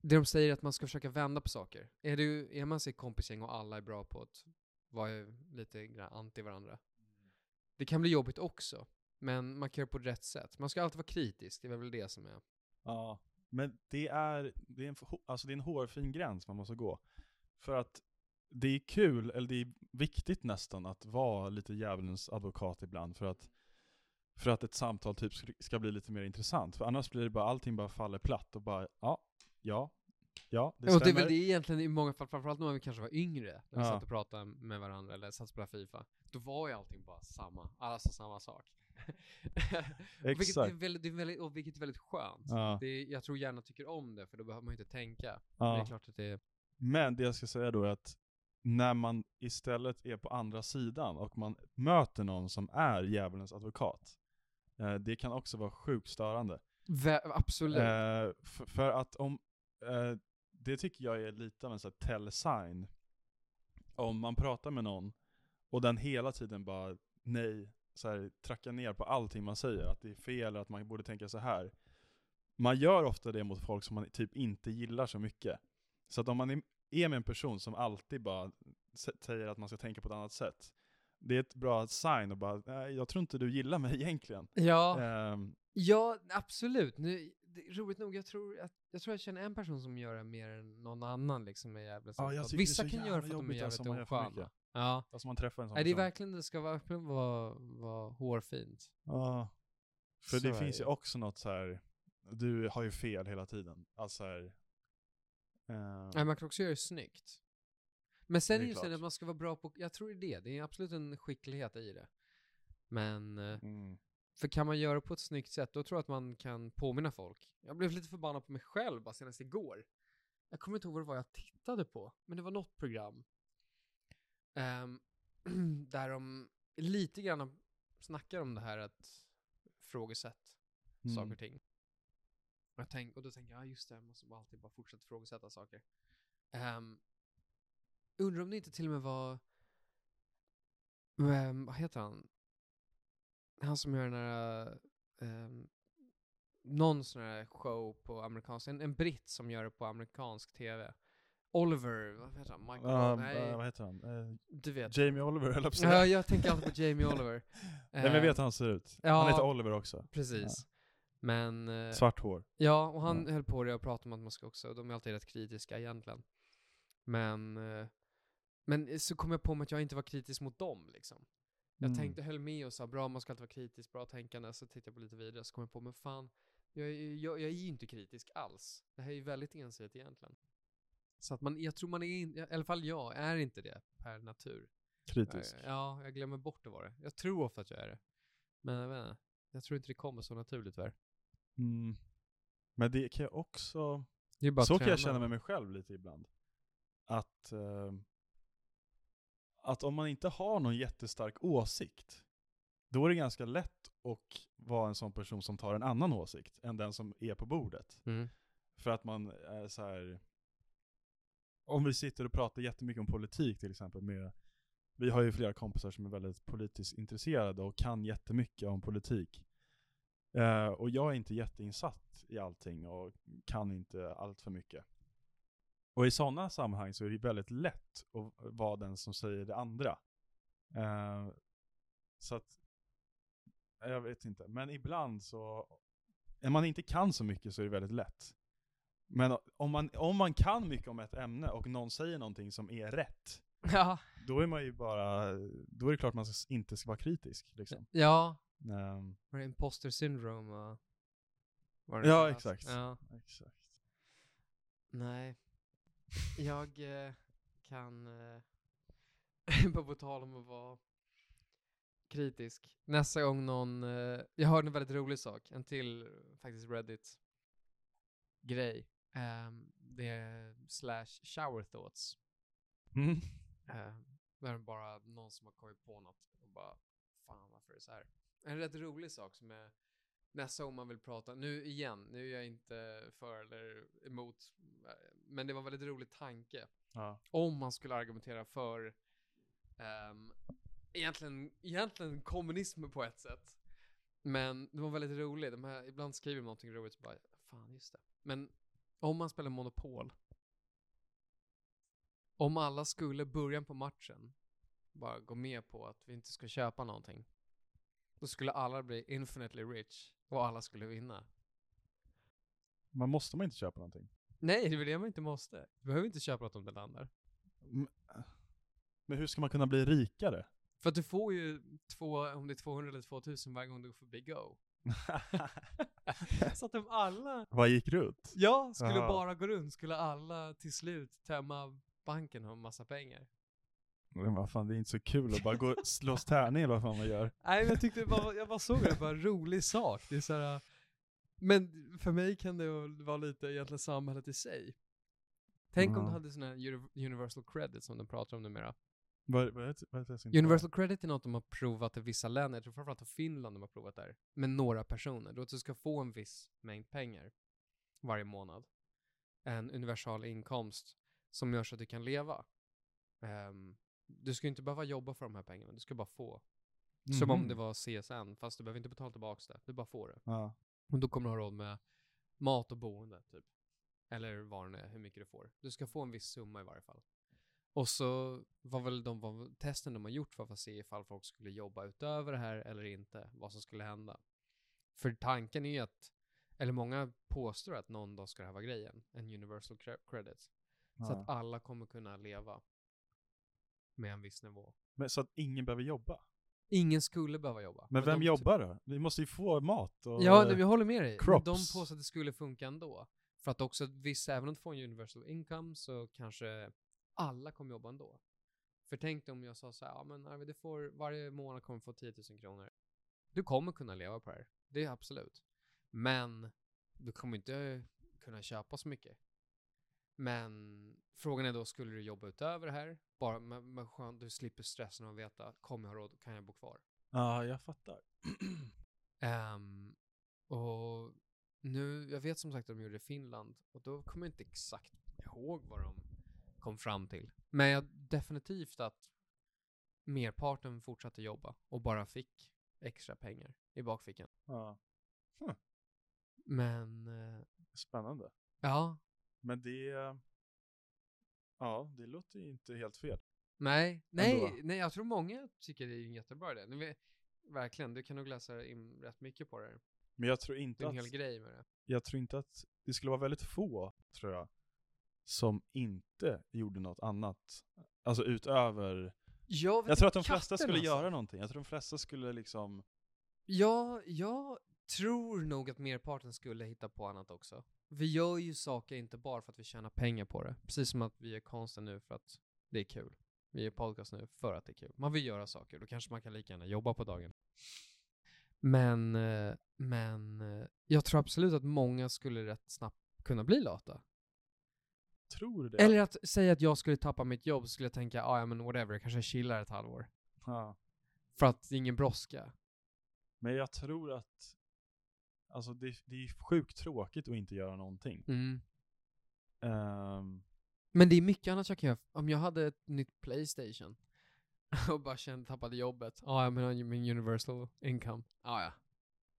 S1: det de säger är att man ska försöka vända på saker. Är, du, är man sig kompisgäng och alla är bra på att vara ju lite grann anti varandra. Det kan bli jobbigt också, men man kan göra på rätt sätt. Man ska alltid vara kritisk, det är väl det som är.
S2: Ja, men det är, det är, en, hå- alltså det är en hårfin gräns man måste gå. För att det är kul, eller det är viktigt nästan, att vara lite djävulens advokat ibland för att, för att ett samtal typ sk- ska bli lite mer intressant. För annars blir det bara, allting bara faller platt och bara, ja, ja, ja, det
S1: och det är
S2: stämmer.
S1: väl det egentligen i många fall, framförallt när vi kanske var yngre, när vi
S2: Ja.
S1: satt och pratade med varandra eller satt och spelade FIFA. Då var ju allting bara samma, alla sa samma sak. Vilket är
S2: Exakt.
S1: väldigt, det är väldigt, och vilket är väldigt skönt.
S2: Ja,
S1: Det är, jag tror hjärnan tycker om det, för då behöver man ju inte tänka. Men det är
S2: ja.
S1: klart att det är...
S2: Men det jag ska säga då är att när man istället är på andra sidan och man möter någon som är djävulens advokat, eh, det kan också vara sjukt störande.
S1: Vä- absolut.
S2: Eh, f- för att om, eh, det tycker jag är lite av en sån här tell sign. Om man pratar med någon och den hela tiden bara nej, så här, trackar ner på allting man säger, att det är fel, att man borde tänka så här. Man gör ofta det mot folk som man typ inte gillar så mycket. Så att om man är- är med en person som alltid bara sä- säger att man ska tänka på ett annat sätt, det är ett bra sign att bara, nej, jag tror inte du gillar mig egentligen.
S1: ja,
S2: Ehm,
S1: ja, absolut. Nu, det, roligt nog, jag tror, att, jag tror jag känner en person som gör det mer än någon annan liksom med jävla
S2: Ja, jag tycker det är
S1: Vissa
S2: så
S1: kan göra
S2: jävla
S1: för att de är
S2: jobbigt, alltså,
S1: jävligt
S2: om man gör för
S1: osköna.
S2: mycket.
S1: Ja.
S2: alltså man träffar en sån
S1: Nej, det är
S2: person.
S1: verkligen, det ska verkligen vara, vara hårfint.
S2: Ja. För
S1: Så
S2: det
S1: är
S2: finns
S1: det.
S2: ju också något så här. du har ju fel hela tiden. Alltså här, eh,
S1: Nej, man kan också göra det snyggt. Men sen
S2: Det
S1: är
S2: är
S1: just det
S2: klart.
S1: att man ska vara bra på, jag tror det är det, det är absolut en skicklighet i det. Men, eh,
S2: mm.
S1: för kan man göra det på ett snyggt sätt, då tror jag att man kan påminna folk. Jag blev lite förbannad på mig själv bara senast igår. Jag kommer inte ihåg vad det var jag tittade på, men det var något program. ehm, där de lite grann snackar om det här att frågesätt
S2: Mm.
S1: saker och ting. Och, jag tänk, och då tänker jag, ah, just det, jag måste bara alltid bara fortsätta frågesätta saker. Ehm, undrar om det inte till och med var, ehm, vad heter han? Han som gör den här, ehm, någon sån här show på amerikansk, en, en britt som gör det på amerikansk tv. Oliver, vad heter han? Michael?
S2: Ja,
S1: nej,
S2: eh, vad heter han? Eh,
S1: du vet.
S2: Jamie Oliver höll jag på att säga.
S1: Ja, jag tänker alltid på Jamie Oliver.
S2: Nej men jag vet
S1: Ehm,
S2: hur han ser ut.
S1: ja.
S2: Han heter Oliver också.
S1: Precis. Men... eh,
S2: Svart hår.
S1: Ja, och han
S2: Ja.
S1: höll på det och pratade om att man ska också, de är alltid rätt kritiska egentligen. Men, eh, men så kom jag på mig att jag inte var kritisk mot dem liksom. Jag
S2: Mm.
S1: tänkte, höll med och sa bra, man ska alltid vara kritisk, bra tänkande. Så tittade jag på lite vidare så kom jag på, men fan, jag, är- jag, jag är ju inte kritisk alls. Det här är ju väldigt ensidigt egentligen. Så att man, jag tror man är, in, i alla fall jag, är inte det per natur. Jag-
S2: Kritisk.
S1: Ja, jag glömmer bort att vara det. Jag tror ofta att jag är det. Men jag vet inte, jag tror inte det kommer så naturligt tyvärr.
S2: Mm. Men det kan jag också...
S1: Det är bara
S2: så
S1: att
S2: kan jag
S1: träna.
S2: känna med mig själv lite ibland. Att, eh, att om man inte har någon jättestark åsikt, då är det ganska lätt att vara en sån person som tar en annan åsikt än den som är på bordet.
S1: Mm.
S2: För att man är så här... Om vi sitter och pratar jättemycket om politik till exempel med vi har ju flera kompisar som är väldigt politiskt intresserade och kan jättemycket om politik. Eh, och jag är inte jätteinsatt i allting och kan inte allt för mycket. Och i sådana sammanhang så är det väldigt lätt att vara den som säger det andra. Eh, så att, jag vet inte, men ibland så, när man inte kan så mycket så är det väldigt lätt. Men om man, om man kan mycket om ett ämne och någon säger någonting som är rätt,
S1: Ja.
S2: då är man ju bara, då är det klart man s- inte ska vara kritisk liksom.
S1: Ja,
S2: Ehm,
S1: var det imposter syndrome? va? Var
S2: Ja,
S1: kallas?
S2: exakt.
S1: Ja.
S2: exakt.
S1: Nej, jag eh, kan, eh, bara på tal om att vara kritisk. Nästa gång någon, eh, jag hörde en väldigt rolig sak, en till eh, faktiskt Reddit-grej. Ehm, det är slash shower thoughts.
S2: Mm.
S1: Eh, Där är bara någon som har kommit på något och bara fan varför är det så här? En rätt rolig sak som är nästa gång man vill prata, nu igen, nu är jag inte för eller emot, eh, men det var en väldigt rolig tanke.
S2: Ja.
S1: Om man skulle argumentera för ehm, egentligen, egentligen kommunism på ett sätt. Men det var väldigt roligt, de här, ibland skriver man någonting roligt så bara fan just det. Men om man spelar Monopol om alla skulle i början på matchen bara gå med på att vi inte ska köpa någonting, då skulle alla bli infinitely rich och alla skulle vinna.
S2: Man måste man inte köpa någonting.
S1: Nej, det är väl det man inte måste. Du behöver inte köpa något om det landar.
S2: M- Men hur ska man kunna bli rikare?
S1: För att du får ju två, om det är 200 eller 2000 varje gång du går förbi Go. Så att om alla,
S2: Vad gick rutt?
S1: ja, skulle
S2: Aha.
S1: bara gå runt, skulle alla till slut tömma banken och ha massa pengar.
S2: Men vad fan, det är inte så kul att bara gå och slåss tärning eller vad fan man gör.
S1: Nej, men jag tyckte det bara, jag bara såg det, det var en rolig sak. Det är så här, men för mig kan det väl vara lite egentligen samhället i sig. Tänk om
S2: Ja.
S1: du hade sådana här uni- universal credit som de pratar om numera.
S2: Vad, vad, heter- vad heter det? som inte-
S1: Universal credit är något de har provat i vissa länder, jag tror framförallt i Finland de har provat där, med några personer. Då att du ska få en viss mängd pengar varje månad. En universal inkomst som gör så att du kan leva. Ehm, du ska ju inte behöva jobba för de här pengarna, du ska bara få. Som om
S2: Mhm.
S1: det var CSN, fast du behöver inte betala tillbaks det. Du bara får det.
S2: Ja.
S1: Och då kommer du ha råd med mat och boende, typ. Eller vad det nu är, hur mycket du får. Du ska få en viss summa i varje fall. Och så var väl de var, testen de har gjort för att se ifall folk skulle jobba utöver det här eller inte. Vad som skulle hända. För tanken är ju att, eller många påstår att någon dag ska det här vara grejen. En universal cre- credit. Så
S2: ja.
S1: att alla kommer kunna leva med en viss nivå.
S2: Men, så att ingen behöver jobba.
S1: Ingen skulle behöva jobba.
S2: Men vem
S1: de-
S2: jobbar då? Vi måste ju få mat och...
S1: Ja, nej, men jag håller med dig. Men De
S2: crops.
S1: påstår att det skulle funka ändå. För att också, vissa, även om du får en universal income så kanske alla kommer jobba ändå. För tänk dig om jag sa så här, ja men Arvid, du får, varje månad kommer du få 10 000 kronor. Du kommer kunna leva på det här. Det är absolut. Men du kommer inte kunna köpa så mycket. Men frågan är då, skulle du jobba utöver det här? Bara, men, men skönt, du slipper stressen och veta, kommer jag ha råd, kan jag bo kvar?
S2: Ja, jag fattar.
S1: Ehm, och nu, jag vet som sagt att de gjorde det i Finland och då kommer jag inte exakt ihåg vad de kom fram till. Men jag, definitivt att merparten fortsatte jobba och bara fick extra pengar i bakfickan.
S2: Ja.
S1: Men eh,
S2: Spännande.
S1: ja,
S2: Men det, ja, det låter ju inte helt fel.
S1: nej,
S2: Ändå.
S1: nej, nej, jag tror många tycker det är en jättebra idé. Nu vet- Verkligen, du kan nog läsa in rätt mycket på det. här.
S2: Men jag tror
S1: Det
S2: inte
S1: är
S2: att,
S1: en hel grej med det.
S2: jag tror inte att, det skulle vara väldigt få, tror jag, som inte gjorde något annat. Alltså utöver,
S1: Jag,
S2: jag tror att de flesta
S1: katten,
S2: skulle
S1: alltså.
S2: göra någonting. Jag tror de flesta skulle liksom,
S1: Ja, jag tror nog att merparten skulle hitta på annat också. Vi gör ju saker inte bara för att vi tjänar pengar på det. Precis som att vi gör konsten nu för att det är kul. Vi gör podcast nu för att det är kul. Man vill göra saker, då kanske man kan lika gärna jobba på dagen. Men, eh, men eh, jag tror absolut att många skulle rätt snabbt kunna bli lata.
S2: tror det.
S1: Eller att säga att jag skulle tappa mitt jobb så skulle jag tänka, ah, ja men whatever, jag kanske chillar ett halvår.
S2: Ja.
S1: För att det är ingen brådska.
S2: Men jag tror att, alltså det, det är sjukt tråkigt att inte göra någonting.
S1: Mm.
S2: Ehm,
S1: Men det är mycket annat jag kan göra. Om jag hade ett nytt Playstation och bara kände tappade jobbet. Ja, jag menar min universal income. Ja, ja.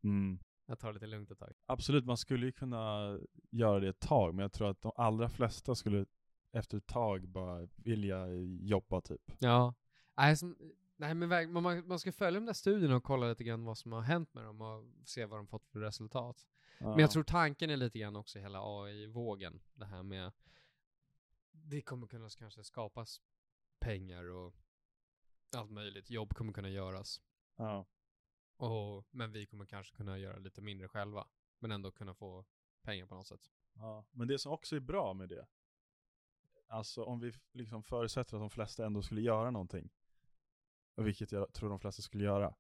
S2: mm.
S1: Jag tar lite lugnt ett tag.
S2: Absolut, man skulle ju kunna göra det ett tag, men jag tror att de allra flesta skulle efter ett tag bara vilja jobba typ.
S1: Ja. Nej, som, nej men verk- man- man, man ska följa de där studierna och kolla lite grann vad som har hänt med dem och se vad de fått för resultat. Men jag tror tanken är lite grann också hela AI-vågen. Det här med det kommer kunna kanske skapas pengar och allt möjligt. Jobb kommer kunna göras.
S2: Ja.
S1: Och, men vi kommer kanske kunna göra lite mindre själva, men ändå kunna få pengar på något sätt.
S2: Ja. Men det som också är bra med det, alltså om vi liksom förutsätter att de flesta ändå skulle göra någonting, och vilket jag tror de flesta skulle göra,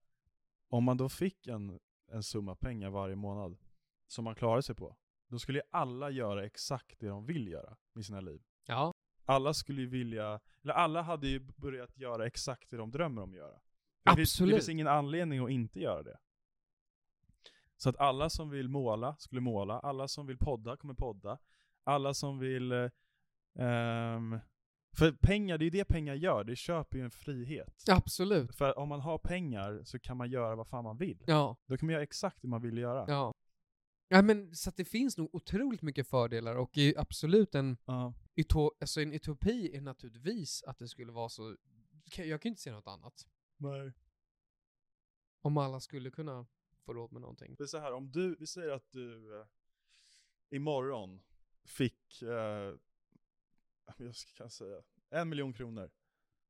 S2: om man då fick en, en summa pengar varje månad som man klarade sig på, då skulle ju alla göra exakt det de vill göra med sina liv.
S1: Ja,
S2: alla skulle ju vilja, eller alla hade ju börjat göra exakt det de drömmer om att göra. Det finns-
S1: Absolut.
S2: Det finns ingen anledning att inte göra det. Så att alla som vill måla skulle måla, alla som vill podda kommer podda, alla som vill... eh, ehm, för pengar, det är ju det pengar gör, det köper ju en frihet.
S1: absolut.
S2: För om man har pengar så kan man göra vad fan man vill.
S1: Ja,
S2: Då kan man göra exakt det man vill göra.
S1: ja. Ja, men så att det finns nog otroligt mycket fördelar och i absolut en,
S2: Ja.
S1: uto- alltså en utopi är naturligtvis att det skulle vara så. Kan- Jag kan ju inte se något annat.
S2: Nej.
S1: Om alla skulle kunna få råd med någonting.
S2: Det är så här, om du, vi säger att du eh, imorgon fick, eh, jag ska kan säga, en miljon kronor.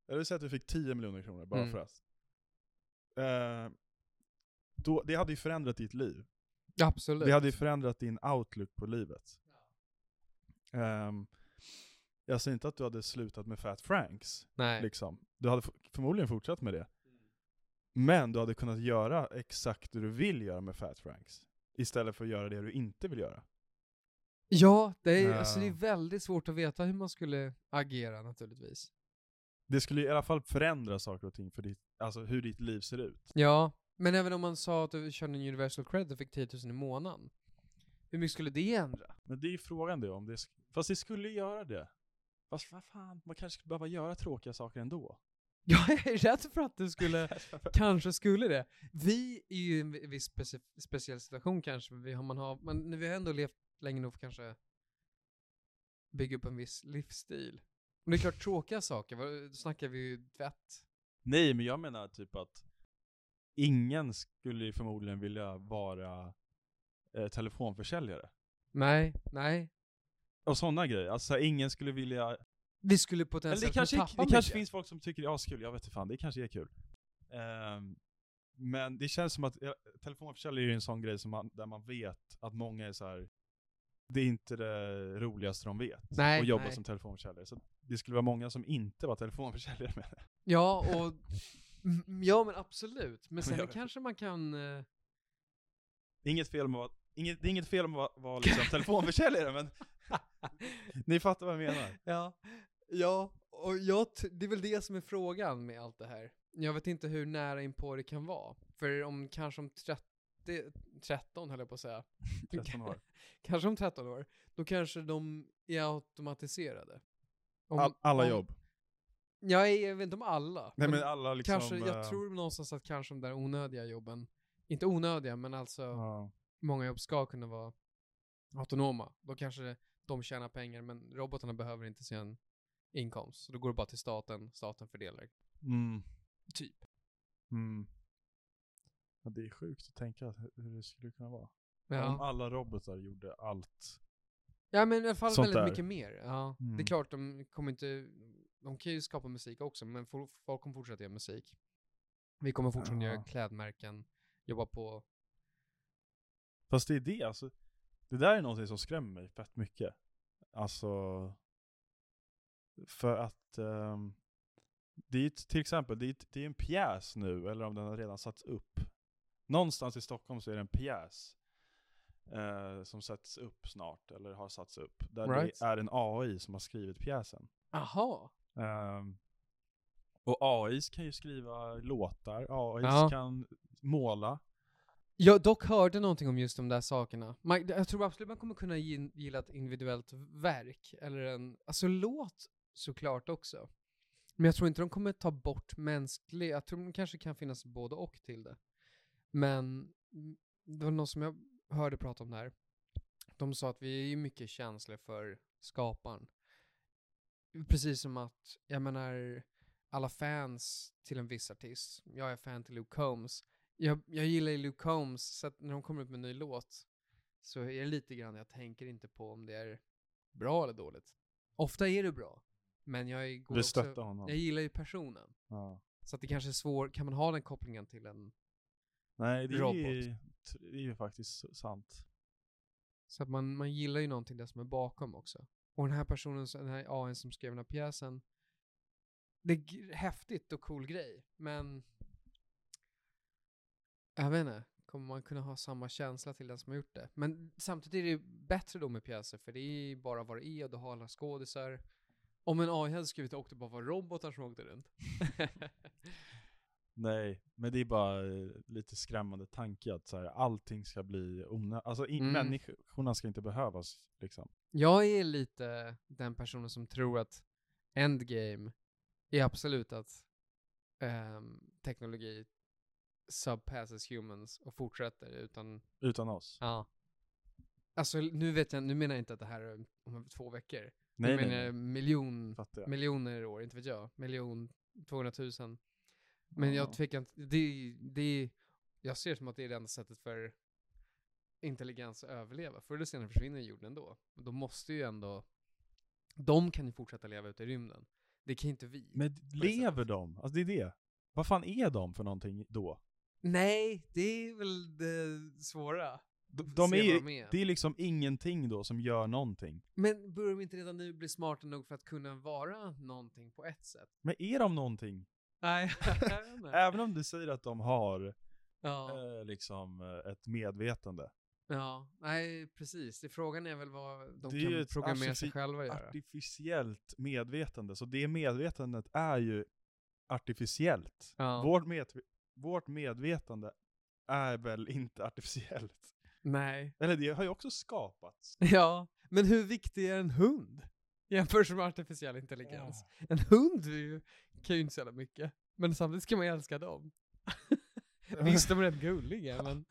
S2: Eller vi säger att du fick 10 miljoner kronor bara
S1: Mm.
S2: för att. Eh, då, det hade ju förändrat ditt liv.
S1: Absolut.
S2: Det hade ju förändrat din outlook på livet. Ehm, jag säger inte att du hade slutat med Fat Franks,
S1: Nej.
S2: liksom. Du hade f- förmodligen fortsatt med det. Men du hade kunnat göra exakt det du vill göra med Fat Franks. Istället för att göra det du inte vill göra.
S1: Ja, det är,
S2: Ja.
S1: Alltså, det är väldigt svårt att veta hur man skulle agera naturligtvis.
S2: Det skulle i alla fall förändra saker och ting för ditt, alltså hur ditt liv ser ut.
S1: Ja, men även om man sa att du körde en Universal Credit och fick 10 000 i månaden. Hur mycket skulle det ändra?
S2: Men det är ju frågan det om det, sk- fast det skulle ju göra det. Fast vad fan, man kanske skulle behöva göra tråkiga saker ändå.
S1: Jag är rädd för att du skulle, kanske skulle det. Vi är ju i en viss speci- speciell situation kanske, vi har, man har, men vi har ändå levt länge nog för kanske bygga upp en viss livsstil. Men det är klart, tråkiga saker, vad- då snackar vi ju tvätt.
S2: Nej, men jag menar typ att ingen skulle ju förmodligen vilja vara eh, telefonförsäljare.
S1: Nej, nej.
S2: Och sådana grejer. Alltså ingen skulle vilja
S1: Vi skulle
S2: Eller det
S1: potentiellt
S2: kanske,
S1: kunna
S2: är,
S1: Alltså, tappa
S2: det kanske
S1: mycket.
S2: finns folk som tycker det är askul, jag vet inte fan, det kanske är kul. Ehm, men det känns som att ja, telefonförsäljare är ju en sån grej som man, där man vet att många är så här. det är inte det roligaste de vet
S1: Nej,
S2: att jobba
S1: nej.
S2: som telefonförsäljare. Så det skulle vara många som inte var telefonförsäljare med det.
S1: Ja, och... Mm, Ja, men absolut. Men
S2: Men jag
S1: sen
S2: vet
S1: kanske man kan... eh,
S2: Inget fel med att Inget, det är inget fel med att vara liksom telefonförsäljare men ni fattar vad jag menar.
S1: Ja, ja, Och jag, t- det är väl det som är frågan med allt det här. Jag vet inte hur nära inpå det kan vara. För om kanske om 30, 13 höll jag på att säga.
S2: 13 år.
S1: Kanske om 13 år. Då kanske de är automatiserade. Om-
S2: All, alla
S1: om-
S2: jobb.
S1: Ja, jag, jag vet inte om alla.
S2: Nej
S1: men
S2: men alla liksom.
S1: kanske, jag
S2: eh,
S1: tror någonstans att kanske de där onödiga jobben, inte onödiga, men alltså
S2: ja.
S1: många jobb ska kunna vara autonoma. Då kanske de tjänar pengar, men robotarna behöver inte sin inkomst. Så då går det bara till staten, staten fördelar.
S2: Mm.
S1: Typ.
S2: Mm. Ja, det är sjukt att tänka att hu- hur det skulle kunna vara. Om
S1: Ja,
S2: alla robotar gjorde allt.
S1: ja men i alla fall
S2: Sånt
S1: väldigt
S2: där.
S1: mycket mer. Ja. Det
S2: Mm.
S1: är klart, de kommer inte, de kan ju skapa musik också, men fol- folk kommer fortsätta göra musik. Vi kommer fortfarande
S2: Ja.
S1: göra klädmärken, jobba på,
S2: Fast det är det, alltså. Det där är någonting som skrämmer mig fett mycket. Alltså. För att. ehm, det är ju t- till exempel, det är, det är en pjäs nu, eller om den har redan satts upp. Någonstans i Stockholm så är det en pjäs. Eh, som sätts upp snart, eller har satts upp. Där
S1: Right.
S2: det är en AI som har skrivit pjäsen.
S1: aha,
S2: Ehm, och AIs kan ju skriva låtar, AIs
S1: Ja.
S2: kan måla.
S1: Jag dock hörde någonting om just de där sakerna. Man, jag tror absolut man kommer kunna gi- gilla ett individuellt verk, eller en, alltså låt såklart också. Men jag tror inte de kommer ta bort mänsklig, jag tror de kanske kan finnas både och till det. Men mm, det var någon som jag hörde prata om det här. De sa att vi är ju mycket känsliga för skaparen. Precis som att, jag menar, alla fans till en viss artist, jag är fan till Luke Combs, jag, jag gillar ju Luke Combs, så att när de kommer upp med en ny låt så är det lite grann, jag tänker inte på om det är bra eller dåligt. Ofta är det bra, men jag går
S2: Vi
S1: också,
S2: stöttar honom.
S1: jag gillar ju personen.
S2: Ja.
S1: Så att det kanske är svårt, kan man ha den kopplingen till en,
S2: Nej, det är,
S1: Robot.
S2: ju, det är ju faktiskt sant.
S1: så att man, man gillar ju någonting där som är bakom också. Och den här personen, som- den här AN som skrev den här pjäsen, det är g- häftigt och cool grej, men jag vet inte, kommer man kunna ha samma känsla till den som har gjort det? Men samtidigt är det bättre då med pjäser, för det är ju bara vad det är och du har alla skådisar. Om en AI hade skrivit och det bara var robotar som åkte runt.
S2: Nej, men det är bara eh, lite skrämmande tanke att så här, allting ska bli onödigt. Alltså i,
S1: Mm.
S2: människorna ska inte behövas liksom.
S1: Jag är lite den personen som tror att endgame är absolut att ehm, teknologi subpasses humans och fortsätter utan,
S2: Utan oss.
S1: ja. Alltså nu vet jag, nu menar jag inte att det här är om två veckor. nu
S2: nej, nej,
S1: menar eh, jag
S2: nej.
S1: miljon,
S2: Fattar jag.
S1: miljoner år, inte vet jag. Miljon, 200 000. Men
S2: Ja.
S1: jag tvekar inte, det, det, jag ser det som att det är det enda sättet för intelligens att överleva. Förr eller senare försvinner jorden ändå. Men då måste ju ändå, de kan ju fortsätta leva ute i rymden. Det kan ju inte vi.
S2: Men lever de? Alltså det är det. Vad fan är de för någonting då?
S1: Nej, det är väl det svåra.
S2: De, de är, ju-
S1: med.
S2: det är liksom ingenting då som gör någonting.
S1: Men börjar de inte redan nu bli smarta nog för att kunna vara någonting på ett sätt?
S2: Men är de någonting?
S1: Nej, jag vet inte.
S2: Även om du säger att de har
S1: ja,
S2: eh, liksom eh, ett medvetande.
S1: ja, nej precis. Det frågan är väl vad de
S2: Det är ju
S1: kan
S2: ett
S1: programmera sig
S2: artifici-
S1: själva att göra.
S2: Artificiellt medvetande. Så det medvetandet är ju artificiellt.
S1: Ja.
S2: Vårt, med- vårt medvetande är väl inte artificiellt?
S1: Nej.
S2: Eller det har ju också skapats.
S1: Ja, men hur viktig är en hund jämfört med artificiell
S2: Eh,
S1: intelligens? En hund är ju, kan ju inte så jävla mycket, men samtidigt ska man ju älska dem. Visst, de är rätt gulliga, men...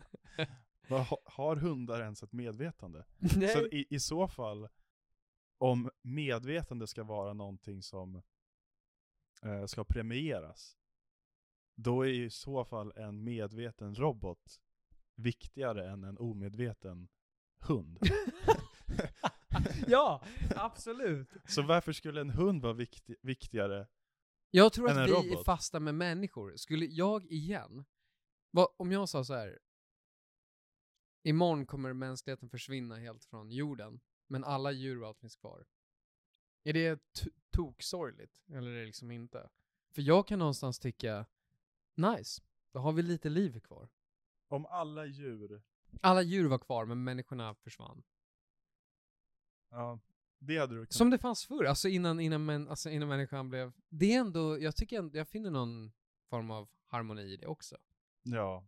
S2: Vad ha- Har hundar ens ett medvetande?
S1: Nej.
S2: Så i, i så fall, om medvetande ska vara någonting som eh, ska premieras, då är ju i så fall en medveten robot viktigare än en omedveten hund.
S1: ja, absolut.
S2: Så varför skulle en hund vara vikti- viktigare?
S1: Jag tror
S2: Än en
S1: att vi är
S2: robot.
S1: fasta med människor. Skulle jag igen, vad, om jag sa så här, imorgon kommer mänskligheten försvinna helt från jorden, men alla djur och allt finns kvar. Är det t- toksorgligt, eller är det liksom inte? För jag kan någonstans tycka, nice, då har vi lite liv kvar.
S2: Om alla djur,
S1: Alla djur var kvar, men människorna försvann.
S2: ja, Det hade du kunnat.
S1: Som det fanns förr, alltså innan, innan, män, alltså innan människan blev... Det är ändå, jag tycker ändå, jag finner någon form av harmoni i det också.
S2: Ja.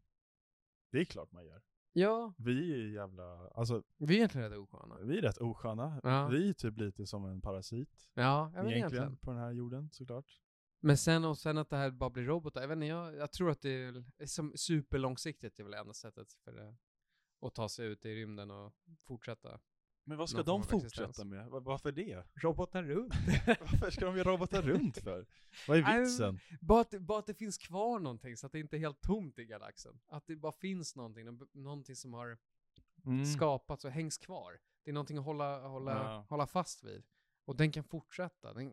S2: Det är klart man gör.
S1: Ja,
S2: Vi är jävla, alltså
S1: vi är egentligen rätt osköna.
S2: vi är rätt osköna.
S1: Ja.
S2: Vi är typ lite som en parasit.
S1: Ja, jag vet
S2: Egentligen,
S1: egentligen.
S2: på den här jorden såklart.
S1: Men sen, och sen att det här bara blir robotar, jag vet inte, jag, jag tror att det är väl- det är som superlångsiktigt är väl det enda sättet för det. Att ta sig ut i rymden och fortsätta.
S2: Men vad ska
S1: Någon
S2: de
S1: form av
S2: fortsätta
S1: existens.
S2: med? Va- Varför det?
S1: Robotar runt?
S2: Varför ska de ju robota runt för? Vad är
S1: Nej,
S2: vitsen?
S1: Bara att, bara att det finns kvar någonting så att det inte är helt tomt i galaxen. Att det bara finns någonting, nå- någonting som har
S2: Mm.
S1: skapats och hängs kvar. Det är någonting att hålla, hålla,
S2: Ja.
S1: hålla fast vid. Och den kan fortsätta. Den,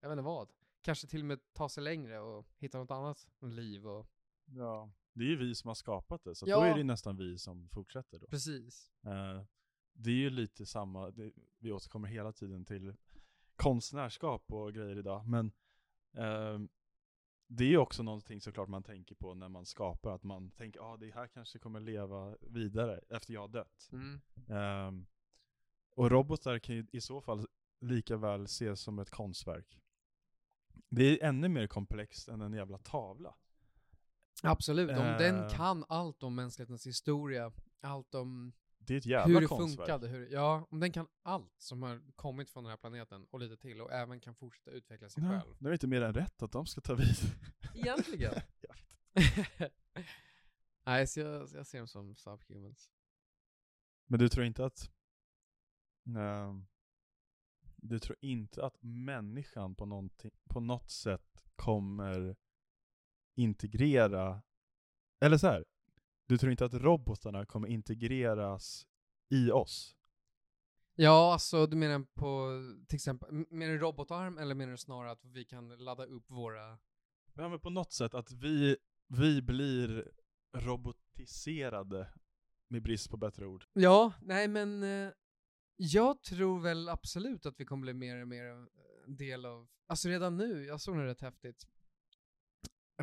S1: jag vet inte vad. Kanske till och med ta sig längre och hitta något annat liv och...
S2: Ja. Det är ju vi som har skapat det, så då
S1: Ja.
S2: är det ju nästan vi som fortsätter då.
S1: Precis.
S2: Eh, det är ju lite samma, det, vi återkommer hela tiden till konstnärskap och grejer idag, men eh, det är ju också någonting såklart man tänker på när man skapar, att man tänker ah, det här kanske kommer leva vidare efter jag har dött.
S1: Mm.
S2: Ehm, och robotar kan ju i så fall lika väl ses som ett konstverk. Det är ännu mer komplext än en jävla tavla.
S1: Absolut. Om den
S2: Eh.
S1: kan allt om mänsklighetens historia, allt om
S2: Det är ett jävla
S1: hur det
S2: konstverk.
S1: funkade, hur, ja, om den kan allt som har kommit från den här planeten och lite till och även kan fortsätta utveckla sig
S2: Ja,
S1: själv.
S2: det är inte mer än rätt att de ska ta vid.
S1: Egentligen.
S2: Jag vet
S1: Nej, så jag, jag ser dem som subhumans.
S2: Men du tror inte att ehm, du tror inte att människan på, någonting- på något sätt kommer integrera, eller så här, du tror inte att robotarna kommer integreras i oss?
S1: Ja, alltså du menar på till exempel, m- menar du robotarm eller menar du snarare att vi kan ladda upp våra...
S2: Ja men på något sätt att vi, vi blir robotiserade, med brist på bättre ord.
S1: Ja, nej men eh, jag tror väl absolut att vi kommer bli mer och mer eh, en del av, alltså redan nu, jag såg något rätt häftigt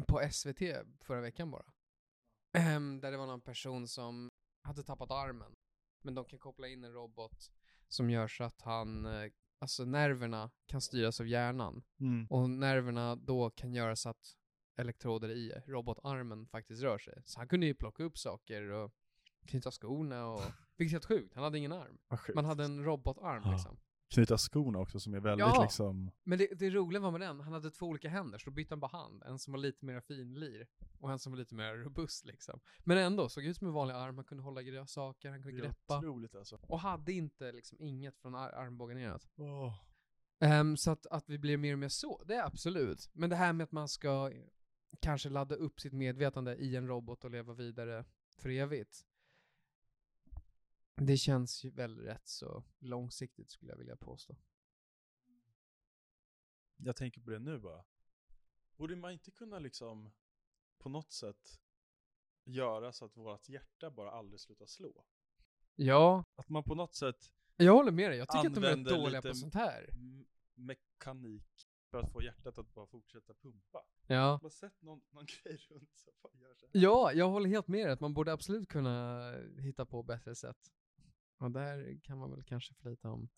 S1: på SVT förra veckan bara. Ehm, där det var någon person som hade tappat armen, men de kan koppla in en robot som gör så att han, eh, alltså nerverna kan styras av hjärnan.
S2: Mm.
S1: Och nerverna då kan göra så att elektroder i robotarmen faktiskt rör sig. Så han kunde ju plocka upp saker och knyta skorna och... Vilket är helt sjukt, han hade ingen arm.
S2: Vad sjukt.
S1: Man hade en robotarm
S2: Ja.
S1: liksom.
S2: Knyta skorna också som är väldigt
S1: Ja.
S2: liksom,
S1: Men det, det roliga var med den, han hade två olika händer, så då bytte han bara hand. En som var lite mer finlir och en som var lite mer robust liksom. Men ändå, såg ut som en vanlig arm, han kunde hålla grö- saker, han
S2: det
S1: kunde
S2: är
S1: greppa.
S2: otroligt alltså.
S1: Och hade inte liksom inget från ar- armbågen neråt.
S2: Åh.
S1: Ehm, så att, att vi blir mer och mer så, det är absolut. Men det här med att man ska eh, kanske ladda upp sitt medvetande i en robot och leva vidare för evigt. Det känns ju väl rätt så långsiktigt skulle jag vilja påstå.
S2: jag tänker på det nu bara. Borde man inte kunna liksom på något sätt göra så att vårt hjärta bara aldrig slutar slå?
S1: Ja,
S2: Att man på något sätt
S1: jag håller med dig. Jag tycker att de
S2: Använder
S1: är dåliga
S2: lite-
S1: på sånt här.
S2: m- mekanik för att få hjärtat att bara fortsätta pumpa.
S1: Ja.
S2: Har man sett någon, någon grej runt som bara gör så här?
S1: ja, jag håller helt med dig att man borde absolut kunna hitta på bättre sätt. Och där kan man väl kanske förlita om.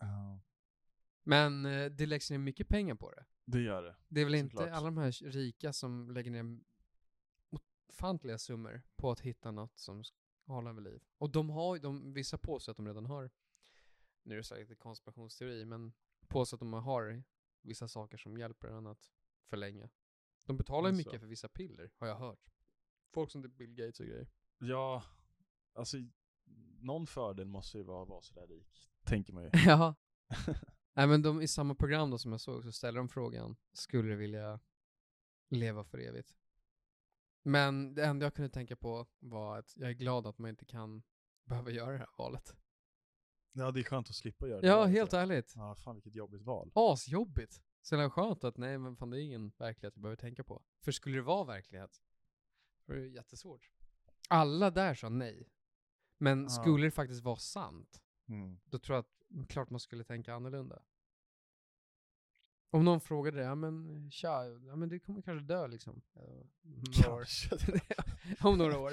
S1: Men eh, det läggs ner mycket pengar på det.
S2: det gör det.
S1: Det är väl inte
S2: Såklart.
S1: alla de här rika som lägger ner ofantliga summor på att hitta något som ska hålla vid liv. Och de har ju, de, vissa påstår att de redan har, nu är det säkert en konspirationsteori, men påstår att de har vissa saker som hjälper en att förlänga. De betalar ju
S2: Det är så.
S1: mycket för vissa piller, har jag hört. Folk som det är Bill Gates och grejer.
S2: Ja, alltså någon fördel måste ju vara att vara sådär rik, tänker man ju.
S1: ja. Nej men de, i samma program då som jag såg så ställer de frågan, skulle du vilja leva för evigt? Men det enda jag kunde tänka på var att jag är glad att man inte kan behöva göra det här valet.
S2: Ja, det är skönt att slippa göra det.
S1: Ja, helt ärligt.
S2: Ja, fan vilket jobbigt val.
S1: Asjobbigt. Så jävla skönt att nej men fan det är ingen verklighet jag behöver tänka på. För skulle det vara verklighet, då är det jättesvårt. Alla där sa nej. Men
S2: Ja.
S1: skulle det faktiskt vara sant,
S2: Mm.
S1: då tror jag att mm, klart man skulle tänka annorlunda. Om någon frågade det, ja men tja, ja, men du kommer kanske dö liksom. eh, om några år. Om några år.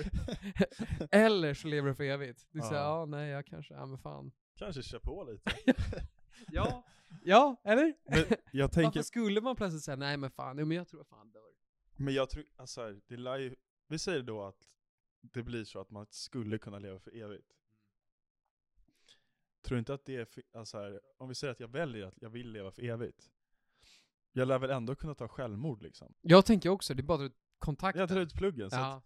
S1: Eller så lever du för evigt. Du säger,
S2: Ja.
S1: ja nej jag kanske, ja men fan.
S2: Kanske kör på lite.
S1: Ja, ja eller?
S2: Men jag tänker,
S1: Varför skulle man plötsligt säga nej men fan, jo, men jag tror jag fan dör.
S2: men jag tror, alltså här, det lär ju, vi säger då att det blir så att man skulle kunna leva för evigt. Tror du inte att det är, fi- alltså här, om vi säger att jag väljer att jag vill leva för evigt. Jag lär väl ändå kunna ta självmord liksom.
S1: Jag tänker också, det är bara att kontakta.
S2: Jag tar ut pluggen, så att
S1: ja.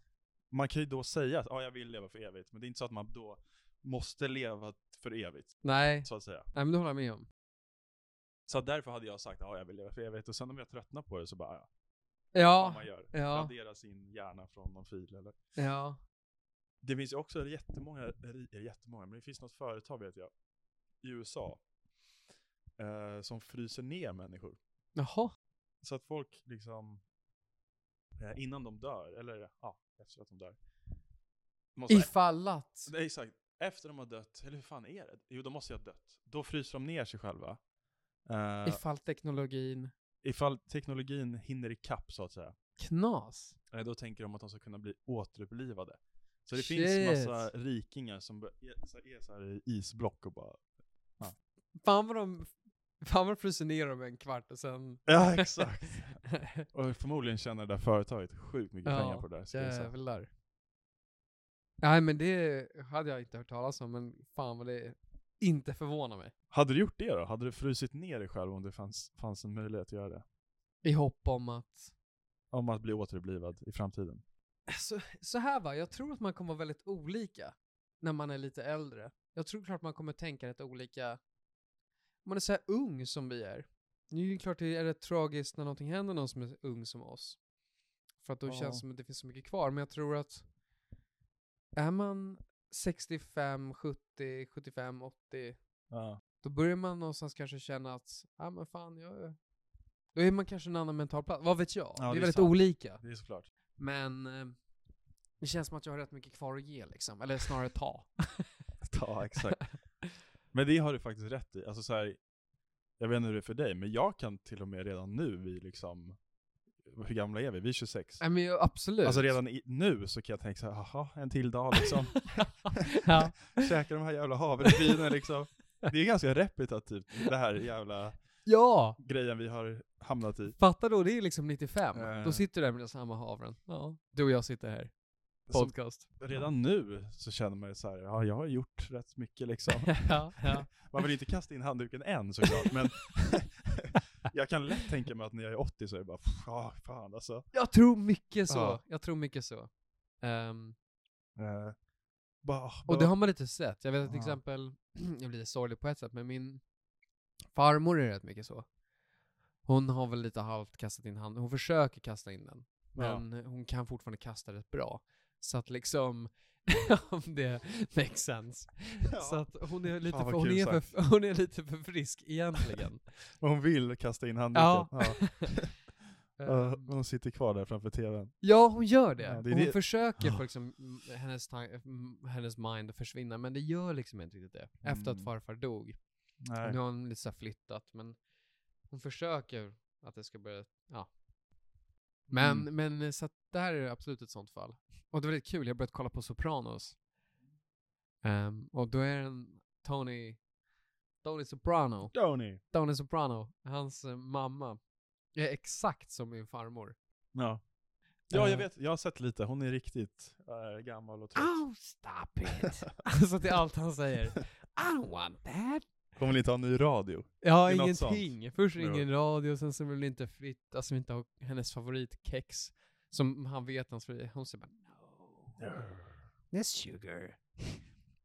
S2: man kan ju då säga att ja, jag vill leva för evigt, men det är inte så att man då måste leva för evigt,
S1: Nej,
S2: så att säga.
S1: nej men det håller jag med om.
S2: Så därför hade jag sagt ja, jag vill leva för evigt och sen om jag tröttnar på det så bara ja, vad
S1: Ja,
S2: man gör.
S1: ja.
S2: Radera sin hjärna från någon fil eller.
S1: ja.
S2: Det finns ju också jättemånga, eller jättemånga, men det finns något företag vet jag i USA eh, som fryser ner människor.
S1: Jaha.
S2: Så att folk liksom eh, innan de dör, eller ja, efter att de dör. Måste,
S1: Ifall att.
S2: Nej, exakt. Efter de har dött, eller hur fan är det? Jo, de måste ju ha dött. Då fryser de ner sig själva. Eh,
S1: Ifall teknologin.
S2: ifall teknologin hinner ikapp så att säga.
S1: Knas.
S2: Nej, då tänker de att de ska kunna bli återupplivade. Så det finns massa rikingar som bör- är så- är så här i isblock och bara...
S1: Fan vad de, fan vad de fryser ner dem en kvart och sen.
S2: Ja, exakt. och förmodligen tjänar det där företaget sjukt mycket
S1: Ja,
S2: pengar på det där. ska jag säga.
S1: Jävlar. Nej men det hade jag inte hört talas om, men fan vad det inte förvånar mig.
S2: Hade du gjort det då? Hade du frusit ner dig själv om det fanns, fanns en möjlighet att göra det?
S1: I hopp om att
S2: Om att bli återupplivad i framtiden?
S1: Så, Alltså, så här va, jag tror att man kommer vara väldigt olika när man är lite äldre. Jag tror klart man kommer tänka rätt olika. Om man är så här ung som vi är. Nu är det klart det är rätt tragiskt när någonting händer någon som är ung som oss. För att då
S2: Ja.
S1: känns det som att det finns så mycket kvar. Men jag tror att är man 65, 70, 75, 80
S2: Ja.
S1: då börjar man någonstans kanske känna att, ja men fan, jag är... Då är man kanske en annan mental plats. Vad vet jag?
S2: Ja,
S1: det är
S2: det är
S1: väldigt
S2: sant.
S1: olika.
S2: Det är såklart.
S1: Men eh, det känns som att jag har rätt mycket kvar att ge liksom. Eller snarare ta.
S2: Ja, exakt. men det har du faktiskt rätt i. Alltså så här, jag vet inte hur det är för dig, men jag kan till och med redan nu, vi liksom... Hur gamla är vi? Vi är 26.
S1: Nej men jag, absolut.
S2: Alltså redan i, nu så kan jag tänka så här, haha, en till dag liksom.
S1: ja.
S2: Käka de här jävla havregrynarna liksom. Det är ganska repetitivt, det här jävla
S1: ja,
S2: grejen vi har hamnat i.
S1: fatta då, det är liksom 95.
S2: Eh.
S1: Då sitter du där med dina samma havren. Ja. Du och jag sitter här.
S2: Så
S1: Podcast.
S2: redan nu så känner man ju så här, ja, jag har gjort rätt mycket liksom.
S1: ja, ja.
S2: Man vill inte kasta in handduken än såklart, men jag kan lätt tänka mig att när jag är 80 så är det bara, ja, fan alltså.
S1: Jag tror mycket så.
S2: Ja.
S1: Jag tror mycket så. Ehm,
S2: Eh, bara,
S1: och det har man lite sett. Jag vet att till
S2: Ja.
S1: exempel, jag blir lite sorglig på ett sätt, men min farmor är rätt mycket så. Hon har väl lite halvt kastat in handen. Hon försöker kasta in den.
S2: ja.
S1: Men hon kan fortfarande kasta rätt bra. Så att liksom, om det makes sense.
S2: Ja.
S1: Så att hon är lite,
S2: vad
S1: för, hon
S2: kul
S1: är för, hon är lite för frisk egentligen.
S2: Och hon vill kasta in handduken.
S1: Ja.
S2: Ja.
S1: Eh,
S2: Och hon sitter kvar där framför tvn.
S1: ja, hon gör det.
S2: Ja, det är
S1: hon
S2: det-
S1: försöker
S2: Ah.
S1: få liksom, m- hennes, tan- m- hennes mind att försvinna, men det gör liksom inte riktigt det. Efter att
S2: Mm.
S1: farfar dog.
S2: Nej.
S1: Nu har hon lite så här flyttat, men hon försöker att det ska börja, ja. Men,
S2: Mm.
S1: men eh, så att det här är absolut ett sånt fall. Och det var lite kul, jag har börjat kolla på Sopranos. Ehm, och då är det en Tony, Tony Soprano,
S2: Tony.
S1: Tony Soprano, hans eh, mamma, är exakt som min farmor.
S2: Ja. Ja, jag
S1: Eh.
S2: vet. Jag har sett lite. Hon är riktigt eh, gammal och trött.
S1: Oh, stop it! alltså det är allt han säger. I don't want that!
S2: Hon vill inte ha ny radio.
S1: Ja,
S2: Det är något sånt.
S1: ingenting. Först
S2: Jo.
S1: ingen radio, sen så vill det inte fritt, alltså inte ha hennes favoritkex. Som han vet hans favorit, hon säger bara no. That's sugar.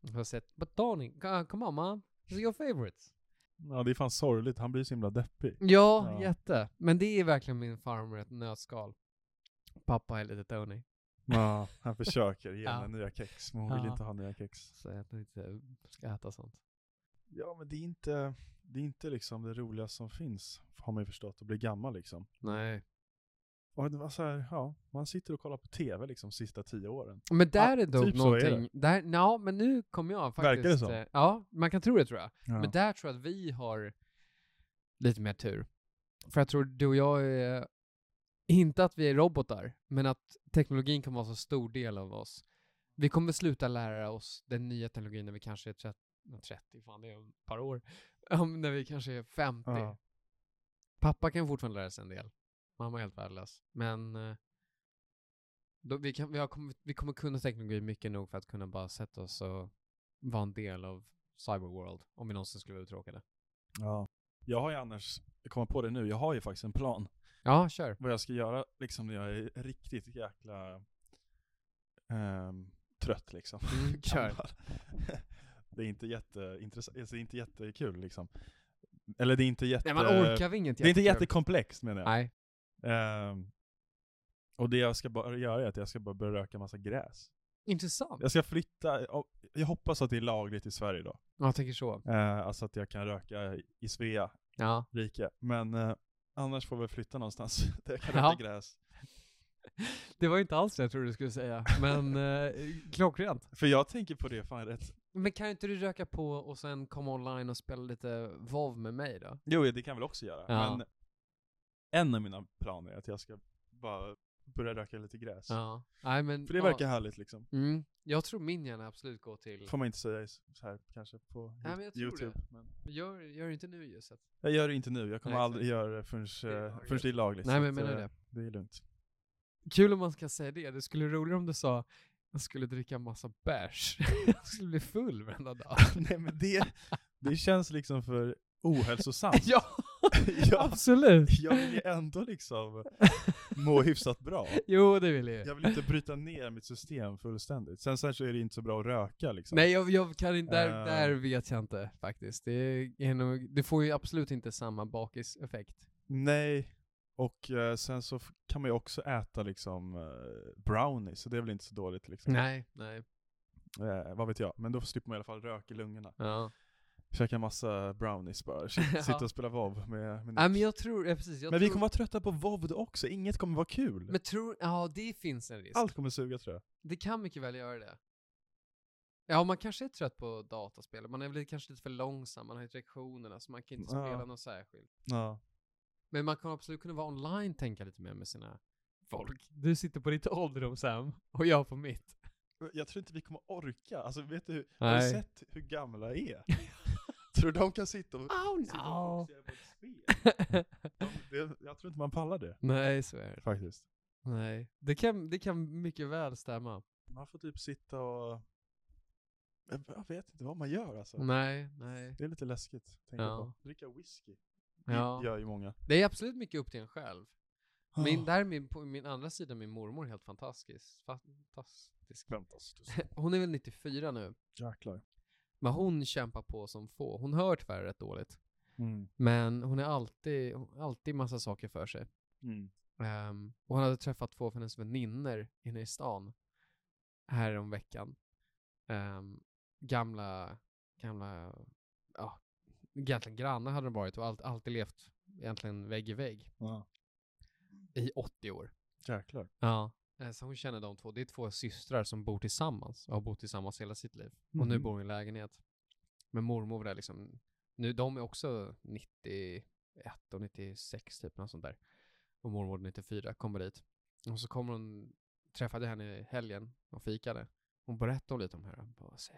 S1: Jag har sett, but darling, c- ah, come on man, it's your favorite.
S2: Ja, det är fan sorgligt. Han blir så himla deppig.
S1: Ja,
S2: Ja.
S1: jätte. Men det är verkligen min farmor i ett nötskal. Pappa är lite Tony.
S2: Ja, han försöker ge
S1: Ja.
S2: henne nya kex, men hon vill
S1: Ja.
S2: inte ha nya kex.
S1: Så jag inte ska äta sånt.
S2: Ja, men det är inte, det är inte liksom det roligaste som finns, har man ju förstått, att bli gammal liksom.
S1: Nej.
S2: Och det var så här, ja, man sitter och kollar på tv liksom sista tio åren.
S1: Men där är dock
S2: typ så är det.
S1: någonting, där, no, men nu kom jag
S2: Verkar det
S1: faktiskt.
S2: som?
S1: eh, Ja, man kan tro det tror jag.
S2: Ja.
S1: Men där tror jag att vi har lite mer tur. För jag tror du och jag är, inte att vi är robotar, men att teknologin kommer vara så stor del av oss. Vi kommer sluta lära oss den nya teknologin när vi kanske är 30, 30 fan det är ett par år. Ja, men när vi kanske är 50.
S2: Ja.
S1: Pappa kan fortfarande lära sig en del. Mamma är helt värdelös. Men eh, då, vi, kan, vi, har, kommit- vi kommer kunna teknologi mycket nog för att kunna bara sätta oss och vara en del av cyberworld om vi någonsin skulle vara uttråkade.
S2: Ja. Jag har ju annars, jag kommer på det nu, jag har ju faktiskt en plan.
S1: Ja, kör.
S2: Vad jag ska göra liksom när jag är riktigt jäkla ehm, trött liksom.
S1: Mm, kör.
S2: Gammal. det är inte jätteintressant, alltså, det är inte jättekul liksom. Eller det är inte jätte...
S1: Nej, man orkar vi inget
S2: Eh, det är inte
S1: jättekul.
S2: jättekomplext menar jag.
S1: Nej.
S2: Ehm, och det jag ska bara göra är att jag ska bara börja röka massa gräs.
S1: Intressant.
S2: Jag ska flytta, och jag hoppas att det är lagligt i Sverige då.
S1: Ja, jag tänker så.
S2: Eh, alltså att jag kan röka i Svea
S1: Ja.
S2: rike. Men eh, annars får vi flytta någonstans där jag kan
S1: Ja.
S2: röka gräs.
S1: Det var ju inte alls det jag trodde du skulle säga, men eh, klockrent.
S2: För jag tänker på det fan rätt.
S1: Men kan inte du röka på och sen komma online och spela lite WoW med mig då?
S2: Jo, det kan jag väl också göra.
S1: Ja.
S2: Men en av mina planer är att jag ska bara börja röka lite gräs.
S1: Ja. Nej, men,
S2: För det verkar härligt liksom.
S1: Ja. Mm. Jag tror min hjärna absolut går till...
S2: Får man inte säga i s- så här kanske på
S1: Nej, Mm. men jag tror
S2: Youtube. Men
S1: Gör, gör inte nu ljuset.
S2: jag gör det inte nu, jag kommer
S1: Nej,
S2: aldrig göra det förrän,
S1: är
S2: eh,
S1: lagligt.
S2: förrän det är lagligt.
S1: Nej,
S2: så
S1: men jag
S2: att,
S1: menar
S2: eh,
S1: det.
S2: Det är lugnt.
S1: Kul om man ska säga det. Det skulle vara roligare om du sa jag skulle dricka massa bärs. jag skulle bli full varenda dag.
S2: Nej men det, det känns liksom för ohälsosamt.
S1: ja,
S2: jag,
S1: absolut.
S2: jag vill ju ändå liksom må hyfsat bra.
S1: Jo, det vill jag ju.
S2: Jag vill inte bryta ner mitt system fullständigt. Sen, sen så är det inte så bra att röka liksom.
S1: Nej, jag, jag kan inte, där,
S2: Eh.
S1: där vet jag inte faktiskt. Det, är nog, det får ju absolut inte samma bakiseffekt.
S2: Nej. Och eh, sen så f- kan man ju också äta liksom eh, brownies, så det är väl inte så dåligt liksom.
S1: Nej, nej.
S2: Eh, vad vet jag, men då slipper man i alla fall rök i lungorna.
S1: Ja.
S2: Käka massa brownies bara,
S1: Ja.
S2: S- sitta och spela WoW med, med
S1: Nej, men
S2: Nick.
S1: jag tror, ja, precis. Jag
S2: men
S1: tror,
S2: vi kommer vara trötta på WoW då också, inget kommer vara kul.
S1: Men tror, ja det finns en risk.
S2: Allt kommer suga tror jag.
S1: Det kan mycket väl göra det. Ja, man kanske är trött på dataspel. Man är väl kanske lite för långsam, man har inte reaktionerna, så man kan inte
S2: Ja.
S1: spela något särskilt.
S2: Ja.
S1: Men man kan absolut kunna vara online, tänka lite mer med sina folk. Du sitter på ditt ålderdomshem och jag på mitt.
S2: Jag tror inte vi kommer orka, alltså vet du, har du
S1: Nej.
S2: sett hur gamla är? tror du de kan sitta och,
S1: Oh
S2: sitta och
S1: no!
S2: fokusera på ett spel? De, det, jag tror inte man pallar det.
S1: Nej, så är det.
S2: Faktiskt.
S1: Nej, det kan, det kan mycket väl stämma.
S2: Man får typ sitta och, jag jag vet inte vad man gör alltså.
S1: Nej, nej.
S2: Det är lite läskigt, tänker jag
S1: Ja.
S2: på. Dricka whisky, det
S1: Ja.
S2: gör ju många.
S1: Det är absolut mycket upp till en själv. Min,
S2: Ah.
S1: där är min, på min andra sida, min mormor, helt fantastisk. Fantastisk.
S2: Skämtas du?
S1: Hon är väl 94 nu,
S2: Jäklar.
S1: men hon kämpar på som få. Hon hör tyvärr rätt dåligt,
S2: Mm.
S1: men hon är alltid, hon har alltid massa saker för sig.
S2: Mm.
S1: Ehm, och hon hade träffat två av hennes väninnor inne i stan här om veckan. Ehm, gamla, gamla, ja, egentligen grannar hade de varit och allt, alltid levt egentligen vägg i vägg
S2: Ja.
S1: i 80 år.
S2: Ah. Jäklar.
S1: Ja. Eh, Så hon känner de två. Det är två systrar som bor tillsammans och har bott tillsammans hela sitt liv. Och nu
S2: Mhm.
S1: bor hon i en lägenhet. Men mormor är liksom, nu, de är också 91 och 96 typ, något sånt där. Och mormor 94 kommer dit. Och så kommer hon, träffade henne i helgen och fikade. Hon berättade lite om det här. Hon bara, "Se,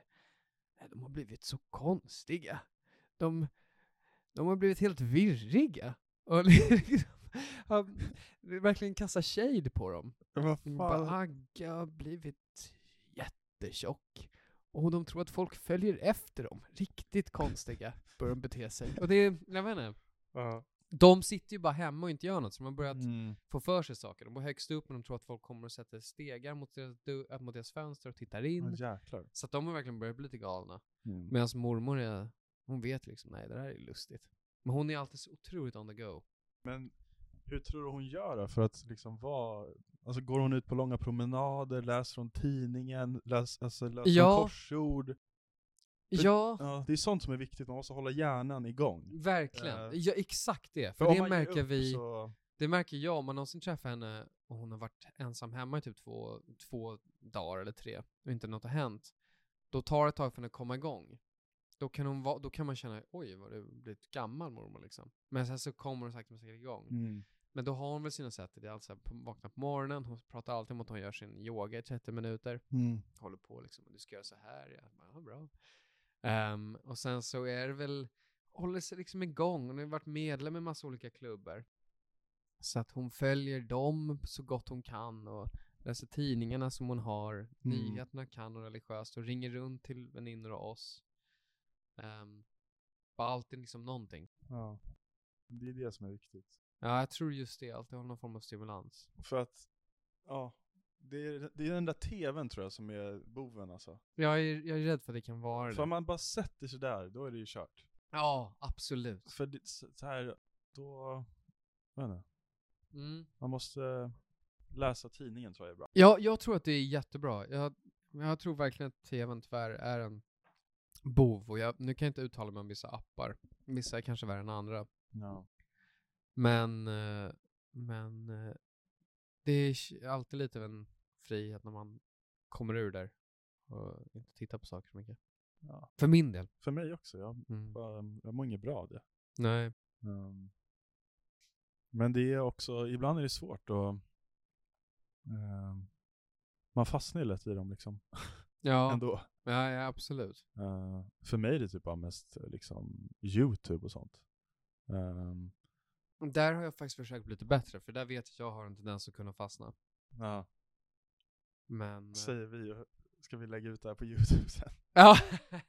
S1: nej, de har blivit så konstiga. De, de har blivit helt virriga. Och liksom, han- verkligen kasta shade på dem.
S2: Vad
S1: Bara,
S2: fan?
S1: Agga har blivit jättetjock. Och de tror att folk följer efter dem. Riktigt konstiga börjar de bete sig. Och det är, jag vet inte.
S2: Ja.
S1: De sitter ju bara hemma och inte gör något, så de har börjat
S2: Ah. Mm.
S1: få för sig saker. De bor högst upp, men de tror att folk kommer och sätter stegar mot deras, du- äh, mot deras fönster och tittar in.
S2: Ja, Ah, Jäklar.
S1: Så att de har verkligen börjat bli lite galna.
S2: Mm.
S1: Medan mormor är, hon vet liksom, nej det här är lustigt. Men hon är alltid så otroligt on the go.
S2: Men hur tror du hon gör då för att liksom vara, alltså går hon ut på långa promenader, läser hon tidningen, läs, alltså läser
S1: Ja.
S2: hon korsord?
S1: Ja,
S2: Ja, det är sånt som är viktigt, man måste hålla hjärnan igång.
S1: Verkligen.
S2: Eh,
S1: Ja, exakt det.
S2: om
S1: För det
S2: man ger
S1: märker,
S2: upp
S1: vi,
S2: Så,
S1: det märker jag om man någonsin träffar henne och hon har varit ensam hemma i typ två, två dagar eller tre och inte något har hänt. Då tar det ett tag för henne att komma igång. Då kan, hon va, då kan man känna, oj vad du har blivit gammal mormor liksom. Men sen så kommer hon sakta men säkert igång.
S2: mm.
S1: Men då har hon väl sina sätt. Det är alltså på- vakna på morgonen, hon pratar alltid om att hon gör sin yoga i 30 minuter
S2: Mm.
S1: håller på liksom, du ska göra så här, ja, bara, ja bra. Ehm, och sen så är det väl, håller sig liksom igång. Hon har ju varit medlem i massa olika klubbar. Så att hon följer dem så gott hon kan och läser tidningarna som hon har, nyheterna kan och religiöst och ringer runt till väninnor och oss. Um, bara alltid liksom någonting.
S2: Ja. Det är det som är viktigt.
S1: Ja, jag tror just det, alltid har någon form av stimulans.
S2: För att, ja, det är, det är den där tvn tror jag som är boven alltså.
S1: Jag är, jag är rädd för att det kan vara
S2: För om
S1: det.
S2: man bara sätter sig där, då är det ju kört.
S1: Ja, absolut.
S2: För det, så så här, då, jag vet inte,
S1: Mm.
S2: man måste eh, läsa tidningen tror jag är bra.
S1: Ja, jag tror att det är jättebra. Jag, jag tror verkligen att tvn tyvärr är en bov. Och jag, nu kan jag inte uttala mig om vissa appar. Vissa är kanske värre än andra.
S2: Ja.
S1: Men, eh, men eh, det är k- alltid lite av en frihet när man kommer ur där och inte tittar på saker så mycket.
S2: Ja.
S1: För min del.
S2: För mig också, jag,
S1: Mm.
S2: bara, jag mår inget bra av det.
S1: Nej.
S2: Ehm, men det är också, ibland är det svårt att, ehm, man fastnar ju lätt i dem liksom,
S1: Ja,
S2: ändå.
S1: ja, ja absolut.
S2: Eh, för mig är det typ bara mest eh, liksom YouTube och sånt. Ehm,
S1: Och Där har jag faktiskt försökt bli lite bättre, för där vet jag att jag har en tendens att kunna fastna.
S2: ja,
S1: Men... eh,
S2: säger vi, och- ska vi lägga ut det här på YouTube sen?
S1: Ja.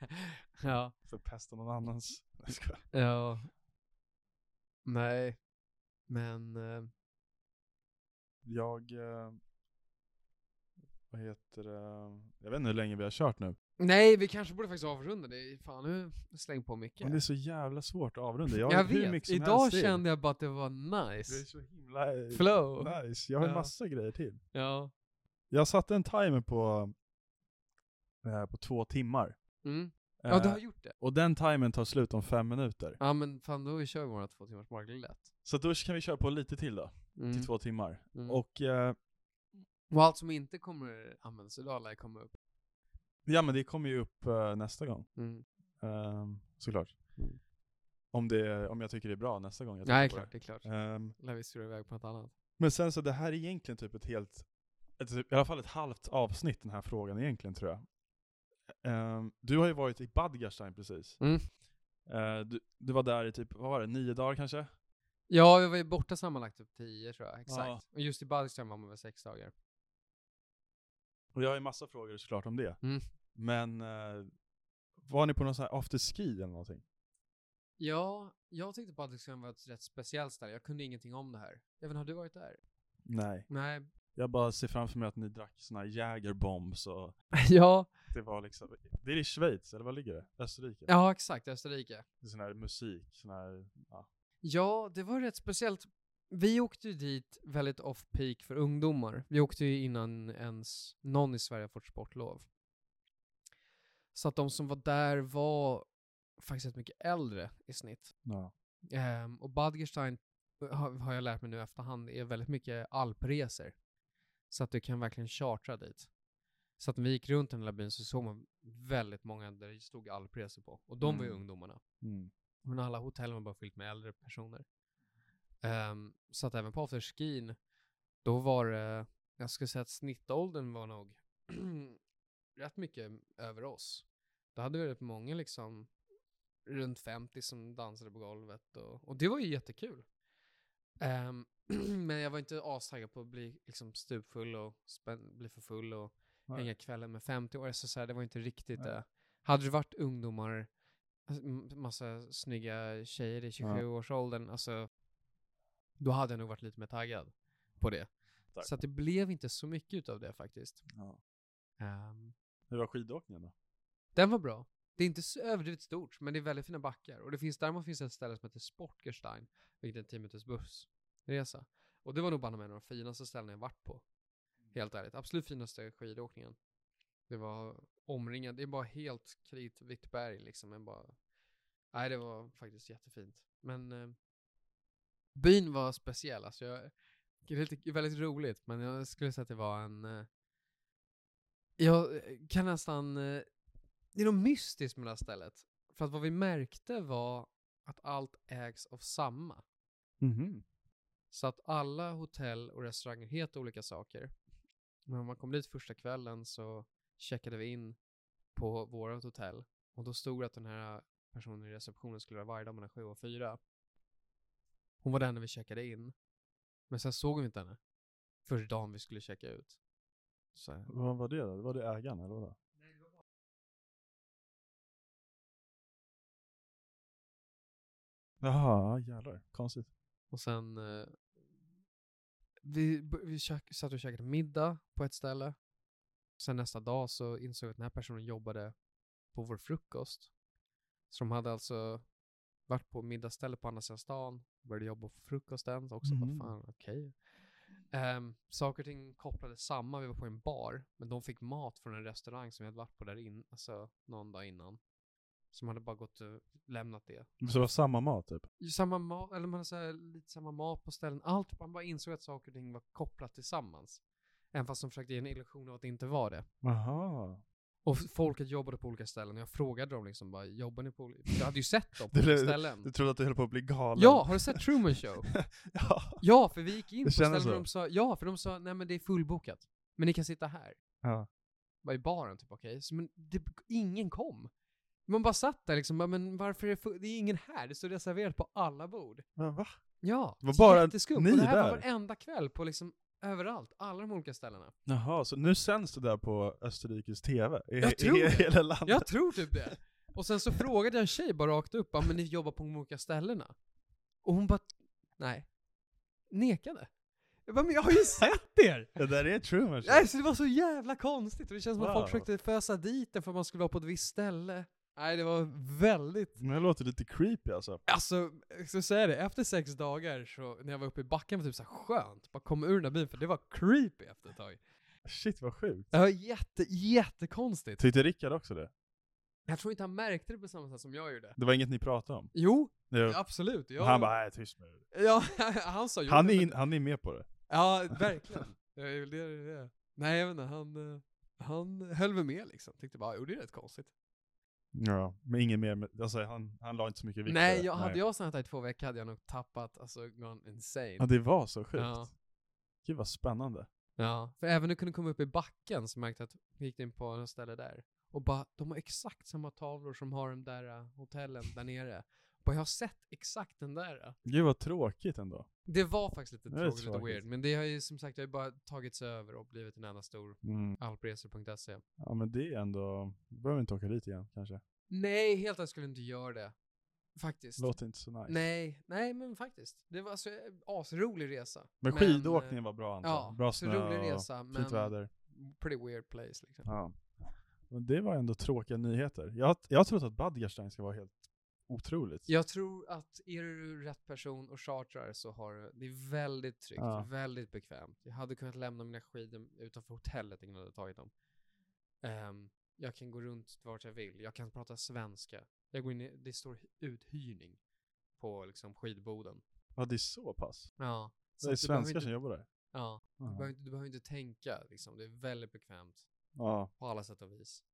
S1: ja.
S2: Förpesta någon annans. Jag skojar.
S1: Ja. Nej. Men... eh,
S2: Jag, eh, vad heter det, jag vet inte hur länge vi har kört nu.
S1: Nej, vi kanske borde faktiskt avrunda det. Fan, nu släng på mycket.
S2: Men det är så jävla svårt att avrunda. Jag,
S1: jag
S2: har hur mycket
S1: vet.
S2: som
S1: Idag
S2: helst i.
S1: kände jag bara att det var
S2: Det är
S1: nice.
S2: så himla eh,
S1: Flow.
S2: nice. Jag har en
S1: Ja.
S2: massa grejer till.
S1: Ja.
S2: Jag satte en timer på, eh, på två timmar.
S1: Mm. Ja, du
S2: Eh,
S1: har gjort det.
S2: Och den timern tar slut om fem minuter.
S1: Ja, men fan då kör vi våra två timmars mark lätt.
S2: Så då kan vi köra på lite till då,
S1: Mm.
S2: till två timmar.
S1: Mm. Och,
S2: Och eh,
S1: allt som inte kommer användas idag lär komma upp.
S2: ja men det kommer ju upp eh, nästa gång,
S1: Mm.
S2: Ehm, såklart.
S1: Mm.
S2: Om, det, om jag tycker det är bra nästa gång jag
S1: Nej,
S2: tittar på
S1: klart, det är klart.
S2: det. Ehm,
S1: Lär vi surra iväg på något annat.
S2: men sen så det här är egentligen typ ett helt, ett, i alla fall ett halvt avsnitt den här frågan egentligen tror jag. Ehm, du har ju varit i Badgerstein precis.
S1: Mm.
S2: Eh, du, du var där i typ, vad var det, nio dagar kanske?
S1: Ja, jag var ju borta sammanlagt typ tio tror jag. Exakt. Och just i Badström var man väl sex dagar.
S2: Och jag har ju massa frågor såklart om det.
S1: Mm.
S2: Men eh, var ni på någon sån här afterski eller någonting?
S1: Ja, jag tyckte Badström var ett rätt speciellt ställe. Jag kunde ingenting om det här. Även har du varit där?
S2: Nej.
S1: Nej.
S2: Jag bara ser framför mig att ni drack såna här Jägerbombs och
S1: ja,
S2: det var liksom, det är i Schweiz eller var ligger det? Österrike?
S1: ja exakt. Österrike.
S2: Det är sån här musik, sån här, ja.
S1: Ja, det var rätt speciellt. Vi åkte ju dit väldigt off-peak för ungdomar. Vi åkte ju innan ens någon i Sverige fått sportlov. Så att de som var där var faktiskt rätt mycket äldre i snitt.
S2: ja.
S1: Ehm, och Badgerstein, har, har jag lärt mig nu i efterhand, är väldigt mycket alpresor. Så att du kan verkligen chartra dit. Så att när vi gick runt den lilla byn så såg man väldigt många där det stod alpresor på. Och de var ju
S2: Mm.
S1: ungdomarna. Men alla hotell var bara fyllt med äldre personer. Ehm, så att även på afterskin, då var det, jag skulle säga att snittåldern var nog rätt mycket över oss. Då hade vi rätt många liksom runt 50 som dansade på golvet och, och det var ju jättekul. Ehm, men jag var inte astaggad på att bli liksom stupfull och spän- bli för full och
S2: Nej.
S1: hänga kvällen med 50 år. Så, så här, det var inte riktigt
S2: Nej.
S1: det. Hade det varit ungdomar, alltså, m- massa snygga tjejer i 27-årsåldern, alltså då hade jag nog varit lite mer taggad på det.
S2: Tack.
S1: Så att det blev inte så mycket av det faktiskt.
S2: ja.
S1: Ehm,
S2: Hur var skidåkningen då?
S1: den var bra. Det är inte så överdrivet stort, men det är väldigt fina backar. Och det finns, däremot finns ett ställe som heter Sportgerstein, vilket är en 10 minuters bussresa. Och det var nog bara med en av de finaste ställena jag varit på. Helt ärligt, absolut finaste skidåkningen. Det var omringat, det är bara helt kritvitt berg liksom. Men bara... Nej, det var faktiskt jättefint. Men eh, byn var speciell, alltså. Jag, det är lite, väldigt roligt, men jag skulle säga att det var en... Eh, jag kan nästan... Eh, det är något mystiskt med det här stället. För att vad vi märkte var att allt ägs av samma.
S2: mm
S1: Så att alla hotell och restauranger heter olika saker. Men om man kom dit första kvällen så checkade vi in på vårt hotell och då stod det att den här personen i receptionen skulle vara varje dag mellan sju och fyra. Hon var där när vi checkade in. Men sen såg vi inte henne. Först dagen vi skulle checka ut. Så, här,
S2: Vad var det då? Var det ägaren eller vadå? Jaha, jävlar. Konstigt.
S1: och sen... Eh, vi b- vi käk, satt och käkade middag på ett ställe. Sen nästa dag så insåg vi att den här personen jobbade på vår frukost. Så de hade alltså varit på middagsställe på andra sidan stan, började jobba på frukosten. Så också, vad
S2: Mhm.
S1: fan, okej. Ehm, saker och ting kopplades samman, vi var på en bar, men de fick mat från en restaurang som vi hade varit på där in, alltså någon dag innan. Som hade bara gått och lämnat det.
S2: Så det var samma mat typ?
S1: Ju samma mat, eller man har så här, lite samma mat på ställen. Allt, man bara insåg att saker och ting var kopplat tillsammans. Även fast de försökte ge en illusion av att det inte var det.
S2: Jaha.
S1: Och f- folket jobbade på olika ställen och jag frågade dem liksom bara, jobbar ni på olika... Jag hade ju sett dem på
S2: Du-
S1: olika ställen.
S2: Du trodde att du höll på att bli galen?
S1: Ja, har du sett Truman Show?
S2: ja.
S1: Ja, för vi gick in
S2: Det
S1: på
S2: kändes
S1: ställen och
S2: så.
S1: de sa, ja, för de sa, nej men det är fullbokat. Men ni kan sitta här.
S2: Ja.
S1: Bara i baren typ, okej. Så, Men det, ingen kom. Man bara satt där liksom, bara, men varför är det, fu- det är ingen här? Det står reserverat på alla bord.
S2: Men va?
S1: Ja,
S2: Det var bara
S1: jätteskumt.
S2: ni
S1: och det här var
S2: där.
S1: varenda kväll på liksom överallt, alla de olika ställena.
S2: Jaha, så nu sänds det där på Österrikes TV? I,
S1: Jag tror
S2: i,
S1: det.
S2: hela landet?
S1: Jag tror typ det. Och sen så frågade jag en tjej bara rakt upp, "Ja, men ni jobbar på de olika ställena? Och hon bara, nej. Nekade. Jag bara, men jag har ju sett er!
S2: Det där är Truman Show.
S1: Nej, så det var så jävla konstigt och det känns som att folk
S2: Wow.
S1: försökte fösa dit den för att man skulle vara på ett visst ställe. Nej, det var väldigt
S2: Men det låter lite creepy alltså.
S1: Alltså, jag ska säga det, efter sex dagar så, när jag var uppe i backen var det typ så här skönt, bara komma ur den där bilen för det var creepy efter ett tag.
S2: Shit vad sjukt.
S1: Det var jätte, jättekonstigt.
S2: Tyckte Rickard också det?
S1: Jag tror inte han märkte det på samma sätt som jag gjorde.
S2: Det var inget ni pratade om?
S1: Jo,
S2: Det-
S1: absolut. Jag,
S2: Han bara, nej tyst med det.
S1: Ja, han sa jo.
S2: Han är,
S1: men-
S2: in, han är med på det.
S1: Ja, verkligen. Ja, det är väl det, det är det. Nej, jag vet inte, han, eh, han höll väl med liksom. Tyckte bara, jo det är rätt konstigt.
S2: Ja, men ingen mer, med- alltså han, han la inte så mycket vikt
S1: Nej,
S2: vid det.
S1: jag, hade jag stannat där i två veckor hade jag nog tappat, alltså gone insane.
S2: Ja, det var så sjukt.
S1: Ja.
S2: Gud vad spännande.
S1: Ja, för även när du kunde komma upp i backen så märkte jag att vi gick in på något ställe där och bara, de har exakt samma tavlor som har de där eh, hotellen där nere. Bara, jag har sett exakt den där. eh.
S2: Gud vad tråkigt ändå.
S1: Det var faktiskt lite
S2: Det är
S1: tråkigt och
S2: tråkigt.
S1: weird, men det har ju som sagt, det har ju bara tagits över och blivit en annan stor
S2: Mm.
S1: alpresor.se.
S2: Ja men det är ändå, då behöver vi inte åka dit igen kanske.
S1: Nej, helt enkelt skulle jag inte göra det. Faktiskt.
S2: Låter inte så nice.
S1: Nej, nej men faktiskt. Det var alltså eh, asrolig resa.
S2: Men
S1: eh,
S2: skidåkningen var bra antar jag.
S1: Ja,
S2: Bra
S1: så
S2: snö
S1: rolig
S2: och
S1: resa, men
S2: fint väder.
S1: pretty weird place liksom.
S2: Ja. Men det var ändå tråkiga nyheter. Jag, har- jag har trott att Badgerstein ska vara helt otroligt.
S1: Jag tror att är du rätt person och chartrar så har du- det är väldigt tryggt,
S2: Ja.
S1: väldigt bekvämt. Jag hade kunnat lämna mina skidor utanför hotellet innan jag hade tagit dem. Ehm, jag kan gå runt vart jag vill, jag kan prata svenska. Jag går in i, det står uthyrning på liksom skidboden.
S2: Ja det är så pass.
S1: Ja.
S2: Det är
S1: att du behöver
S2: svenskar
S1: inte-
S2: som jobbar där.
S1: Ja, du
S2: Ja.
S1: behöver, inte- du behöver inte tänka liksom. Det är väldigt bekvämt
S2: Ja.
S1: på alla sätt och vis.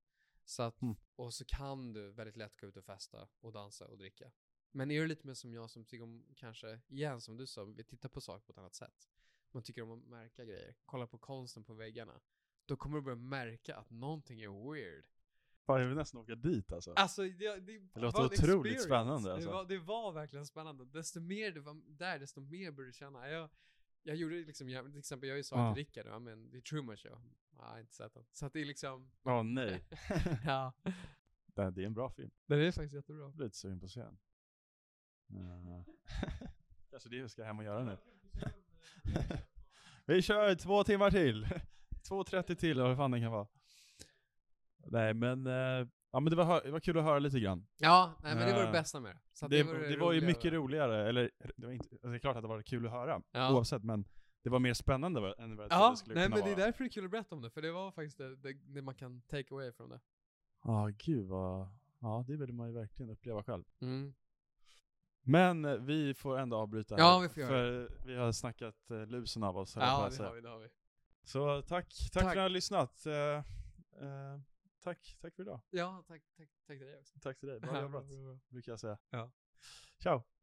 S1: Så att,
S2: Mm.
S1: Och så kan du väldigt lätt gå ut och festa och dansa och dricka. Men är du lite mer som jag som tycker om, kanske, igen som du sa, vi tittar på saker på ett annat sätt. Man tycker om att märka grejer, kolla på konsten på väggarna. Då kommer du börja märka att någonting är weird.
S2: Fan jag vill nästan åka dit alltså.
S1: Alltså, det, det,
S2: Det låter
S1: var en
S2: otroligt
S1: experience.
S2: spännande, alltså.
S1: Det, var, det var verkligen spännande. Desto mer du var där, desto mer började du känna. Jag, jag gjorde liksom, jag, till exempel jag sa
S2: Ja.
S1: till Rickard, ja men det är Truman Show. Ja, jag har inte sett den. Så att det är liksom,
S2: Ja nej.
S1: ja.
S2: det, det är en bra film.
S1: Den är faktiskt jättebra.
S2: Jag blir lite sugen på att se den. Ja. Kanske det vi ska hem och göra nu. vi kör två timmar till. 2.30 till eller vad fan det kan vara. Nej men, eh, ja, men det, var, hö- det var kul att höra lite grann.
S1: Ja, nej, men det var
S2: Ja.
S1: det bästa med det. Så att
S2: Eh, det, det, var ju
S1: roligare.
S2: mycket roligare, eller det, var inte, alltså, det är klart att det var kul att höra
S1: Ja.
S2: oavsett men det var mer spännande vad- än vad jag trodde
S1: Ja,
S2: det skulle
S1: nej,
S2: kunna
S1: men det är
S2: vara.
S1: därför det är kul att berätta om det, för det var faktiskt det, det, det man kan take away från det.
S2: Ja gud vad, ja det vill man ju verkligen uppleva själv.
S1: Mm.
S2: Men eh, vi får ändå avbryta
S1: Ja,
S2: här,
S1: vi får göra
S2: för vi har snackat eh, lusen av oss. höll jag på
S1: Ja,
S2: att
S1: det
S2: säga.
S1: har vi, det har vi.
S2: Så tack, tack, för att ni har lyssnat. Eh, eh, tack, tack för idag.
S1: Ja, tack, tack, tack till dig också.
S2: Tack till dig. Bra jobbat,
S1: bra, bra.
S2: brukar jag säga.
S1: Ja.
S2: Ciao.